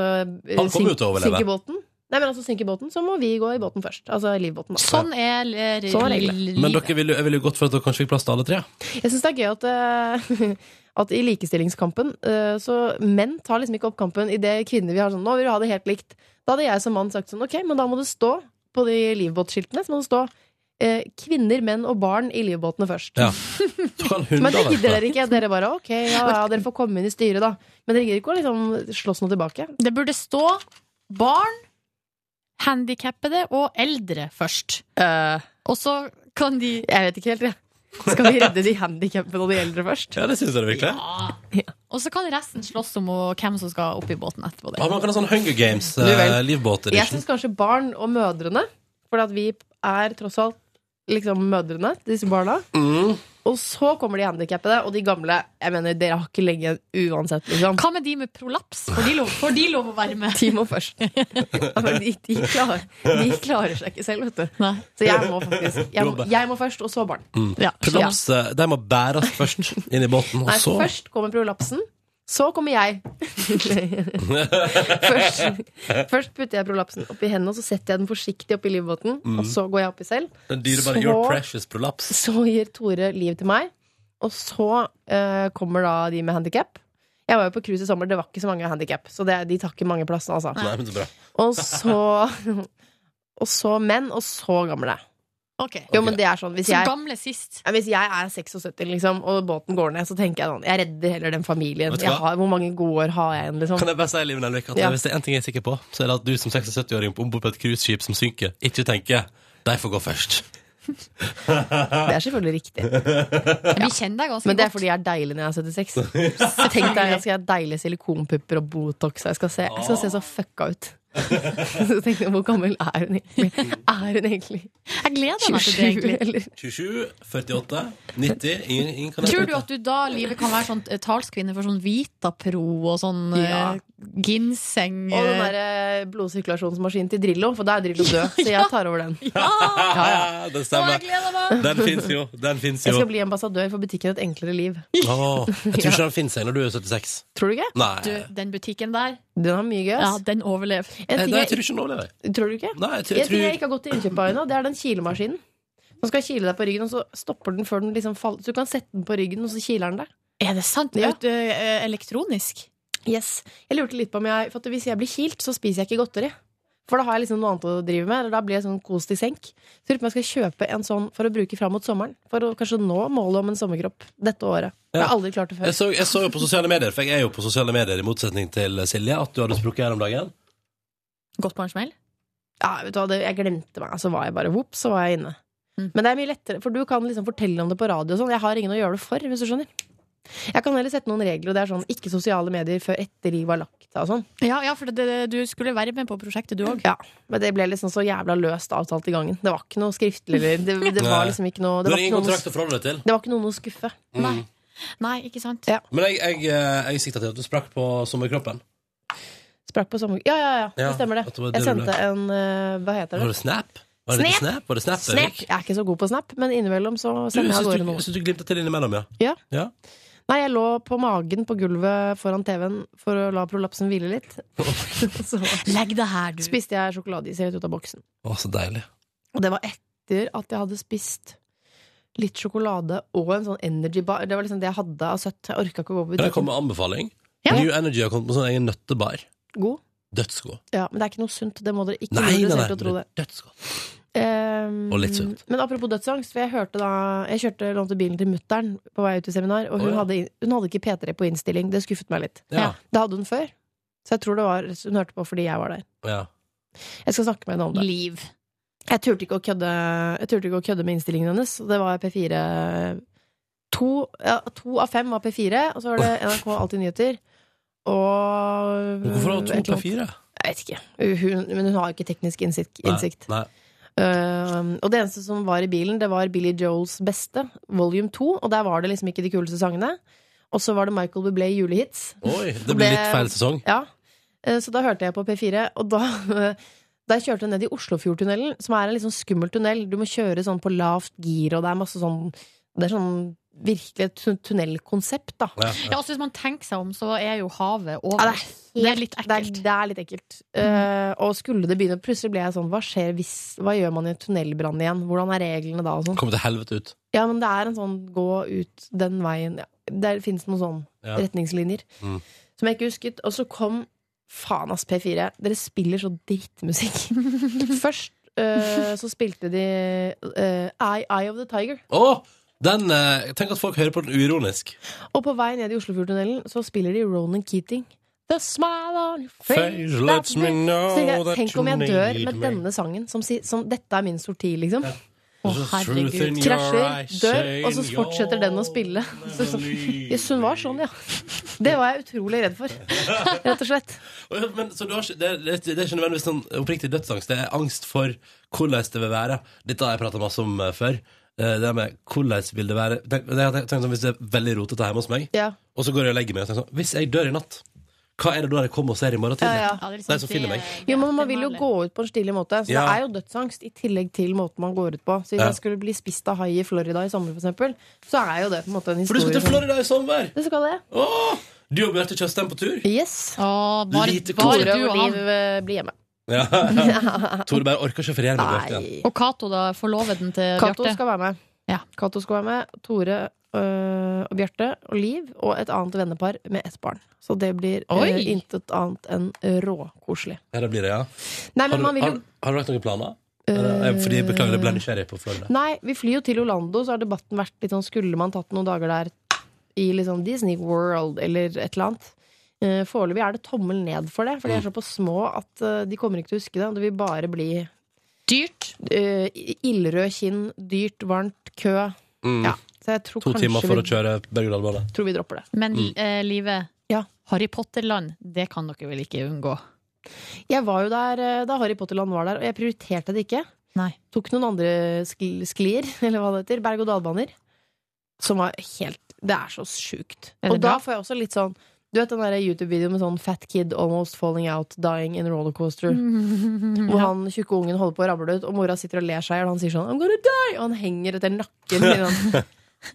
Speaker 2: kommer
Speaker 14: syn-
Speaker 2: jo til å overleve.
Speaker 14: Synker båten. Nei, men altså synker båten, så må vi gå i båten først. Altså livbåten. Da.
Speaker 12: Sånn er eh,
Speaker 14: Sånn er reglene.
Speaker 2: Men dere ville, jeg ville jo gått for at dere kanskje fikk plass til alle tre.
Speaker 14: Jeg syns det er gøy at, eh, [laughs] at i likestillingskampen eh, så menn tar liksom ikke opp kampen idet kvinner vil ha sånn Nå vil du ha det helt likt. Da hadde jeg som mann sagt sånn Ok, men da må det stå på de livbåtskiltene. Så må det stå eh, kvinner, menn og barn i livbåtene først.
Speaker 2: Ja. Så kan hunder
Speaker 14: Men det
Speaker 2: vente.
Speaker 14: gidder dere ikke. Dere bare ok, ja, ja, dere får komme inn i styret, da. Men dere gidder ikke å liksom slåss noe tilbake.
Speaker 12: Det burde stå barn, handikappede og eldre først. og så kan de
Speaker 14: Eh, Jeg vet ikke helt, jeg. Skal vi redde de handikappede og de eldre først?
Speaker 2: Ja, det syns jeg virkelig.
Speaker 12: Og så kan resten slåss om å- hvem som skal opp i båten etterpå.
Speaker 2: Ah, man kan ha sånn Hunger eh,
Speaker 14: Du vel. Jeg
Speaker 2: Games-livbåt-edition.
Speaker 14: syns kanskje barn og mødrene, for at vi er tross alt liksom mødrene til disse barna.
Speaker 2: mm.
Speaker 14: Og så kommer de handikappede og de gamle. Jeg mener, Dere har ikke lenge igjen uansett. Liksom.
Speaker 12: Hva med de med prolaps? Får de lov, får de lov å være med?
Speaker 14: De må
Speaker 2: [laughs]
Speaker 14: først. Ja, men de, de, klarer, de klarer seg ikke selv, vet du. Så jeg må faktisk jeg, må- jeg må først, og så barn.
Speaker 2: Mm.
Speaker 14: Ja.
Speaker 2: Prolaps, eh, de må bæres først inn i båten, og
Speaker 14: Nei,
Speaker 2: så
Speaker 14: først kommer prolapsen, så kommer
Speaker 2: [laughs]
Speaker 14: jeg. først, først putter jeg prolapsen oppi hendene, og så setter jeg den forsiktig oppi livbåten.
Speaker 2: Mm.
Speaker 14: Og så går jeg oppi selv.
Speaker 2: Den dyrebare
Speaker 14: Så-
Speaker 2: Your Precious Prolaps.
Speaker 14: Så gir Tore liv til meg, og så eh, kommer da de med handikap. Jeg var jo på cruise i sommer, det var ikke så mange handikap, så det, de tar ikke mange plassene, altså.
Speaker 2: Nei, men så bra.
Speaker 14: Og så [laughs] Og så menn, og så gamle. Jo, men det er sånn hvis
Speaker 12: Så
Speaker 14: jeg,
Speaker 12: gamle sist.
Speaker 14: ja, hvis jeg er 76 liksom, og båten går ned, så tenker jeg sånn Jeg redder heller den familien.
Speaker 2: Vet du
Speaker 14: Jeg
Speaker 2: hva?
Speaker 14: har, hvor mange gode år har jeg igjen, liksom?
Speaker 2: Kan jeg bare si, Liv Nelvik, at
Speaker 14: Ja.
Speaker 2: hvis det er én ting jeg er sikker på, så er det at du som 76-åring på ombord på et cruiseskip som synker, ikke tenker 'de får gå først'.
Speaker 14: Det er selvfølgelig riktig.
Speaker 12: Vi kjenner deg ganske
Speaker 14: Men det er fordi jeg er deilig når jeg er 76. Så Tenk deg, jeg skal ha deilige silikonpupper og Botox. og Jeg skal se, jeg skal se så fucka ut. [laughs] Så tenkte jeg, hvor gammel er hun egentlig? Er hun egentlig
Speaker 12: Jeg gleder meg til det, egentlig.
Speaker 2: 27, 48, 90 Ingen, ingen kan
Speaker 12: Tror du at du da, Livet, kan være sånn eh, talskvinne for sånn Vitapro og sånn
Speaker 14: Ja.
Speaker 12: eh, ginseng
Speaker 14: Og den
Speaker 12: eh,
Speaker 14: derre blodsirkulasjonsmaskinen til Drillo, for da er Drillo død. Så jeg tar over den.
Speaker 2: [laughs] Det stemmer. Den fins jo. Den fins
Speaker 14: Jeg
Speaker 2: jo.
Speaker 14: skal bli ambassadør for butikken Et enklere liv.
Speaker 2: Åh, jeg
Speaker 14: [laughs]
Speaker 2: tror ikke den fins når du er 76.
Speaker 14: Tror du ikke?
Speaker 2: Nei.
Speaker 12: du, Den butikken der,
Speaker 14: Den har mye gøy.
Speaker 12: ja, den overlever.
Speaker 2: Eh, nei, jeg tror ikke den overlever.
Speaker 14: Tror du ikke?
Speaker 2: Nei, jeg tror-
Speaker 14: jeg,
Speaker 2: jeg
Speaker 14: tror...
Speaker 2: tror-
Speaker 14: jeg ikke har gått til innkjøp av ennå. Det er den kilemaskinen. Den skal kile deg på ryggen, og så stopper den før den liksom faller. Så du kan sette den på ryggen, og så kiler den deg.
Speaker 12: Er det sant?
Speaker 14: Ja.
Speaker 12: Ut, eh, elektronisk?
Speaker 14: Yes. Jeg lurte litt på om jeg For at hvis jeg blir kilt, så spiser jeg ikke godteri. For da har jeg liksom noe annet å drive med. Eller da blir jeg sånn kos til senk. Så jeg lurer på om jeg skal kjøpe en sånn for å bruke fram mot sommeren. For å kanskje nå målet om en sommerkropp dette året. Jeg har aldri klart det
Speaker 2: Jeg
Speaker 14: før.
Speaker 2: så, jeg så jo på sosiale medier, for jeg er jo på sosiale medier i motsetning til Silje, at du hadde sprukket her om dagen.
Speaker 12: Godt på en smell?
Speaker 14: Ja, vet du hva, det, jeg glemte meg. Så var jeg bare vops, så var jeg inne. Men det er mye lettere, for du kan liksom fortelle om det på radio og sånn. Jeg har ingen å gjøre det for, hvis du skjønner. Jeg kan heller sette noen regler, og det er sånn ikke sosiale medier før etter livet er lagt av og sånn.
Speaker 12: Ja, ja for det, det, du skulle være med på prosjektet, du òg.
Speaker 14: Ja, men det ble liksom så jævla løst avtalt i gangen. Det var ikke noe skriftlig eller det,
Speaker 2: [laughs]
Speaker 14: det var liksom ikke noe
Speaker 2: Du
Speaker 14: Det
Speaker 2: har
Speaker 14: var ikke
Speaker 2: ingen
Speaker 14: noen,
Speaker 2: kontrakt å forholde deg til.
Speaker 14: det var ikke noen å skuffe.
Speaker 2: Nei.
Speaker 12: Nei, ikke sant?
Speaker 2: Men jeg, jeg, eh, jeg sikta til at du sprakk på sommerkroppen.
Speaker 14: Sprakk på sommer... Ja, ja, ja, det
Speaker 2: Ja,
Speaker 14: stemmer det.
Speaker 2: at det var det
Speaker 14: Jeg
Speaker 2: du
Speaker 14: sendte
Speaker 2: ble.
Speaker 14: en eh, Hva heter
Speaker 2: Var
Speaker 14: det?
Speaker 2: det Snap? Var det ikke
Speaker 14: Snap.
Speaker 2: Snap? Var det Snap,
Speaker 14: Snap. Jeg er ikke så god på Snap, men innimellom så
Speaker 2: Du
Speaker 14: sender jeg
Speaker 2: syns
Speaker 14: av gårde
Speaker 2: du,
Speaker 14: noe.
Speaker 2: syns du glimta til innimellom, ja.
Speaker 14: Ja.
Speaker 2: ja.
Speaker 14: Nei, jeg lå på magen på gulvet foran TV-en for å la prolapsen hvile litt. så
Speaker 12: Legg det her, du.
Speaker 14: spiste jeg sjokoladeis rett ut av boksen.
Speaker 2: Å, så deilig.
Speaker 14: Og det var etter at jeg hadde spist litt sjokolade og en sånn energy bar. Det var liksom det jeg hadde av søtt. Jeg orka ikke å gå på
Speaker 2: Kan jeg
Speaker 14: butikken.
Speaker 2: komme med anbefaling?
Speaker 14: Ja.
Speaker 2: New Energy har kommet med sånn egen nøttebar.
Speaker 14: God.
Speaker 2: Dødsgod.
Speaker 14: Ja, men det er ikke noe sunt. Det må dere ikke
Speaker 2: Nei, nei,
Speaker 14: lure dere
Speaker 2: nei,
Speaker 14: selv til å tro det.
Speaker 2: Og litt sunt.
Speaker 14: Ehm, Men apropos dødsangst, for jeg hørte da Jeg kjørte lånte bilen til mutter'n på vei ut til seminar, og hun,
Speaker 2: Å, ja.
Speaker 14: hadde, hun hadde ikke P3 på innstilling. Det skuffet meg litt.
Speaker 2: Ja.
Speaker 14: Det hadde hun før. Så jeg tror det var hun hørte på fordi jeg var der.
Speaker 2: Ja.
Speaker 14: Jeg skal snakke med henne om det.
Speaker 12: Liv.
Speaker 14: Jeg turte ikke å kødde, jeg turte ikke å kødde med innstillingen hennes. og Det var P4 to, ja, to av fem var P4, og så var det NRK Alltid Nyheter. Og
Speaker 2: Hvorfor har hun
Speaker 14: et eller
Speaker 2: to
Speaker 14: annet.
Speaker 2: P4?
Speaker 14: Jeg vet ikke. Hun, men hun har ikke teknisk innsikt.
Speaker 2: Nei,
Speaker 14: innsikt.
Speaker 2: Nei.
Speaker 14: Um, og det eneste som var i bilen, det var Billy Joels beste, volume 2. Og der var det liksom ikke de kuleste sangene. Og så var det Michael Bublé julehits.
Speaker 2: Oi, det
Speaker 14: Og
Speaker 2: blir litt feil sesong.
Speaker 14: Ja. Eh, Så da hørte jeg på P4, og da [laughs] Da jeg kjørte ned i Oslofjordtunnelen, som er en litt sånn skummel tunnel. Du må kjøre sånn på lavt gir, og det er masse sånn Det er sånn virkelig et tun- tunnelkonsept, da.
Speaker 2: Ja,
Speaker 12: Ja, også Hvis man tenker seg om, så er jo havet
Speaker 14: Ja,
Speaker 12: over.
Speaker 14: det, er helt, litt ekkelt. Det er, det er litt ekkelt. Eh, og skulle det begynne Plutselig ble jeg sånn Hva skjer hvis Hva gjør man i en tunnelbrann igjen? Hvordan er reglene da? Og sånn.
Speaker 2: Kommer til helvete ut.
Speaker 14: Ja, men det er en sånn gå ut den veien ja. Der finnes noen sånn
Speaker 2: Ja.
Speaker 14: retningslinjer
Speaker 2: Mm.
Speaker 14: som jeg ikke husket. Og så kom faen ass P4. Dere spiller så drittmusikk. Først eh, så spilte de eh, Eye, Eye of the Tiger.
Speaker 2: Å! Den, eh, tenk at folk hører på den uironisk.
Speaker 14: Og på vei ned i Oslofjordtunnelen så spiller de Ronan Keating. The smile on your face
Speaker 2: Face lets me know
Speaker 14: Så tenker jeg,
Speaker 2: that
Speaker 14: Tenk
Speaker 2: you
Speaker 14: om jeg dør
Speaker 2: need
Speaker 14: med
Speaker 2: me.
Speaker 14: denne sangen, som, si, som dette er min sorti, liksom. Å,
Speaker 2: The truth
Speaker 14: herregud.
Speaker 2: in your
Speaker 14: Krasjer,
Speaker 2: eyes,
Speaker 14: dør, og så
Speaker 2: saying
Speaker 14: fortsetter den å spille. [laughs] Så, så, Jøss, hun var sånn, ja. Det var jeg utrolig redd for. [laughs] Rett og slett.
Speaker 2: Å, ja, Men, så du har ikke, det, det, det er ikke nødvendigvis sånn oppriktig dødsangst. Det er angst for hvordan det vil være. Dette har jeg prata masse om eh, før. Eh, Det med hvordan vil det være Tenk, det har jeg tenkt sånn, Hvis det er veldig rotete hjemme hos meg,
Speaker 14: Ja.
Speaker 2: og så går jeg og legger meg og tenker sånn Hvis jeg dør i natt, hva er det da jeg kommer og ser i morgen tidlig?
Speaker 14: Ja, ja. Ja,
Speaker 2: det er
Speaker 14: det er
Speaker 2: De som finner meg.
Speaker 14: Jo, men Man vil jo gå ut på en stilig måte, så
Speaker 2: Ja.
Speaker 14: det er jo dødsangst i tillegg til måten man går ut på. Så Hvis
Speaker 2: Ja.
Speaker 14: jeg skulle bli spist av hai i Florida i sommer, for eksempel, så er jo det på en måte en
Speaker 2: For du
Speaker 14: historie.
Speaker 2: skal til
Speaker 14: som-
Speaker 2: Florida i sommer!
Speaker 14: Det skal jeg.
Speaker 2: Åh, du og Bjarte Tjøstheim på
Speaker 14: [laughs]
Speaker 2: tur?
Speaker 14: Yes.
Speaker 2: bare- Lite bare
Speaker 12: du og han.
Speaker 14: eh, blir hjemme.
Speaker 2: Ja. Tore bare orker ikke å feriere med Bjarte. igjen.
Speaker 12: Og Cato, da? Forloveden til
Speaker 14: Cato
Speaker 12: Bjarte?
Speaker 14: skal være med. Cato skal være med. Tore øh, og Bjarte og Liv og et annet vennepar med ett barn. Så det blir øh,
Speaker 2: Oi.
Speaker 14: intet annet enn råkoselig.
Speaker 2: Ja, det blir det, ja.
Speaker 14: Nei, men
Speaker 2: har, du-
Speaker 14: man vil jo-
Speaker 2: har, har du lagt noen planer? Eller, eh, Fordi, beklager, jeg ble nysgjerrig på Florida.
Speaker 14: Øh, Nei, vi flyr jo til Orlando, så har debatten vært litt sånn Skulle man tatt noen dager der i liksom Disney World eller et eller annet? Eh, Foreløpig er det tommel ned for det, for de er så på små at eh, de kommer ikke til å huske det. og Det vil bare bli
Speaker 12: Dyrt.
Speaker 14: Ildrød kinn, dyrt, varmt, kø.
Speaker 2: Mm.
Speaker 14: Ja, så jeg tror
Speaker 2: To
Speaker 14: kanskje
Speaker 2: timer for
Speaker 14: vi-
Speaker 2: å kjøre berg-og-dal-bane.
Speaker 14: Tror vi dropper det.
Speaker 12: Men
Speaker 2: Mm.
Speaker 12: eh, Live, Harry Potter-land, det kan dere vel ikke unngå?
Speaker 14: Jeg var jo der eh, da Harry Potterland var der, og jeg prioriterte det ikke.
Speaker 12: Nei.
Speaker 14: Tok noen andre skl sklir, [laughs] eller hva det heter, berg-og-dal-baner, som var helt Det er så sjukt.
Speaker 12: Er det
Speaker 14: Og da
Speaker 12: bra?
Speaker 14: får jeg også litt sånn Du vet den der YouTube-videoen med sånn 'Fat kid almost falling out, dying in a rollercoaster'? Hvor
Speaker 12: Mm, Ja.
Speaker 14: han tjukke ungen holder på å rable ut, og mora sitter og ler seg i hjel, og han sier sånn 'I'm gonna die', og han henger etter nakken. i
Speaker 12: [laughs]
Speaker 14: den.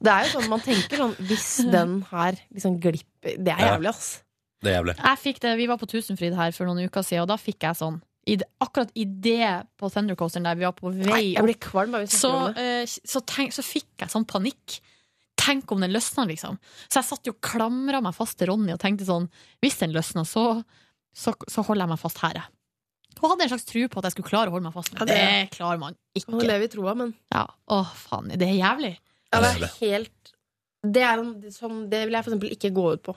Speaker 14: Det er jo sånn man tenker sånn Hvis den her liksom glipper Det er
Speaker 12: Ja.
Speaker 14: jævlig, ass.
Speaker 2: Det er jævlig.
Speaker 12: Jeg fikk det, Vi var på Tusenfryd her for noen uker siden, og da fikk jeg sånn. I, det- akkurat i det på Thundercoasteren der vi var på
Speaker 14: Nei,
Speaker 12: vei
Speaker 14: jeg blir
Speaker 12: opp,
Speaker 14: kvalm bare vi snakker
Speaker 12: så,
Speaker 14: om det.
Speaker 12: eh, så, tenk, så fikk jeg sånn panikk. Tenk om den løsna, liksom. Så jeg satt jo og klamra meg fast til Ronny og tenkte sånn Hvis den løsna, så, så, så holder jeg meg fast her, jeg. Og hadde en slags tro på at jeg skulle klare å holde meg fast. Men
Speaker 14: Ja,
Speaker 12: det,
Speaker 14: det-
Speaker 12: klarer man ikke.
Speaker 14: Man lever i troa, men
Speaker 12: Ja, Å, faen. Det er jævlig.
Speaker 14: Ja, det er helt det, er en, sånn, det vil jeg for eksempel ikke gå ut på.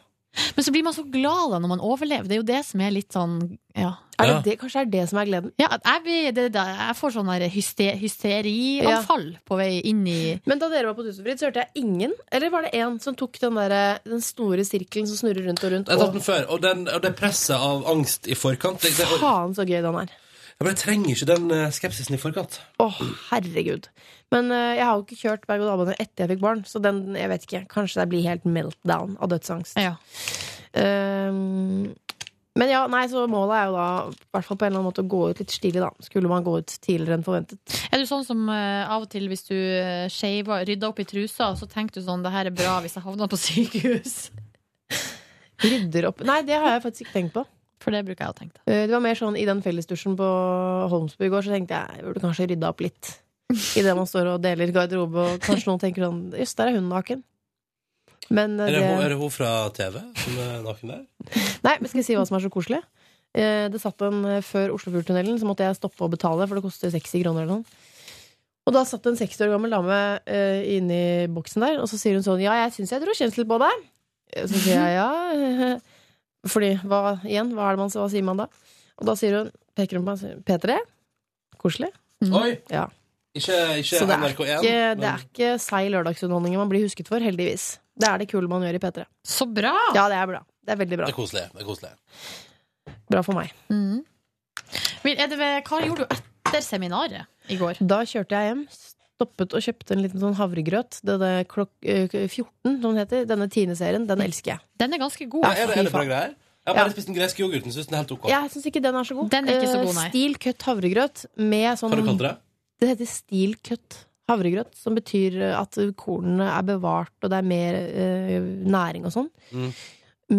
Speaker 12: Men så blir man så glad da når man overlever. Det er jo det som er litt sånn ja.
Speaker 14: Er det Ja. det- kanskje det er det som er gleden?
Speaker 12: Ja, at jeg, blir, det, det, jeg får sånn der hyste, hysterianfall på vei inn i
Speaker 14: Men da dere var på Tusenfryd, så hørte jeg ingen, eller var det én som tok den, derre- den store sirkelen som snurrer rundt og rundt?
Speaker 2: Jeg har tatt
Speaker 14: Og
Speaker 2: den før, og, den, og det presset av angst i forkant sånn- det, sånn- det,
Speaker 14: faen så gøy den er.
Speaker 2: Ja, men Jeg trenger ikke den eh, skepsisen i forkant.
Speaker 14: Å, herregud. Men eh, jeg har jo ikke kjørt berg-og-dal-bane etter jeg fikk barn, så den, jeg vet ikke. Kanskje det blir helt meltdown av dødsangst. Ehm, men ja, nei, så målet er jo da, i hvert fall på en eller annen måte, å gå ut litt stilig, da. Skulle man gå ut tidligere enn forventet.
Speaker 12: Er du sånn som eh, av og til hvis du eh, shaver, rydder opp i trusa, så tenker du sånn det her er bra hvis jeg havner på
Speaker 3: [laughs]
Speaker 12: sykehus?
Speaker 14: Rydder opp Nei, det har jeg faktisk ikke tenkt på.
Speaker 12: For det bruker jeg å tenke.
Speaker 14: Eh, Det var mer sånn i den fellesdusjen på Holmsbu i går, så tenkte jeg jeg burde kanskje rydda opp litt. Idet man står og deler garderobe, og kanskje noen tenker sånn Jøss, der er hun naken. Men eh,
Speaker 2: Er det,
Speaker 14: det
Speaker 2: hun- er det hun fra TV som er naken der?
Speaker 14: Nei, men skal jeg si hva som er så koselig? Eh, Det satt en eh, før Oslofjordtunnelen, så måtte jeg stoppe og betale, for det koster 60 kroner eller noe. Og da satt en 60 år gammel dame eh, inni boksen der, og så sier hun sånn Ja, [laughs] jeg syns jeg dro kjensel på deg. Eh, Så sier jeg ja. Fordi, hva, igjen, hva er det man hva sier man da? Og da sier hun, peker hun på meg, og sier, P3, koselig.
Speaker 2: Oi!
Speaker 14: Mhm. Ja.
Speaker 2: Ikke, ikke
Speaker 14: Så det er,
Speaker 2: NRK1.
Speaker 14: ikke, det
Speaker 2: men-
Speaker 14: er ikke seig lørdagsunderholdning man blir husket for, heldigvis. Det er det kule man gjør i P3.
Speaker 3: Så bra!
Speaker 14: Ja, det er bra. Det er veldig
Speaker 2: det
Speaker 14: bra.
Speaker 2: er koselig. Det er koselig.
Speaker 14: Bra for meg.
Speaker 3: Men Mm. er det, ved- hva gjorde du etter seminaret? I går.
Speaker 14: Da kjørte jeg hjem, stoppet og kjøpte en liten sånn havregrøt. Denne klok eh, 14, som den heter. Denne Tine-serien. Den elsker jeg.
Speaker 3: Den er ganske god.
Speaker 2: Ja, er det, er det
Speaker 14: fy
Speaker 2: bra
Speaker 14: faen.
Speaker 2: greier? Jeg har bare spist den greske yoghurten. Syns den er helt ok.
Speaker 14: Jeg syns ikke den er så god.
Speaker 3: Den er ikke så god,
Speaker 14: Eh,
Speaker 3: nei.
Speaker 14: Stil cut havregrøt med sånn
Speaker 2: Hva har du kalt det?
Speaker 14: Det heter stil cut havregrøt, som betyr at kornene er bevart, og det er mer eh, næring og sånn.
Speaker 2: Mm.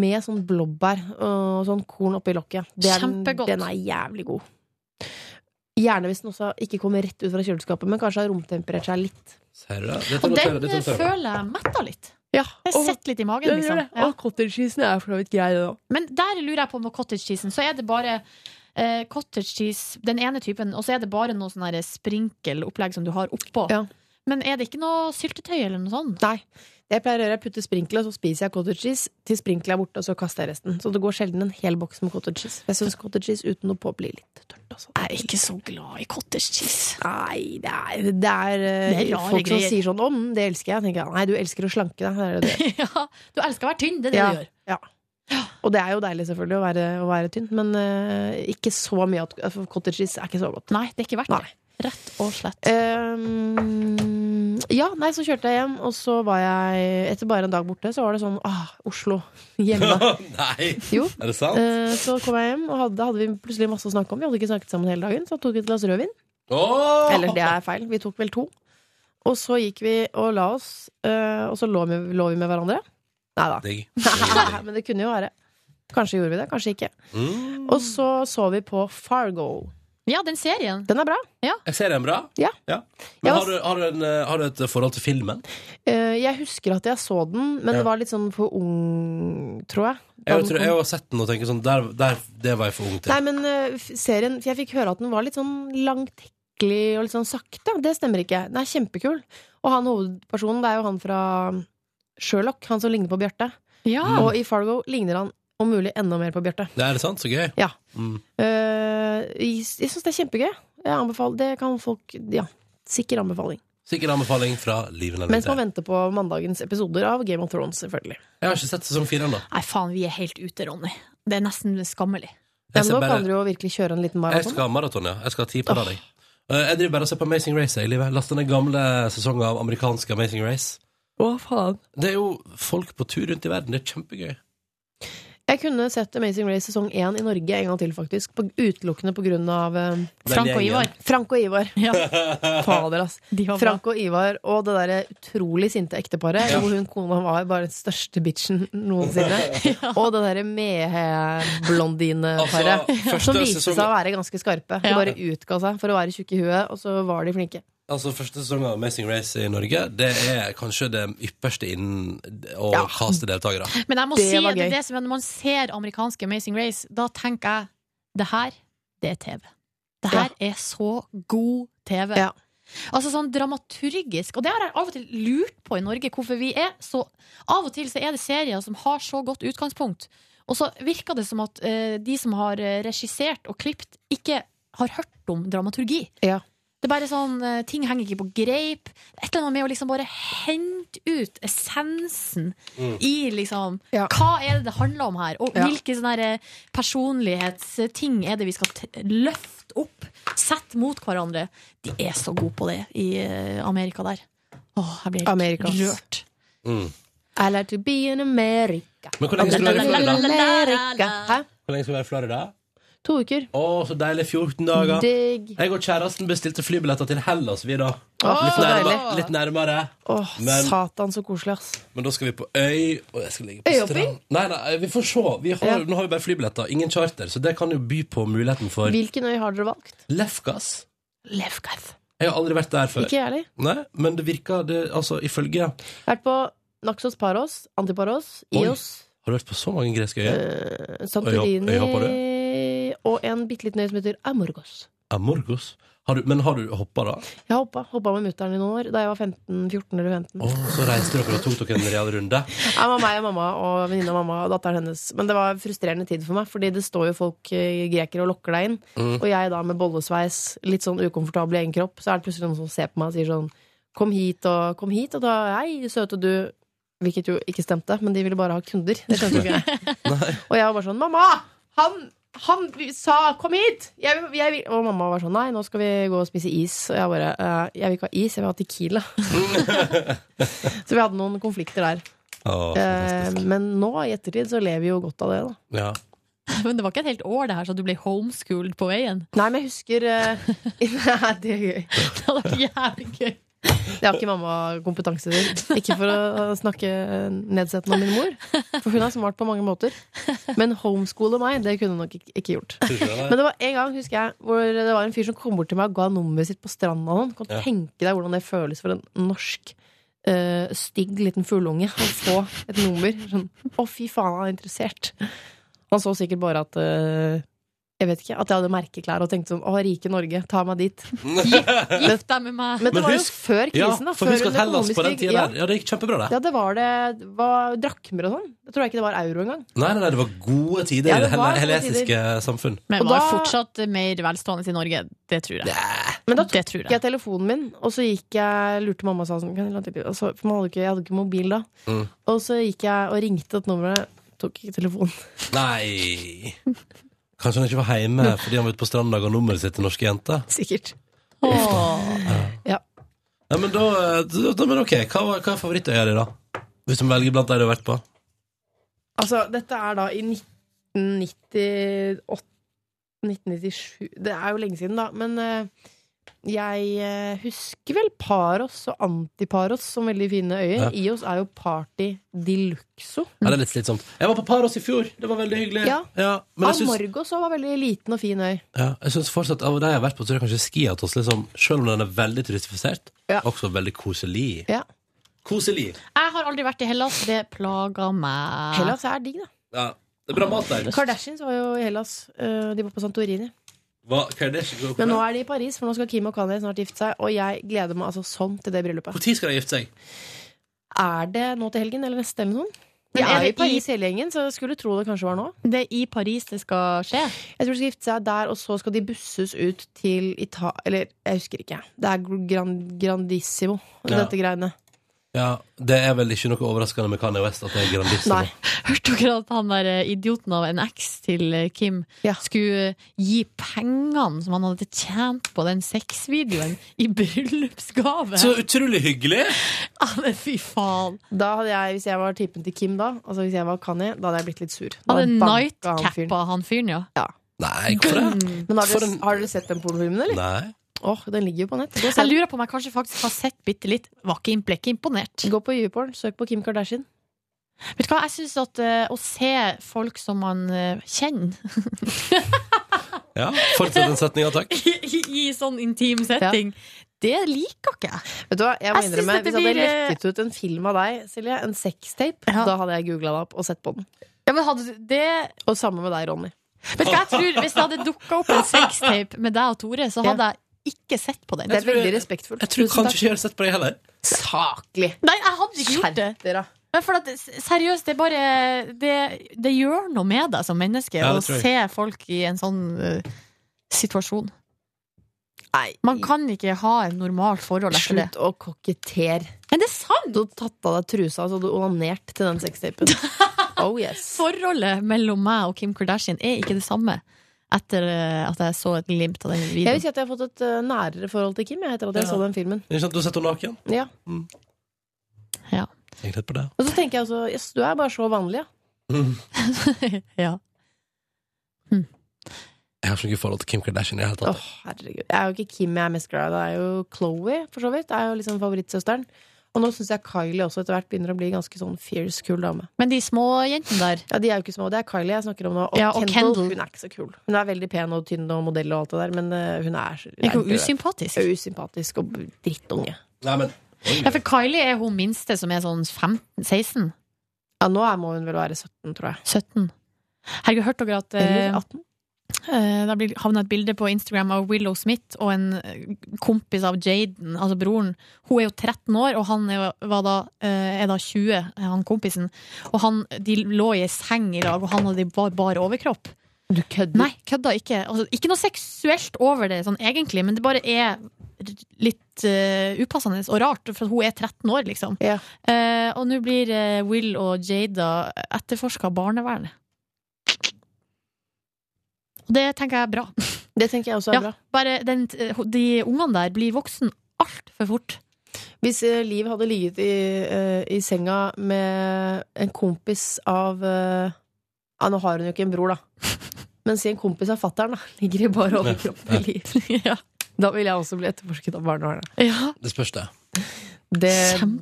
Speaker 14: Med sånn blåbær og sånn korn oppi lokket. Det er den,
Speaker 3: Kjempegodt.
Speaker 14: den er jævlig god. Gjerne hvis den også ikke kommer rett ut fra kjøleskapet, men kanskje har romtemperert seg litt.
Speaker 2: Ser du det? sånn Dette
Speaker 3: Og
Speaker 2: noterer-
Speaker 3: den eh,
Speaker 2: dette noterer jeg meg.
Speaker 3: føler jeg metter litt.
Speaker 14: Ja.
Speaker 3: Jeg
Speaker 14: og-
Speaker 3: setter litt i magen,
Speaker 14: Den gjør
Speaker 3: liksom.
Speaker 14: det. Og cottage-cheesen er for så vidt grei, det òg.
Speaker 3: Men der lurer jeg på med cottage cheesen. Så er det bare eh, cottage cheese, den ene typen, og så er det bare noe sånn her sprinkelopplegg som du har oppå. Men er det ikke noe syltetøy eller noe
Speaker 14: [laughs]
Speaker 3: sånt?
Speaker 14: Nei. Det jeg pleier å gjøre, er putte sprinkler, og så spiser jeg cottage cheese til sprinkler er borte, og så kaster jeg resten. Så det går sjelden en hel boks med cottage cheese. Jeg syns cottage cheese uten noe på blir litt tørt. Altså.
Speaker 3: Jeg er ikke så glad i cottage cheese.
Speaker 14: Nei, det er, det er, eh,
Speaker 3: Det er rare
Speaker 14: folk som
Speaker 3: greier.
Speaker 14: sier sånn 'om, det elsker jeg'. Tenker jeg, Nei, du elsker å slanke deg. Det er
Speaker 3: [laughs]
Speaker 14: det du gjør.
Speaker 3: Du elsker å være tynn, det er det
Speaker 14: Ja,
Speaker 3: du gjør.
Speaker 14: ja. Og det er jo deilig, selvfølgelig, å være, å være tynn, men eh, ikke så mye at for cottage cheese er ikke så godt.
Speaker 3: Nei, det er ikke verdt det. Rett og slett.
Speaker 14: Ehm, ja, nei, så kjørte jeg hjem, og så var jeg Etter bare en dag borte, så var det sånn ah, Oslo. [laughs] Hjemme.
Speaker 2: [laughs] Nei!
Speaker 14: Jo.
Speaker 2: Er det sant?
Speaker 14: Eh, så kom jeg hjem, og hadde, hadde vi plutselig masse å snakke om. Vi hadde ikke snakket sammen hele dagen, så tok vi et glass rødvin.
Speaker 2: Åh!
Speaker 14: Eh, Eller det er feil, vi tok vel to. Og så gikk vi og la oss, eh, og så lå vi, lå vi med hverandre. Nei da.
Speaker 2: [laughs]
Speaker 14: [laughs]
Speaker 2: Digg.
Speaker 14: Men det kunne jo være. Kanskje gjorde vi det, kanskje ikke.
Speaker 2: Mm.
Speaker 14: Og så så vi på Fargo.
Speaker 3: Ja, den serien.
Speaker 14: Den er bra.
Speaker 2: Jeg ser den bra.
Speaker 14: Ja. altså-
Speaker 2: Men
Speaker 14: Ja,
Speaker 2: har du, har, du en, eh, har du et forhold til filmen?
Speaker 14: Eh, jeg husker at jeg så den, men
Speaker 2: Ja.
Speaker 14: det var litt sånn for ung, tror jeg. Da
Speaker 2: Jeg,
Speaker 14: den
Speaker 2: tror,
Speaker 14: kom.
Speaker 2: jeg har sett den og tenker sånn der, der, Det var jeg for ung til.
Speaker 14: Nei, men eh, f- serien For jeg fikk høre at den var litt sånn langtekkelig og litt sånn sakte. Det stemmer ikke. Den er kjempekul. Og han hovedpersonen, det er jo han fra Sherlock, han som ligner på Bjarte.
Speaker 2: Ja.
Speaker 14: Og i Fargo ligner han om mulig enda mer på Bjarte.
Speaker 2: Nei, er det sant? Så gøy.
Speaker 14: Ja.
Speaker 2: Mm.
Speaker 14: Eh, jeg jeg syns det er kjempegøy. Jeg anbefaler, det kan folk Ja, sikker anbefaling.
Speaker 2: Sikker anbefaling fra Liven eller
Speaker 14: Mens man venter på mandagens episoder av Game of Thrones, selvfølgelig.
Speaker 2: Jeg har ikke sett sesong fire ennå.
Speaker 3: Nei, faen, vi er helt ute, Ronny. Det er nesten skammelig.
Speaker 2: Jeg
Speaker 14: Men
Speaker 2: ser
Speaker 14: nå
Speaker 2: bare-
Speaker 14: kan dere jo sånn. virkelig kjøre en liten
Speaker 2: Jeg
Speaker 14: maraton.
Speaker 2: skal ha maraton, ja. Jeg skal ha ti på deg. Jeg driver bare og ser på Amazing Race jeg, i livet. Lasta ned gamle sesonger av amerikanske Amazing Race.
Speaker 14: Å, faen.
Speaker 2: Det er jo folk på tur rundt i verden. Det er kjempegøy.
Speaker 14: Jeg kunne sett Amazing Race sesong 1 i Norge en gang til, faktisk. På, utelukkende på grunn av eh,
Speaker 2: Den Frank og gjengen. Ivar.
Speaker 14: Frank og Ivar.
Speaker 2: [laughs]
Speaker 14: Fader, ass.
Speaker 3: var bra.
Speaker 14: Frank og Ivar og det derre utrolig sinte ekteparet,
Speaker 3: Ja.
Speaker 14: hvor hun kona var bare den største bitchen
Speaker 2: [laughs]
Speaker 14: noensinne. Og det derre mehe-blondineparet,
Speaker 2: Altså, første
Speaker 14: som viste
Speaker 2: sesong-
Speaker 14: seg å være ganske skarpe. De
Speaker 2: Ja.
Speaker 14: bare utga seg for å være tjukke i huet, og så var de flinke.
Speaker 2: Altså, Første sesong av Amazing Race i Norge Det er kanskje det ypperste innen å kaste deltakere.
Speaker 3: Men jeg må
Speaker 14: Det
Speaker 3: si
Speaker 14: var
Speaker 3: at det
Speaker 14: gøy.
Speaker 3: er det som er når man ser amerikanske Amazing Race, da tenker jeg det her, det er TV. Det her er så god TV. Altså sånn dramaturgisk. Og det har jeg av og til lurt på i Norge, hvorfor vi er så Av og til så er det serier som har så godt utgangspunkt, og så virker det som at eh, de som har eh, regissert og klipt, ikke har hørt om dramaturgi. Det er bare sånn, eh, Ting henger ikke på greip. Et eller annet med å liksom bare hente ut essensen
Speaker 15: Mm.
Speaker 3: i liksom Hva er det det handler om her? Og
Speaker 15: Ja.
Speaker 3: hvilke sånne her, eh, personlighetsting er det vi skal t løfte opp? Sett mot hverandre. De er så gode på det i eh, Amerika der. Åh, jeg blir helt
Speaker 14: Amerikas.
Speaker 3: rørt. [laughs]
Speaker 2: Mm.
Speaker 14: I like to be in America.
Speaker 2: Men hvor lenge skal du være i Florida?
Speaker 14: America. Hæ?
Speaker 2: Hvor lenge skal du være i Florida?
Speaker 14: To uker.
Speaker 2: Å, så deilig. 14 dager.
Speaker 14: Digg.
Speaker 2: Jeg og kjæresten bestilte flybilletter til Hellas, vi, da.
Speaker 14: Åh,
Speaker 2: litt,
Speaker 14: så
Speaker 2: nærmere,
Speaker 14: deilig.
Speaker 2: litt nærmere.
Speaker 14: Åh,
Speaker 2: Men-
Speaker 14: satan, så koselig, ass.
Speaker 2: Men da skal vi på øy, og jeg skal ligge på
Speaker 14: Øyhopping?
Speaker 2: strand. Nei, nei, vi får se. Vi har, Nå har vi bare flybilletter, ingen charter, så det kan jo by på muligheten for
Speaker 14: Hvilken øy har dere valgt?
Speaker 2: Lefkas.
Speaker 14: Lefkas.
Speaker 2: Jeg har aldri vært der før.
Speaker 14: Ikke jeg heller.
Speaker 2: Nei, men det virker det, Altså, ifølge
Speaker 14: Jeg har vært på Naxos Paros, Antiparos,
Speaker 2: Oi.
Speaker 14: Ios, eh,
Speaker 2: Har du vært på så mange greske øyer?
Speaker 14: Santorini
Speaker 2: Øyhopp- øyhopper du?
Speaker 14: og en bitte liten øy som heter Amorgos.
Speaker 2: Amorgos. Har du, men har du hoppa, da?
Speaker 14: Jeg hoppa, hoppa med mutter'n i noen år, da jeg var 15, 14 eller 15.
Speaker 2: Å, så reiste dere og tok dere en real runde.
Speaker 14: Ja, det var meg og mamma og venninne av mamma og datteren hennes. Men det var en frustrerende tid for meg, fordi det står jo folk eh, grekere og lokker deg inn.
Speaker 2: Mm.
Speaker 14: Og jeg da med bollesveis, litt sånn ukomfortabel i egen kropp, så er det plutselig noen som ser på meg og sier sånn Kom hit og kom hit, og da Hei, søte du. Hvilket jo ikke stemte, men de ville bare ha kunder. Det skjønte jo ikke jeg. Og jeg var bare sånn Mamma! Han! Han sa 'kom hit'! Jeg, vil- jeg, vil-" og mamma var sånn 'nei, nå skal vi gå og spise is'. Og jeg bare «Eh, 'jeg vil ikke ha is, jeg vil ha Tequila'. [laughs] så vi hadde noen konflikter der.
Speaker 2: Å,
Speaker 14: Eh, men nå i ettertid så lever vi jo godt av det, da.
Speaker 2: ja.
Speaker 3: Men det var ikke et helt år det her, så du ble homeschooled på veien. [laughs]
Speaker 14: Nei, men jeg husker eh, [laughs] Nei, det er gøy.
Speaker 3: Det hadde vært jævlig gøy.
Speaker 14: Det har ikke mamma kompetanse til. Ikke for å snakke nedsettende om min mor, for hun er smart på mange måter. Men homeskole meg, det kunne hun nok ikke- ikke gjort.
Speaker 16: Tror ikke det, nei.
Speaker 14: Men det var en gang husker jeg hvor det var en fyr som kom bort til meg og ga nummeret sitt på stranda. og Sånn. Kan
Speaker 16: Ja.
Speaker 14: tenke deg hvordan det føles for en norsk eh, stygg liten fugleunge å få et nummer. Sånn, å, fy faen, han er interessert. Han så sikkert bare at eh, jeg vet ikke, at jeg hadde merkeklær og tenkte sånn Å, rike Norge, ta meg dit.
Speaker 3: Gift deg med meg.
Speaker 14: Men det var jo før krisen, da.
Speaker 2: Ja, for
Speaker 14: før
Speaker 2: husk at
Speaker 14: den
Speaker 2: Hellas på den
Speaker 14: økonomiske-
Speaker 2: tida
Speaker 14: ja.
Speaker 2: der. Ja, det gikk kjempebra,
Speaker 14: Ja,
Speaker 2: det.
Speaker 14: det var det. det Var drakmer og sånn. Jeg tror ikke det var euro engang.
Speaker 2: Nei, nei, nei, det var gode tider
Speaker 14: Ja,
Speaker 2: i det
Speaker 14: det var
Speaker 2: helle-
Speaker 14: gode
Speaker 2: helesiske samfunn.
Speaker 3: Men
Speaker 14: Og
Speaker 3: var
Speaker 14: da-
Speaker 3: fortsatt mer velstående i Norge. Det tror jeg.
Speaker 14: Men da
Speaker 3: det tror
Speaker 14: tok jeg telefonen min, og så gikk jeg lurte mamma og sa sånn kan jeg låne telefonen? og så, For man hadde ikke, jeg hadde ikke mobil da.
Speaker 2: Mm.
Speaker 14: Og så gikk jeg og ringte et nummer. Tok ikke telefonen. [laughs]
Speaker 2: Nei Kanskje han ikke var hjemme fordi han var ute på stranda og ga nummeret sitt til norske jenter?
Speaker 14: Sikkert.
Speaker 2: Ja, men da, eh, da, da men ok, Hva, var- hva er favorittøya di, da? Hvis du må velge blant de du har vært på?
Speaker 14: Altså, dette er da i 1998 1997 Det er jo lenge siden, da. Men eh, jeg eh, husker vel Paros og Antiparos som veldig fine øyer.
Speaker 2: Ja.
Speaker 14: Ios er jo party de luxo.
Speaker 2: Ja, det er litt slitsomt. Jeg var på Paros i fjor. Det var veldig hyggelig.
Speaker 14: Ja.
Speaker 2: men jeg syns,
Speaker 14: Amorgos Ah, også var veldig liten og fin øy.
Speaker 2: ja, jeg syns fortsatt av de jeg har vært på, så er det kanskje Skiatos, liksom, selv om den er veldig turistifisert, også veldig koselig.
Speaker 14: Ja.
Speaker 2: Koselig.
Speaker 3: Jeg har aldri vært i Hellas. Det plager meg.
Speaker 14: Hellas er digg, da.
Speaker 2: Ja. Det er bra mat der.
Speaker 14: Kardashians var jo i Hellas. eh, De var på Santorini.
Speaker 2: Hva, Kardashian,
Speaker 14: Men nå er de i Paris, for nå skal Kim og Kanye snart gifte seg. Og jeg gleder meg altså sånn til det bryllupet.
Speaker 2: Når skal de gifte seg?
Speaker 14: Er det nå til helgen eller neste eller noe sånt?
Speaker 3: Men
Speaker 14: Vi
Speaker 3: er
Speaker 14: er jo
Speaker 3: det
Speaker 14: i Paris hele gjengen, så jeg skulle tro det kanskje var nå.
Speaker 3: Det er i Paris det skal skje?
Speaker 14: Jeg tror de skal gifte seg der, og så skal de busses ut til Ita... Eller, jeg husker ikke. Det er gran Grandissimo,
Speaker 2: Ja.
Speaker 14: dette greiene.
Speaker 2: Ja, det er vel ikke noe overraskende med Kanye West at det er Grandissimo.
Speaker 3: Nei. Hørte dere at han der eh, idioten av en eks til eh, Kim skulle gi pengene som han hadde tjent på den sexvideoen, i bryllupsgave?
Speaker 2: Så utrolig hyggelig!
Speaker 3: [laughs] Ja, men fy faen.
Speaker 14: Da hadde jeg, Hvis jeg var typen til Kim da, altså hvis jeg var Kanye, da hadde jeg blitt litt sur. Da
Speaker 3: Hadde
Speaker 14: banket han fyren.
Speaker 3: nightcappa han fyren, ja. Mm.
Speaker 2: Nei, hvorfor det?
Speaker 14: Men har
Speaker 3: For
Speaker 14: dere, har dere sett den pornofilmen, eller?
Speaker 2: Nei.
Speaker 14: Åh, den ligger jo på nett.
Speaker 3: Jeg lurer på om jeg kanskje faktisk har sett bitte litt. Var ikke imp- ble ikke imponert.
Speaker 14: Gå på YouPorn, søk på Kim Kardashian.
Speaker 3: Vet du hva, jeg synes at eh, å se folk som man eh, kjenner [laughs]
Speaker 2: Ja, Fortsett den setninga, takk.
Speaker 3: i, i, i sånn intim setting, det liker ikke jeg.
Speaker 14: Vet du hva, jeg må
Speaker 3: Jeg synes
Speaker 14: innrømme,
Speaker 3: dette
Speaker 14: Hvis jeg hadde
Speaker 3: blir, eh,
Speaker 14: lekket ut en film av deg, Silje, en sextape, da hadde jeg googla det opp og sett på den.
Speaker 3: Ja, men hadde du det
Speaker 14: Og samme med deg, Ronny.
Speaker 3: Vet du hva, jeg tror Hvis det hadde dukka opp en sextape med deg og Tore, så hadde jeg ikke sett på den.
Speaker 14: Det er veldig respektfullt.
Speaker 2: Jeg tror kanskje ikke jeg har sett på deg heller.
Speaker 14: Saklig.
Speaker 3: Nei, jeg hadde ikke gjort det. Men for at, s- seriøst, det er bare det, det gjør noe med deg som menneske
Speaker 14: Ja,
Speaker 3: å
Speaker 14: det tror jeg.
Speaker 3: se folk i en sånn eh, situasjon. Man kan ikke ha et normalt forhold etter det.
Speaker 14: Slutt å kokettere.
Speaker 3: Men det er sant!
Speaker 14: Du hadde tatt av deg trusa og så hadde du onanert til
Speaker 3: [laughs]
Speaker 14: den sextapen. Oh yes.
Speaker 3: Forholdet mellom meg og Kim Kardashian er ikke det samme etter eh, at jeg så et glimt av den
Speaker 14: Jeg vil
Speaker 3: videoen.
Speaker 14: si at jeg har fått et eh, nærere forhold til Kim jeg, etter at jeg
Speaker 3: Ja.
Speaker 14: så den filmen.
Speaker 2: Ikke sant, Du har sett henne naken?
Speaker 14: Ja.
Speaker 3: Ja.
Speaker 2: Jeg er redd på det.
Speaker 14: Og så tenker jeg også yes, du er bare så vanlig, ja.
Speaker 3: [laughs] ja.
Speaker 2: Jeg har ikke noe forhold til Kim Kardashian i det hele
Speaker 14: Åh,
Speaker 2: tatt.
Speaker 14: herregud. Jeg er jo ikke Kim jeg er mest glad i, det er jo Chloé, for så vidt. Det er jo liksom favorittsøsteren. Og nå syns jeg Kylie også etter hvert begynner å bli ganske sånn fierce, kul dame.
Speaker 3: Men de små jentene der
Speaker 14: Ja, de er jo ikke små. Det er Kylie jeg snakker om nå. Og,
Speaker 3: Ja, og
Speaker 14: Kendall,
Speaker 3: Kendall.
Speaker 14: Hun er ikke så kul. Hun er veldig pen og tynn og modell og alt det der, men eh, hun er
Speaker 3: Er ikke hun usympatisk?
Speaker 14: Ja, usympatisk og drittunge.
Speaker 2: Nei, men
Speaker 3: Ja, for Kylie er hun minste som er sånn 15-16.
Speaker 14: Ja, nå er- må hun vel være 17, tror jeg.
Speaker 3: 17. Herregud, hørte dere at eh,
Speaker 14: Eller 18?
Speaker 3: Eh, Da blir- havna et bilde på Instagram av Willow Smith og en eh, kompis av Jaden, altså broren. Hun er jo 13 år, og han er, var da, eh, er da 20, eh, han kompisen. Og han, de lå i ei seng i lag, og han hadde bare bar overkropp.
Speaker 14: Du kødder?
Speaker 3: Nei, kødda ikke. Altså, ikke noe seksuelt over det, sånn egentlig, men det bare er litt eh, upassende og rart, for hun er 13 år, liksom. Eh, og nå blir eh, Will og Jada etterforska av barnevernet. Og det tenker jeg er bra.
Speaker 14: Det tenker jeg også er bra.
Speaker 3: Bare den, eh, de ungene der blir voksen altfor
Speaker 14: [laughs]
Speaker 3: fort.
Speaker 14: Hvis eh, Liv hadde ligget i, eh, i senga med en kompis av eh, Ja, nå har hun jo ikke en
Speaker 3: [laughs]
Speaker 14: bror, da. Men si en kompis av fatter'n, da. Ligger i bare overkropp med Liv. Da vil jeg også bli etterforsket av barnevernet.
Speaker 2: Det spørs, det.
Speaker 14: Det,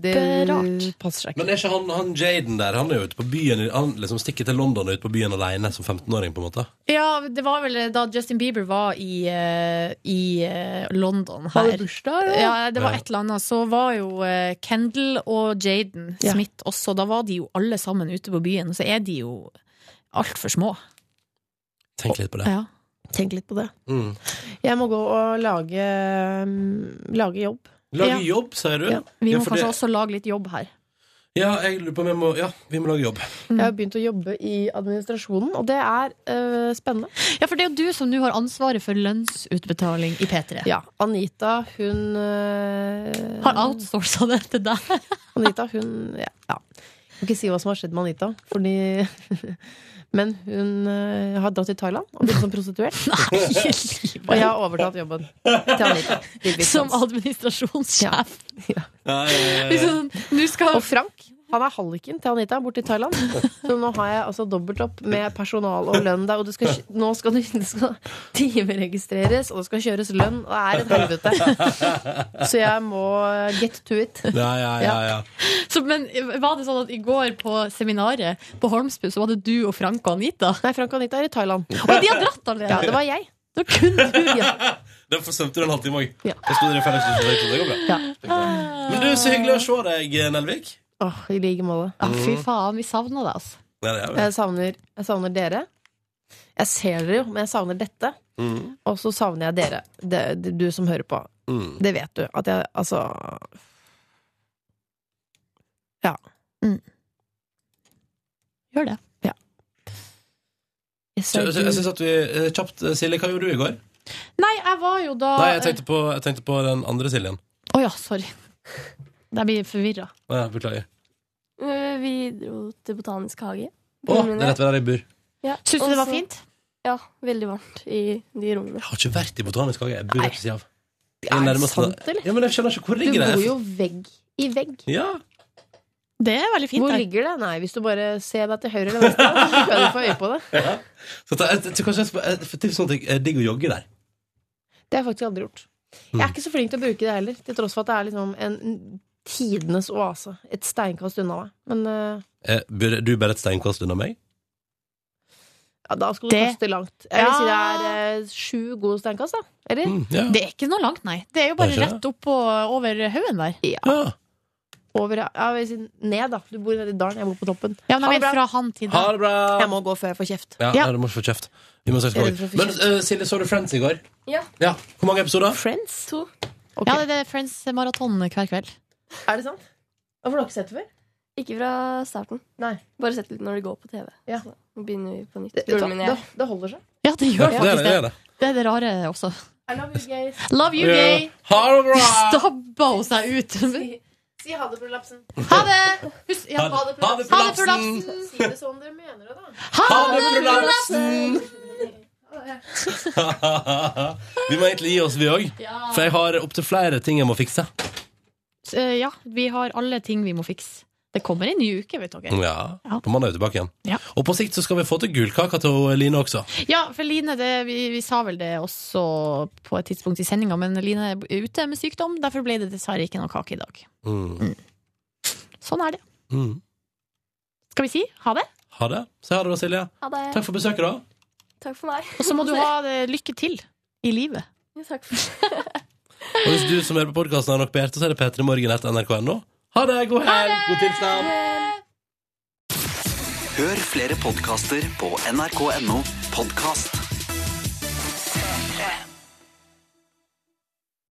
Speaker 14: det
Speaker 3: Kjemperart.
Speaker 14: passer seg ikke.
Speaker 2: Men er ikke han, han Jaden der, han er jo ute på byen Han liksom stikker til London og ut på byen alene som 15-åring, på en måte.
Speaker 3: Ja, det var vel da Justin Bieber var i, eh, i eh, London her.
Speaker 14: Var det bursdag, eller?
Speaker 3: Ja, det var
Speaker 14: Ja.
Speaker 3: et eller annet. Så var jo eh, Kendall og Jaden
Speaker 14: Ja.
Speaker 3: Smith også. Da var de jo alle sammen ute på byen. Så er de jo altfor små.
Speaker 2: Tenk litt på det.
Speaker 3: Ja.
Speaker 14: Tenk litt på det.
Speaker 2: Mm.
Speaker 14: Jeg må gå og lage, mm, lage jobb.
Speaker 2: Lage jobb, sier du?
Speaker 14: Ja.
Speaker 3: Vi
Speaker 2: Ja,
Speaker 3: må
Speaker 2: for
Speaker 3: kanskje
Speaker 2: det-
Speaker 3: også lage litt jobb her.
Speaker 2: Ja, jeg lurer på om jeg må Ja, vi må lage jobb.
Speaker 14: Jeg
Speaker 3: Mm.
Speaker 14: har begynt å jobbe i administrasjonen, og det er øh, spennende.
Speaker 3: Ja, for det er jo du som nå har ansvaret for lønnsutbetaling i P3.
Speaker 14: Ja, Anita, hun øh,
Speaker 3: Har outsourca det til [laughs] deg.
Speaker 14: Anita, hun ja, ja. Jeg kan ikke si hva som har skjedd med Anita, fordi [laughs] Men hun øh, har dratt til Thailand og begynt som prostituert. og jeg har overtatt jobben til Anita.
Speaker 3: Som administrasjonssjef.
Speaker 2: Ja, ja, ja, ja.
Speaker 3: Liksom, nå skal
Speaker 14: Og Frank han er halliken til Anita borte i Thailand. Så nå har jeg altså dobbelt opp med personal og lønn der. Og du skal, kj- nå skal du [laughs] det skal timeregistreres, og det skal kjøres lønn. Og det er et helvete. Så jeg må eh, get to it.
Speaker 2: Ja, ja, ja, ja.
Speaker 3: Så, men var det sånn at i går på seminaret på Holmsbu, så var det du og Frank og Anita?
Speaker 14: Nei, Frank og Anita er i Thailand.
Speaker 3: Og de har dratt allerede?
Speaker 14: Ja, det var jeg. Det var kun du. Ja.
Speaker 2: Den forsømte du en halvtime òg. Da sto dere felles i kjøkkenet. Det går bra. Men du, så hyggelig å se deg, eh, Nelvik.
Speaker 14: Åh, I like måte.
Speaker 2: Ja, fy Mm.
Speaker 3: faen, vi savner deg, altså.
Speaker 2: Ja, det er jo
Speaker 14: Jeg savner, jeg savner dere. Jeg ser dere jo, men jeg savner dette.
Speaker 2: Mm.
Speaker 14: Og så savner jeg dere. Det, det, du som hører på.
Speaker 2: Mm.
Speaker 14: Det vet du. At jeg altså Ja.
Speaker 3: Gjør det.
Speaker 14: Ja. Jeg
Speaker 2: Så- så- Jeg synes at vi eh, Kjapt, eh, Silje, hva gjorde du i går?
Speaker 3: Nei, jeg var jo da
Speaker 2: Nei, jeg tenkte på, jeg tenkte på den andre Siljen.
Speaker 3: Å ja, sorry. Jeg blir forvirra.
Speaker 2: Ja, beklager.
Speaker 17: Eh, Vi dro til Botanisk hage.
Speaker 2: Å, det er rett ved der jeg bor. Jeg
Speaker 17: Ja,
Speaker 3: Syns du det
Speaker 17: og
Speaker 3: var
Speaker 17: så-
Speaker 3: fint?
Speaker 17: Ja, veldig varmt i de rommene.
Speaker 2: har ikke vært i Botanisk hage. Jeg bor rett ved siden av. Jeg
Speaker 14: Er det
Speaker 2: nærmest-
Speaker 14: sant, eller?
Speaker 2: Ja, men jeg skjønner ikke hvor
Speaker 14: Du
Speaker 2: ligger det
Speaker 14: bor jo vegg i vegg.
Speaker 2: Ja.
Speaker 3: Det er veldig fint
Speaker 14: Hvor
Speaker 3: der.
Speaker 14: ligger det? Nei, hvis du bare ser deg til høyre eller venstre, så kan du få øye på det.
Speaker 2: ja. Så ta- jeg, jeg, tror kanskje jeg, skal- jeg, for til sånn at jeg, jeg digger å jogge der.
Speaker 14: Det har jeg faktisk aldri gjort. Jeg
Speaker 2: Mm.
Speaker 14: er ikke så flink til å bruke det heller, til tross for at det er liksom en tidenes oase. Et steinkast unna meg. Men eh,
Speaker 2: Eh, bor du bare et steinkast unna meg?
Speaker 14: ja, da skal du
Speaker 3: Det-
Speaker 14: kaste langt. Jeg vil si det
Speaker 3: Ja.
Speaker 14: er eh, sju gode steinkast, da. Eller?
Speaker 2: ja.
Speaker 3: Det er ikke noe langt, nei. Det er jo bare
Speaker 14: Det er ikke
Speaker 3: rett opp og over haugen der.
Speaker 14: Over, ja, jeg vil si ned, da. Du bor nede i dalen, jeg bor på toppen.
Speaker 3: Ja, men jeg vet fra han til deg.
Speaker 2: Ha det bra!
Speaker 14: Jeg må gå før jeg får kjeft.
Speaker 2: Ja, Nei, du må ikke få kjeft. Vi må straks gå
Speaker 14: Jeg
Speaker 2: ut.
Speaker 14: er redd for å få
Speaker 2: Men
Speaker 14: kjeft.
Speaker 2: eh, Silje, så du Friends i går?
Speaker 17: Ja.
Speaker 2: Ja. Hvor mange episoder?
Speaker 14: Friends?
Speaker 17: To.
Speaker 3: Ja, det er Friends-maraton hver kveld.
Speaker 14: Er det sant? Hvorfor har du ikke sett det før?
Speaker 17: Ikke fra starten.
Speaker 14: Nei.
Speaker 17: Bare sett litt når det går på TV. Så nå begynner vi på nytt. Broren min og
Speaker 14: Det,
Speaker 17: jeg.
Speaker 14: det holder seg.
Speaker 3: Ja, det gjør
Speaker 2: Ja, det er
Speaker 3: faktisk
Speaker 2: det,
Speaker 3: det.
Speaker 2: det er det.
Speaker 3: Det er det rare også.
Speaker 14: I love you guys.
Speaker 3: Love you,
Speaker 2: Ja.
Speaker 3: gay!
Speaker 2: Eh, Ha det bra!
Speaker 3: Stabba hun seg ut.
Speaker 14: Si ha det, prolapsen.
Speaker 3: Ha det! Husk, ja, ha
Speaker 14: Ha det,
Speaker 3: det,
Speaker 14: prolapsen.
Speaker 3: prolapsen!
Speaker 14: Si det sånn dere mener det, da.
Speaker 3: Ha det,
Speaker 2: prolapsen! [laughs] vi må egentlig gi oss, vi òg.
Speaker 3: Ja.
Speaker 2: For jeg har opptil flere ting jeg må fikse.
Speaker 3: Eh, Ja, vi har alle ting vi må fikse. Det kommer en ny uke, vet dere.
Speaker 2: Ja.
Speaker 3: Ja.
Speaker 2: På mandag er vi tilbake igjen.
Speaker 3: Ja.
Speaker 2: Og på sikt så skal vi få til gullkaka til Line også.
Speaker 3: Ja, for Line, det, vi, vi sa vel det også på et tidspunkt i sendinga, men Line er ute med sykdom. Derfor ble det dessverre ikke noe kake i dag.
Speaker 2: Mm.
Speaker 3: Sånn er det.
Speaker 2: Mm.
Speaker 3: Skal vi si ha det?
Speaker 2: Ha det. Si ha det da, Silje.
Speaker 17: Ha det.
Speaker 2: Takk for besøket, da.
Speaker 17: Takk for meg.
Speaker 3: Og så [laughs]
Speaker 17: [laughs]
Speaker 3: må du ha det, lykke til i livet.
Speaker 17: Ja, takk
Speaker 3: [laughs]
Speaker 17: for
Speaker 2: Og hvis du som hører på podkasten har nok på hjertet, så er det p3morgen.nrk.no. Ha det! God helg! God tilstand!
Speaker 4: Hør flere podkaster på nrk.no podkast.